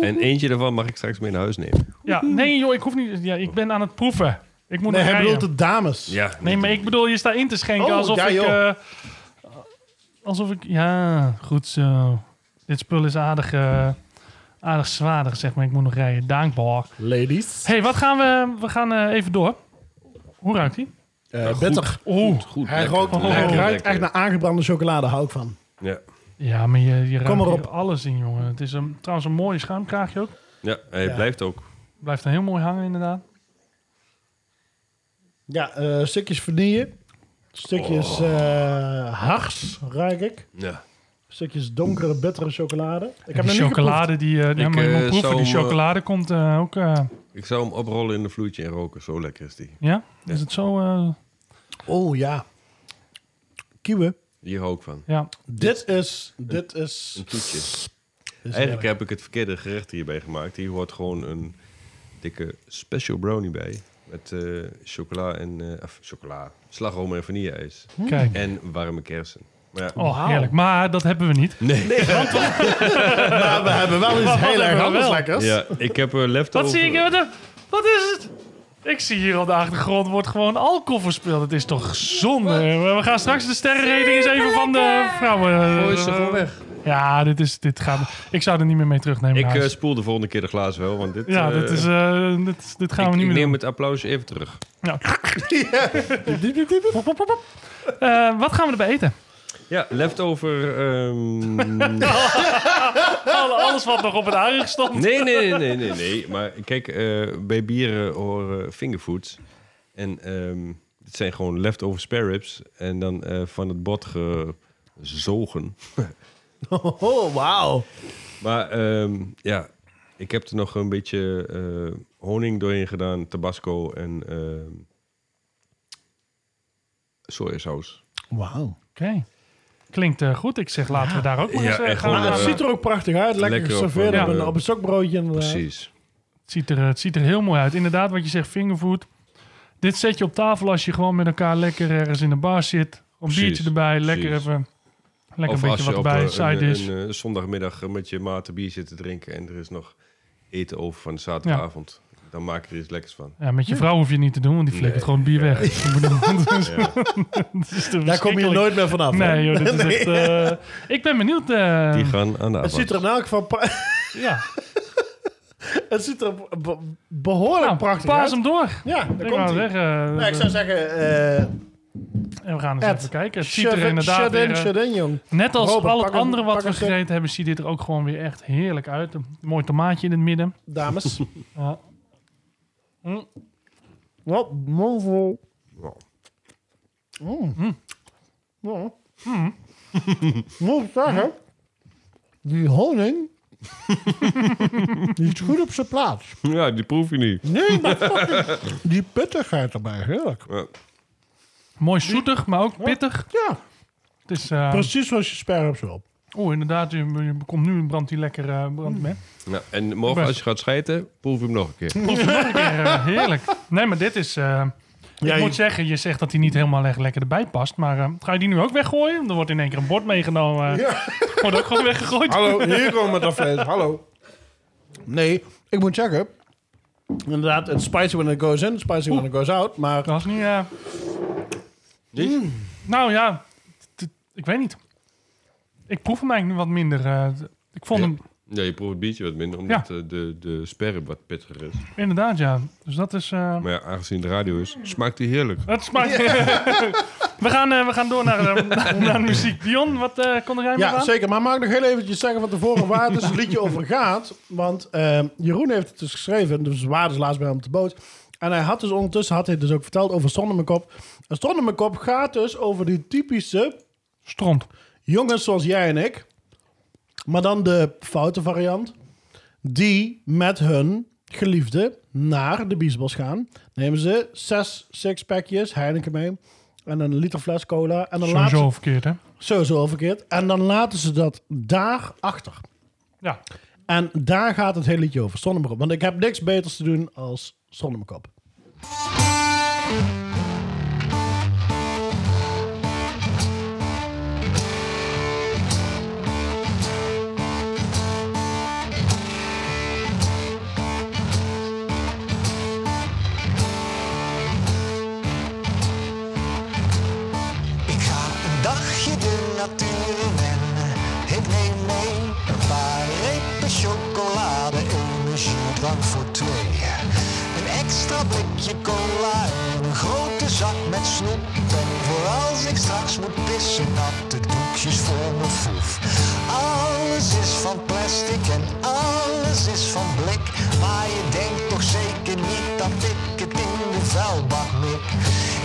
S4: En eentje daarvan mag ik straks mee naar huis nemen.
S1: Ja, nee joh, ik hoef niet... Ja, ik ben aan het proeven. Ik moet
S2: Nee, hij
S1: nog rijden.
S2: bedoelt de dames.
S4: Ja,
S1: Nee, maar ik bedoel, je staat in te schenken
S2: Oh,
S1: alsof
S2: ja,
S1: ik...
S2: joh.
S1: eh, alsof ik... Ja, goed zo. Dit spul is aardig, eh, aardig zwaardig, zeg maar. Ik moet nog rijden. Dankbaar.
S2: Ladies.
S1: hey, wat gaan we... We gaan eh, even door. Hoe ruikt hij?
S2: Eh, bitter.
S1: Oeh.
S4: Goed,
S2: Hij
S4: lekker,
S2: rookt,
S4: lekker,
S2: hij ruikt
S4: lekker.
S2: echt naar aangebrande chocolade, hou ik van.
S4: Ja,
S1: Ja, maar je, je ruikt
S2: maar
S1: hier
S2: op.
S1: alles in, jongen. Het is een, trouwens een mooie schuimkraagje ook.
S4: ja hij
S2: Ja.
S4: blijft ook.
S1: Blijft er heel mooi hangen, inderdaad.
S2: Ja, eh, stukjes vanille. Stukjes eh, hars, ruik ik.
S4: Oh. Ja.
S2: Stukjes donkere, bittere chocolade. Ik heb
S1: die
S2: nog niet
S1: chocolade die... eh ja, maar je
S4: eh,
S1: moet proeven.
S4: zou
S1: die
S4: hem, eh,
S1: chocolade komt eh, ook... eh,
S4: Ik zou hem oprollen in de vloeitje en roken. Zo lekker is die.
S1: ja? Is het zo... eh,
S2: geproefd. Oh ja. Kiwi.
S4: Hier hou ik van.
S1: ja.
S2: Dit is... Dit is...
S4: Een toetje.
S2: is
S4: Eigenlijk heb ik het verkeerde gerecht hierbij gemaakt. Hier hoort gewoon een dikke special brownie bij. Met eh, chocola en... eh, of chocola. Slagroom en vanilleijs.
S1: Kijk.
S4: En warme kersen. Maar ja,
S1: Hmm. Oh, heerlijk. Maar dat hebben we niet.
S2: (laughs) Maar we hebben wel iets heel
S1: hebben
S2: erg
S1: we
S2: anders
S1: wel?
S2: lekkers.
S4: ja, ik heb eh, er leftover...
S1: Wat zie ik? Wat, wat is het? Ik zie hier op de achtergrond wordt gewoon alcohol verspild. Het is toch zonde. We we gaan straks de sterrenrating eens even van de vrouwen. eh,
S4: Oh, is ze gewoon weg.
S1: Ja, dit, is, dit gaat. Ik zou er niet meer mee terugnemen.
S4: Ik
S1: naar
S4: eh,
S1: huis.
S4: spoel de volgende keer de glazen wel, want dit...
S1: ja,
S4: eh,
S1: dit, is, eh, dit, dit gaan
S4: ik,
S1: we
S4: ik
S1: niet meer
S4: neem
S1: doen.
S4: het applaus even terug.
S1: Ja. Eh, wat gaan we erbij
S4: (laughs)
S1: eten?
S4: Ja, leftover... ehm, (laughs)
S1: Alle- Alles wat nog op het aardig stond.
S4: nee, nee, nee, nee, nee. Maar kijk, eh, bij bieren horen fingerfoods. En ehm dit zijn gewoon leftover spare ribs. En dan eh, van het bot gezogen.
S2: (laughs) Oh, wauw.
S4: Maar ehm, ja, ik heb er nog een beetje eh, honing doorheen gedaan. Tabasco en ehm sojasaus.
S2: Wauw.
S1: Oké. Klinkt eh, goed. Ik zeg laten we daar ook maar
S4: Ja,
S1: eens eh,
S4: echt
S1: gaan.
S4: wel,
S2: Maar
S4: eh,
S1: aan-
S2: het ziet er ook prachtig uit. Lekker,
S4: lekker op,
S2: geserveerd
S4: eh,
S2: op, een,
S4: ja.
S2: op een stokbroodje. eh, inderdaad.
S4: Precies.
S1: Het ziet, er, eh, het ziet er heel mooi uit. Inderdaad, wat je zegt, fingerfood. Dit zet je op tafel als je gewoon met elkaar lekker ergens in de bar zit. Een
S4: Precies,
S1: biertje erbij, lekker
S4: precies.
S1: even. Lekker een beetje wat
S4: op
S1: erbij,
S4: eh,
S1: side
S4: een,
S1: dish.
S4: een, eh, zondagmiddag eh, met je maat een bier zit te drinken... en er is nog eten over van de zaterdagavond... dan maak je er iets lekkers van.
S1: ja, met je vrouw hoef je het niet te doen, want die flikkert gewoon bier
S4: (laughs)
S1: weg. Ik bedoel, dat is-
S4: Ja.
S1: (laughs) dat is te
S2: Daar kom je
S1: verschrikkelijk.
S2: nooit meer vanaf. hè?
S1: Nee, joh, dit
S2: (laughs)
S1: is
S2: Nee.
S1: echt, eh, ik ben benieuwd. eh,
S4: Die gaan aan de
S2: Het ziet er in elk geval... (laughs) pra-
S1: ja.
S2: Het ziet er be- behoorlijk
S1: Nou,
S2: prachtig
S1: paas
S2: uit.
S1: hem door.
S2: Ja, daar
S1: Ik wou
S2: komt hij.
S1: zeggen, eh,
S2: Nou, ik zou zeggen... eh
S1: en we gaan eens
S2: Ed,
S1: even kijken. Het ziet
S2: shut
S1: er
S2: in,
S1: inderdaad
S2: shut in,
S1: weer, eh,
S2: shut in, jong.
S1: Net als
S2: Robert,
S1: al het
S2: pak een-
S1: andere wat
S2: pak
S1: we
S2: een stuk.
S1: gegeten hebben, ziet dit er ook gewoon weer echt heerlijk uit. Een mooi tomaatje in het midden.
S2: Dames.
S1: (laughs) Ja. Mm. Mm.
S2: Wat mondvol. Mm. Ja. (laughs) Moet ik zeggen, die
S1: (laughs)
S2: honing, die is goed op zijn plaats.
S4: Ja, die proef je niet. (laughs)
S2: Nee, maar fucking, die pittigheid erbij, heerlijk.
S4: Ja.
S1: Mooi zoetig, maar ook pittig.
S2: Ja,
S1: Het is, eh,
S2: precies zoals je sperrups wil.
S1: Oeh, inderdaad, je, je komt nu brandt die lekker eh brandt
S2: (laughs)
S1: mee.
S4: Nou, en morgen als je gaat schijten, proef je hem nog een keer.
S1: Eh, heerlijk. Nee, maar dit is... eh,
S2: Ja,
S1: ik
S2: je-
S1: moet zeggen, je zegt dat hij niet helemaal echt lekker erbij past. Maar eh, ga je die nu ook weggooien? Er wordt in één keer een bord meegenomen. eh, Wordt ook gewoon weggegooid.
S12: Hallo, hier komen we dan
S1: (laughs)
S12: verder. Hallo.
S2: Nee, ik moet zeggen, inderdaad, it's spicy when it goes in, spicy when it goes out, maar...
S1: Dat was niet... eh, Nou ja, t- t- ik weet niet. Ik proef hem eigenlijk wat minder. eh, d- ik vond
S4: Ja.
S1: hem
S4: (laughs) Ja, je proeft het biertje wat minder, omdat eh, de, de sperre wat pittiger is.
S1: inderdaad, ja. Dus dat is... eh,
S2: (laughs)
S4: Maar ja, aangezien de radio is, smaakt die heerlijk.
S1: het smaakt... (laughs) we, gaan, eh, we gaan door naar, eh, (laughs) naar, naar muziek. Dion, wat eh kon jij maar
S2: Ja,
S1: aan?
S2: zeker. Maar mag ik nog heel eventjes zeggen van tevoren waar het dus het liedje over gaat? Want eh, Jeroen heeft het dus geschreven, dus we waren dus laatst bij hem op de boot. En hij had dus ondertussen, had hij dus ook verteld over Stond in mijn kop. En Stond in mijn kop gaat dus over die typische
S1: Stront.
S2: jongens zoals jij en ik. Maar dan de foute variant. Die met hun geliefde naar de biesbos gaan. Nemen ze zes sixpackjes Heineken mee. En een liter fles cola. En dan laten
S1: Sowieso
S2: ze,
S1: verkeerd, hè?
S2: sowieso al verkeerd. En dan laten ze dat daar achter.
S1: Ja.
S2: En daar gaat het hele liedje over. Zonnemkop. Want ik heb niks beters te doen als Zonnemkop.
S13: Ik ga een dagje de natuur in en ik neem mee een paar repen chocolade, energiedrank voor twee. Een extra blikje cola en een grote zak met snoep. En voor als ik straks moet pissen, natte doekjes voor mijn foef. Alles is van plastic en alles is van blik. Maar je denkt toch zeker niet dat ik het in de vuilbak mik.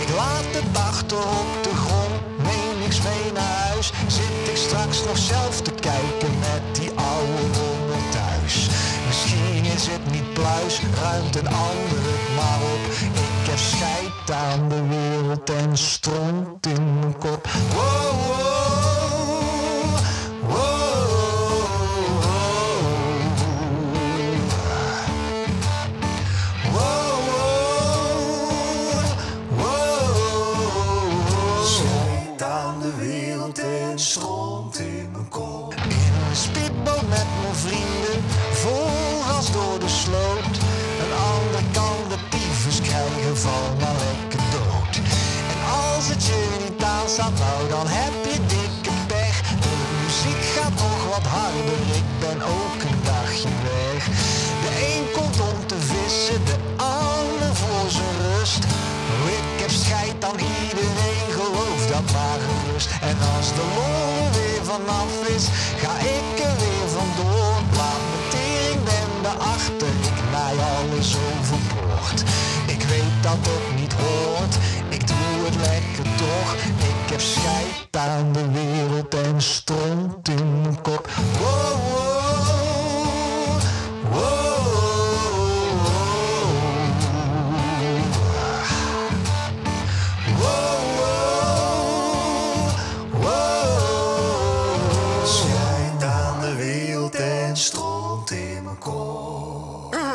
S13: Ik laat het achter op de grond, neem niks mee naar huis. Zit ik straks nog zelf te kijken met die oude rommel thuis. Misschien is het niet pluis, ruimt een ander het maar op. Ik heb scheid aan de wereld en stront in mijn kop. Wow, wow, wow. Zond aan de wereld en stront in mijn kop. In een speedboot met mijn vrienden, vol gas door de sloot. Een ander kan de tyfus krijgen van een lekker dood. En als het je niet aanstaat, nou dan heb je dikke pech. De muziek gaat nog wat harder, ik ben ook een dagje weg. De een komt om te vissen, de ander voor zijn rust. Oh, Ik heb scheid aan iedereen, geloof dat maar gerust. En als de lol er weer vanaf is, ga ik er weer vandoor. Laat me tering ben achter, ik naai alles overboord. Ik weet dat het niet hoort, ik doe het lekker toch. Ik heb scheid aan de wereld en stront in mijn kop. Oh, Wow, wow, wow. Schijnt aan de wereld en stroomt in mijn kop. Oh,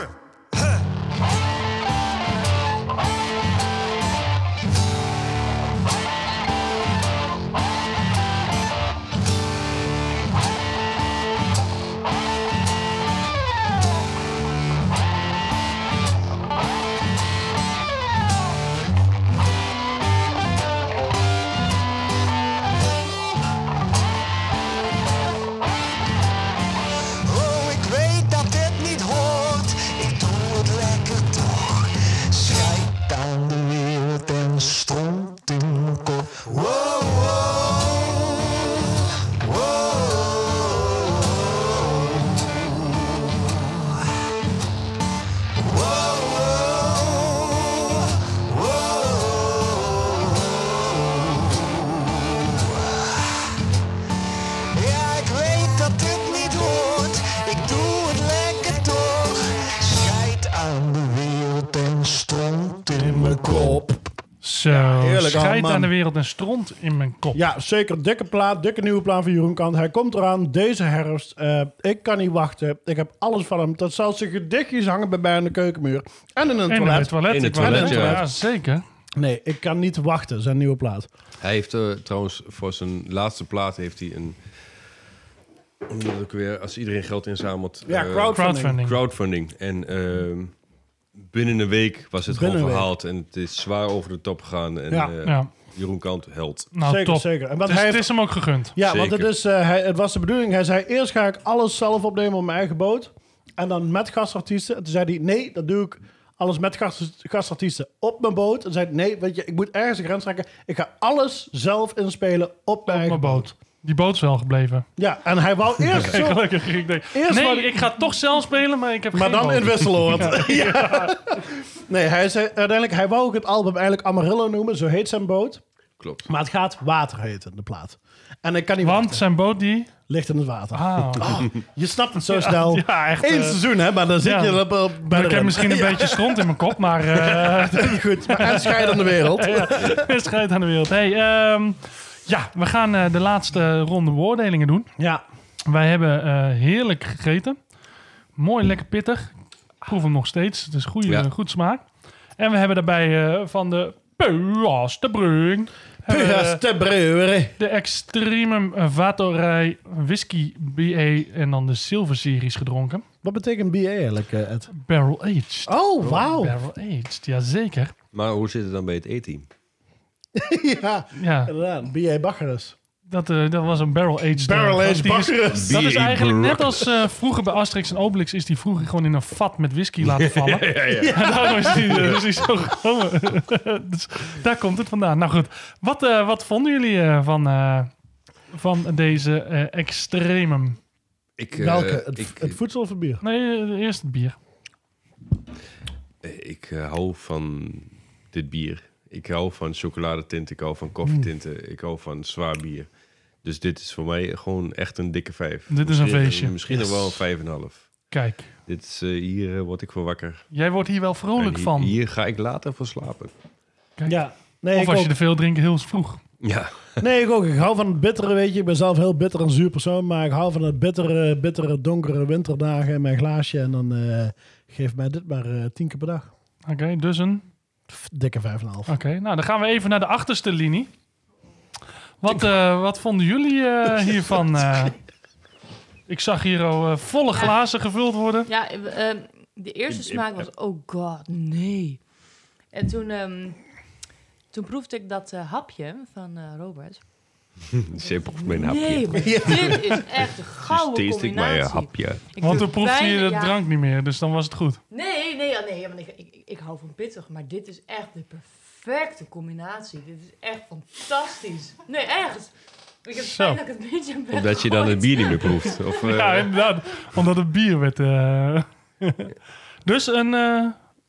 S1: Oh, Scheid
S2: oh, man.
S1: aan de wereld en stront in mijn kop.
S2: Ja, zeker. Dikke plaat, dikke nieuwe plaat van Jeroen Kant. Hij komt eraan deze herfst. Eh, ik kan niet wachten. Ik heb alles van hem. Tot zelfs zijn gedichtjes hangen bij mij aan de keukenmuur. En in een
S1: En in
S2: toilet.
S1: het toilet. In het
S2: En in
S1: toilet,
S2: een
S1: ja. Ja, zeker.
S2: Nee, ik kan niet wachten. Zijn nieuwe plaat.
S4: Hij heeft eh, trouwens voor zijn laatste plaat heeft hij een. hoe noem je dat ook weer, als iedereen geld inzamelt.
S2: Ja,
S4: eh,
S2: crowdfunding. Crowdfunding.
S4: crowdfunding. En ehm, binnen een week was het
S2: Binnen
S4: gewoon
S2: een
S4: verhaald. En het is zwaar over de top gegaan. En
S2: Ja.
S4: eh,
S1: Ja.
S4: Jeroen Kant, held.
S1: Nou,
S2: zeker,
S1: top.
S2: zeker. En wat
S1: het, is,
S2: hij
S1: het
S2: heeft-
S1: is hem ook gegund.
S2: Ja, want
S4: Zeker.
S2: het, is, eh, hij, het was de bedoeling. Hij zei, eerst ga ik alles zelf opnemen op mijn eigen boot. En dan met gastartiesten. En toen zei hij, nee, dat doe ik alles met gas- gastartiesten op mijn boot. En toen zei hij, nee, weet je, ik moet ergens een grens trekken. Ik ga alles zelf inspelen op mijn eigen
S1: Mijn
S2: boot.
S1: boot. Die boot is wel gebleven.
S2: Ja, en hij
S1: (laughs)
S2: wou Oh, eerst zo...
S1: Gelukkig. Ik denk,
S2: Eerst
S1: nee,
S2: maar-
S1: ik ga toch zelf spelen, maar ik heb
S2: Maar
S1: geen
S2: dan
S1: boot.
S2: in
S1: (laughs)
S2: Wisseloord. (laughs) ja. Nee, hij zei uiteindelijk, hij wou ook het album eigenlijk Amarillo noemen. Zo heet zijn boot.
S4: Klopt.
S2: Maar het gaat water heten, de plaat. En ik kan niet
S1: Want
S2: wachten.
S1: zijn boot die...
S2: Ligt in het water.
S1: Ah.
S2: Oh, je snapt het zo
S1: Ja,
S2: snel.
S1: ja, echt,
S2: Eén
S1: eh,
S2: seizoen, hè? Maar dan zit
S1: ja.
S2: je op, op bij
S1: Maar
S2: de
S1: ik heb
S2: rem.
S1: misschien
S2: (laughs)
S1: een
S2: Ja,
S1: beetje stront in mijn kop, maar... eh
S2: (laughs) Goed, maar
S1: (laughs)
S2: en scheid aan de wereld.
S1: ja, schijt aan de wereld. Hey, ehm, ja, we gaan eh, de laatste ronde beoordelingen doen.
S2: Ja.
S1: Wij hebben eh, heerlijk gegeten. Mooi, lekker pittig. Ik proef hem nog steeds. Het is goede, eh,
S4: Ja.
S1: goed smaak. En we hebben daarbij eh, van de Puas de Brung... hebben we,
S2: Pugas te breuren.
S1: De Extremum Vatorij Whisky BA en dan de Silver Series gedronken.
S2: Wat betekent BA eigenlijk, eh, Ed?
S1: Barrel Aged.
S2: Oh, wauw.
S1: Barrel Aged, jazeker.
S4: Maar hoe zit het dan bij het E-team?
S2: ja,
S1: Ja,
S2: inderdaad. BA Bacchus.
S1: dat, eh, dat was een Barrel Aged. eh,
S2: Barrel
S1: want
S2: Age
S1: die is-
S2: Bacchus.
S1: Dat is
S4: B.A.
S1: eigenlijk net
S4: Barrel.
S1: als eh, vroeger bij Asterix en Obelix is die vroeger gewoon in een vat
S4: (laughs)
S1: met whisky laten vallen. En daarom is die, eh, is die zo gekomen. (laughs) dus daar komt het vandaan. Nou goed, wat, eh, wat vonden jullie eh, van, eh, van deze eh, Extremum?
S4: Ik, eh,
S2: Welke? Het,
S4: Ik,
S2: het voedsel of het bier?
S1: Nee, eh, eerst het bier.
S4: ik eh, hou van dit bier. Ik hou van chocoladetinten, ik hou van
S1: Mm.
S4: koffietinten, ik hou van zwaar bier. Dus dit is voor mij gewoon echt een dikke vijf.
S1: Dit is een
S4: Misschien-
S1: feestje.
S4: Misschien nog wel een vijf en een half.
S1: Kijk,
S4: Dit is, eh, hier eh, word ik voor wakker.
S1: jij wordt hier wel vrolijk
S4: En hi-
S1: van.
S4: Hier ga ik later voor slapen.
S2: Ja. Nee,
S1: of
S2: ik
S1: als
S2: ook.
S1: je te veel drinkt, heel vroeg.
S4: Ja, (laughs)
S2: Nee, ik ook. Ik hou van het bittere, weet je. Ik ben zelf heel bitter en zuur persoon. Maar ik hou van het bittere, bittere, donkere winterdagen en mijn glaasje. En dan eh, geef mij dit maar eh, tien keer per dag.
S1: Oké, dus een...
S2: Pff, Dikke vijf en een half.
S1: Oké, nou dan gaan we even naar de achterste linie. Wat, eh, wat vonden
S4: (laughs)
S1: jullie eh, hiervan? eh? ik zag hier al eh, volle glazen gevuld worden.
S6: Ja, eh, ehm, de eerste smaak was, oh god, nee. En toen, ehm, toen proefde ik dat eh, hapje van eh, Robert.
S4: simpel mijn hapje.
S6: Nee,
S4: Dus
S6: maar dit is echt een gouden
S4: taste ik maar een
S6: combinatie.
S4: hapje.
S6: Ik
S1: Want toen
S6: vind
S1: proefde je
S6: bijna-
S1: de
S6: ja.
S1: drank niet meer, dus dan was het goed.
S6: Nee, nee, ja, nee, ja, want ik, ik, ik hou van pittig, maar dit is echt de perfecte combinatie. Dit is echt fantastisch. Nee, echt. Ik heb
S1: Zo.
S6: fijn dat ik het beetje heb
S4: (laughs) Omdat je dan het bier
S6: weggegooid.
S4: niet meer
S6: (laughs)
S4: proeft. Of, eh,
S1: (laughs) Ja, inderdaad. Omdat het bier werd... eh, (laughs) dus een, eh,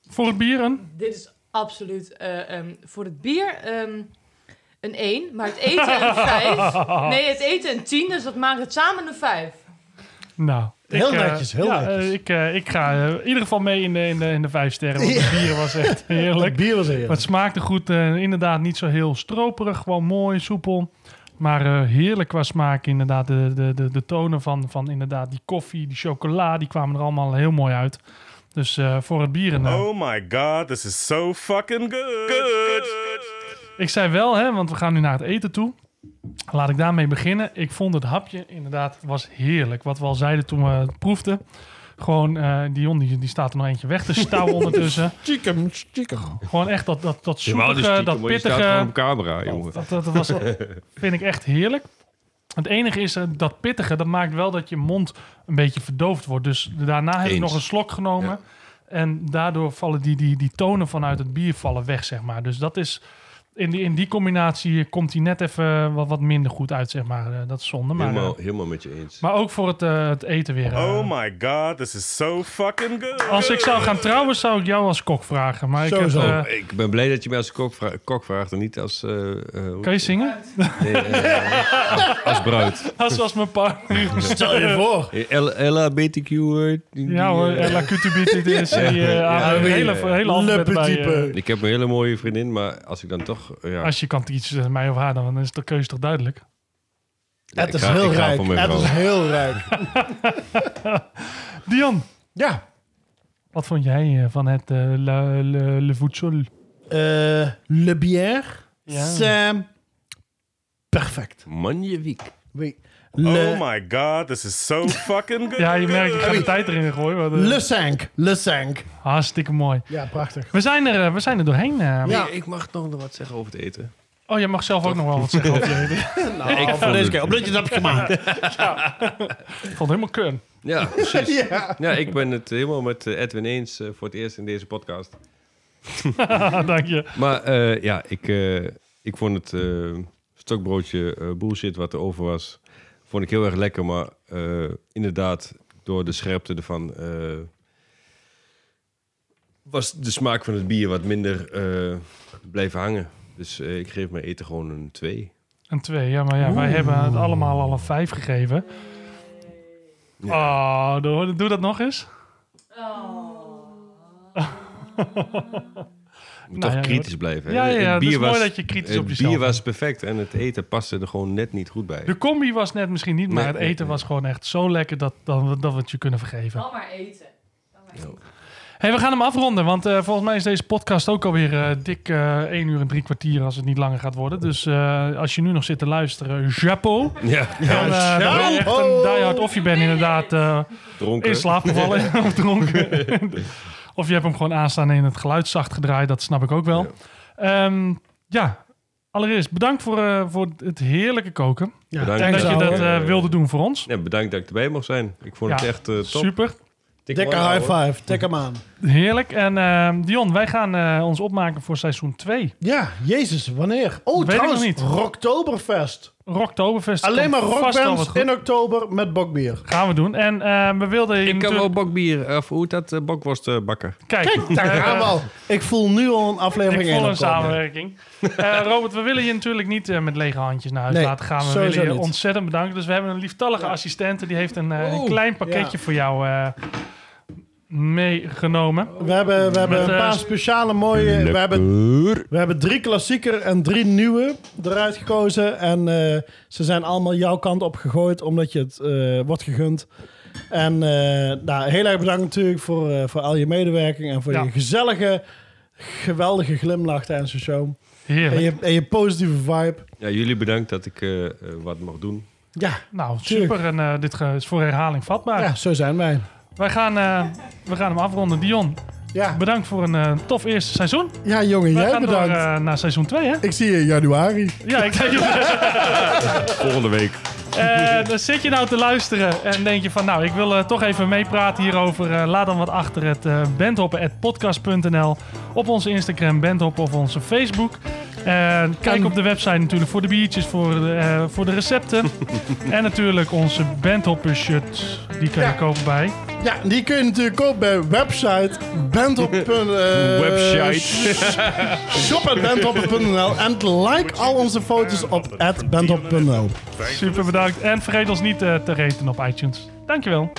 S1: voor het bier een...
S6: Dit is absoluut eh, ehm, voor het bier ehm, een 1, maar het eten een
S4: (laughs)
S6: 5. Nee, het eten een 10, dus dat maakt het samen een 5.
S1: Nou,
S2: Heel
S1: eh,
S2: netjes, heel
S1: ja,
S2: netjes.
S1: eh, ik, eh, ik ga eh, in ieder geval mee in de, in de, in de vijf sterren. Want het bier was echt heerlijk.
S2: (laughs) Het bier was
S1: Maar
S2: eerlijk.
S1: het smaakte goed. eh, inderdaad, niet zo heel stroperig. Gewoon mooi, soepel. Maar eh, heerlijk qua smaak. Inderdaad, de, de, de, de tonen van, van inderdaad die koffie, die chocola, die kwamen er allemaal heel mooi uit. Dus eh, voor het bier. En, eh,
S3: Oh my god, this is so fucking good. Good.
S1: Ik zei wel, hè, want we gaan nu naar het eten toe. Laat ik daarmee beginnen. Ik vond het hapje inderdaad was heerlijk. Wat we al zeiden toen we het proefden. Gewoon, eh, Dion die, die staat er nog eentje weg te stouwen ondertussen.
S2: Chicken, chicken.
S1: Gewoon echt dat, dat, dat
S4: je wou dus
S1: zoetige,
S4: stiekem,
S1: dat
S4: maar je staat gewoon
S1: pittige.
S4: op camera, jongen.
S1: Dat, dat was,
S4: (laughs)
S1: vind ik echt heerlijk. Het enige is eh, dat pittige, dat maakt wel dat je mond een beetje verdoofd wordt. Dus daarna heb ik
S4: Eens.
S1: nog een slok genomen. En daardoor vallen die, die, die tonen vanuit het bier vallen weg, zeg maar. Dus dat is, in die, in die combinatie komt hij net even wat, wat minder goed uit, zeg maar. Eh, dat is zonde. Maar, eh,
S4: Helemaal, helemaal met je eens.
S1: maar ook voor het, eh, het eten weer. eh.
S3: Oh my god, this is so fucking good.
S1: als ik zou gaan trouwen, zou ik jou als kok vragen. Maar ik heb,
S2: Sowieso.
S1: eh,
S4: Ik ben blij dat je mij als kok, vra- kok vraagt en niet als, eh eh, hoe-
S1: kan je zingen?
S4: nee, eh, als- als bruid.
S1: Dat was mijn partner.
S2: Stel je voor.
S4: Eh, L- LHBTQ. eh, die- die,
S1: Ja hoor,
S4: eh,
S1: Ella
S4: (laughs)
S1: Kutubit, dit is die, eh,
S4: Ja,
S1: aan-
S4: ja,
S1: hele,
S4: ja.
S1: hele alfabet
S2: Le
S1: erbij,
S2: petit
S1: eh.
S2: peu.
S4: Ik heb een hele mooie vriendin, maar als ik dan toch toch... Ja.
S1: Als je kan iets tussen mij of haar, dan is de keuze toch duidelijk?
S4: Ja, Het ik is ga- heel ik ga rijk. voor mijn Het vrouw. is
S2: heel rijk.
S1: (laughs) Dion.
S2: Ja.
S1: Wat vond jij eh, van het eh, le, le, le voedsel?
S2: Eh, Le Bière.
S1: Ja.
S2: Sam. Perfect.
S4: Magnifiek.
S2: Oui.
S3: Oh
S2: Le-
S3: my god, this is
S1: (laughs)
S3: so fucking good.
S1: Ja, je merkt, ik ga de tijd erin gooien. maar, eh,
S2: Le Sank. Le Sank.
S1: Hartstikke mooi.
S2: Ja, prachtig.
S1: We zijn er, eh, we zijn er doorheen. eh.
S4: Nee, ik mag nog wat zeggen over het eten.
S1: Oh, jij mag zelf ook nog wel wat zeggen.
S4: (laughs)
S1: over je eten.
S4: Nou, Ik vond het-
S1: (laughs) Ik vond het helemaal kun. (laughs)
S4: Ja, precies.
S1: Ja.
S4: (laughs) ja. ik ben het helemaal met eh, Edwin eens eh, voor het eerst in deze podcast.
S1: (laughs) Dank je.
S4: Maar eh, ja, ik, eh, ik vond het eh, stokbroodje eh, bullshit wat er over was, vond ik heel erg lekker. Maar eh, inderdaad, door de scherpte ervan eh, was de smaak van het bier wat minder eh, blijven hangen. Dus eh, ik geef mijn eten gewoon een 2.
S1: Een twee, ja, maar ja, wij hebben het allemaal al een vijf gegeven. Oh, doe, doe dat nog eens.
S4: Moet
S1: Nou
S4: toch
S1: ja,
S4: kritisch
S1: dat-
S4: blijven. hè?
S1: Ja, ja, ja,
S4: Het
S1: het is
S4: bier
S1: mooi
S4: was-
S1: dat je kritisch op
S4: Het
S1: jezelf
S4: bier was perfect en het eten paste er gewoon net niet goed bij.
S1: De combi was net misschien niet, maar
S4: Nee,
S1: het eten
S4: nee,
S1: was gewoon echt zo lekker dat, dat, dat we het je kunnen vergeven.
S6: maar eten.
S1: Hey, we gaan hem afronden, want eh, volgens mij is deze podcast ook alweer eh dik eh 1 uur en drie kwartier als het niet langer gaat worden. Dus eh, als je nu nog zit te luisteren, chapeau.
S4: Ja. Nou! Oh.
S1: Dan, eh, ben je echt een diehard of je bent inderdaad eh,
S4: Dronken.
S1: in slaap gevallen
S4: (laughs)
S1: of dronken. of je hebt hem gewoon aanstaan en het geluid zacht gedraaid, dat snap ik ook wel. Ja, ja. allereerst bedankt voor, eh, voor het heerlijke koken.
S4: Bedankt.
S1: en dat je dat eh,
S4: eh,
S1: wilde doen voor ons.
S4: Ja, bedankt dat ik erbij mocht zijn. Ik vond
S1: Ja,
S4: het echt eh, top.
S1: Super.
S4: Tik
S2: Dikke
S4: maar aan,
S2: high
S4: hoor.
S2: five. Tik hem aan.
S1: Heerlijk. En ehm, Dion, wij gaan eh, ons opmaken voor seizoen 2.
S2: Ja, jezus, wanneer? Oh,
S1: Weet ik
S2: trouwens,
S1: nog niet.
S2: Rocktoberfest.
S1: Rocktoberfest.
S2: Alleen maar
S1: komt vast wel wat
S2: rockbands
S1: goed.
S2: in oktober met bokbier.
S1: Gaan we doen. En ehm, we wilden... je
S4: Ik kan
S1: natuurlijk-
S4: wel bokbier, of hoe heet dat, eh, bokworst eh, bakken.
S1: Kijk, eh,
S2: daar gaan we al. Ik voel nu al een aflevering
S1: Ik voel
S2: in
S1: een
S2: opkomen. (laughs)
S1: samenwerking. Eh, Robert, we willen je natuurlijk niet eh, met lege handjes naar huis
S2: Nee,
S1: laten gaan. We
S2: sowieso
S1: willen je
S2: niet.
S1: ontzettend bedanken. Dus we hebben een lieftallige assistente. Die heeft een, eh, een
S2: Oeh,
S1: klein pakketje
S2: ja.
S1: voor jou eh, meegenomen.
S2: We hebben, we hebben
S1: Met,
S2: een
S1: eh,
S2: paar speciale mooie. We hebben, we hebben drie klassieker en drie nieuwe eruit gekozen. En eh, ze zijn allemaal jouw kant op gegooid, omdat je het eh, wordt gegund. En eh, nou, heel erg bedankt natuurlijk voor, eh, voor al je medewerking en voor
S1: Ja.
S2: je gezellige, geweldige glimlach tijdens de show.
S1: Heerlijk.
S2: En je, en je positieve vibe.
S4: Ja, jullie bedankt dat ik eh, eh, wat mocht doen.
S2: Ja,
S1: Nou,
S2: tuurlijk.
S1: super. En eh, dit ge- is voor herhaling vatbaar.
S2: Ja, zo zijn wij.
S1: Wij gaan, eh, we gaan hem afronden. Dion, bedankt voor een eh, tof eerste seizoen.
S2: Ja, jongen,
S1: Wij
S2: jij
S1: gaan
S2: bedankt.
S1: door eh, naar seizoen 2, hè?
S2: Ik zie je in januari.
S1: Ja, ik denk
S2: (laughs)
S4: Volgende week.
S1: Eh, dan zit je nou te luisteren en denk je van... nou, ik wil eh, toch even meepraten hierover. Eh, laat dan wat achter het eh bandhoppen.podcast.nl. Op onze Instagram, bandhoppen of onze Facebook. Eh, kijk op de website natuurlijk voor de biertjes, voor de, eh, voor de recepten. en natuurlijk onze bandhopper shirt. Die kan je kopen bij...
S2: Ja, die kun je natuurlijk kopen bij website bandhopper. eh, (laughs)
S4: Website.
S2: Shop.bandhopper.nl en like al onze foto's op bandhopper.nl.
S1: Super bedankt. En vergeet ons niet eh, te raten op iTunes. Dankjewel.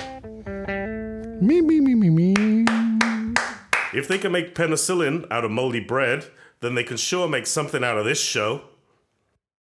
S2: Mie, mie, mie, mie, mie.
S3: If they can make penicillin out of moldy bread, then they can sure make something out of this show.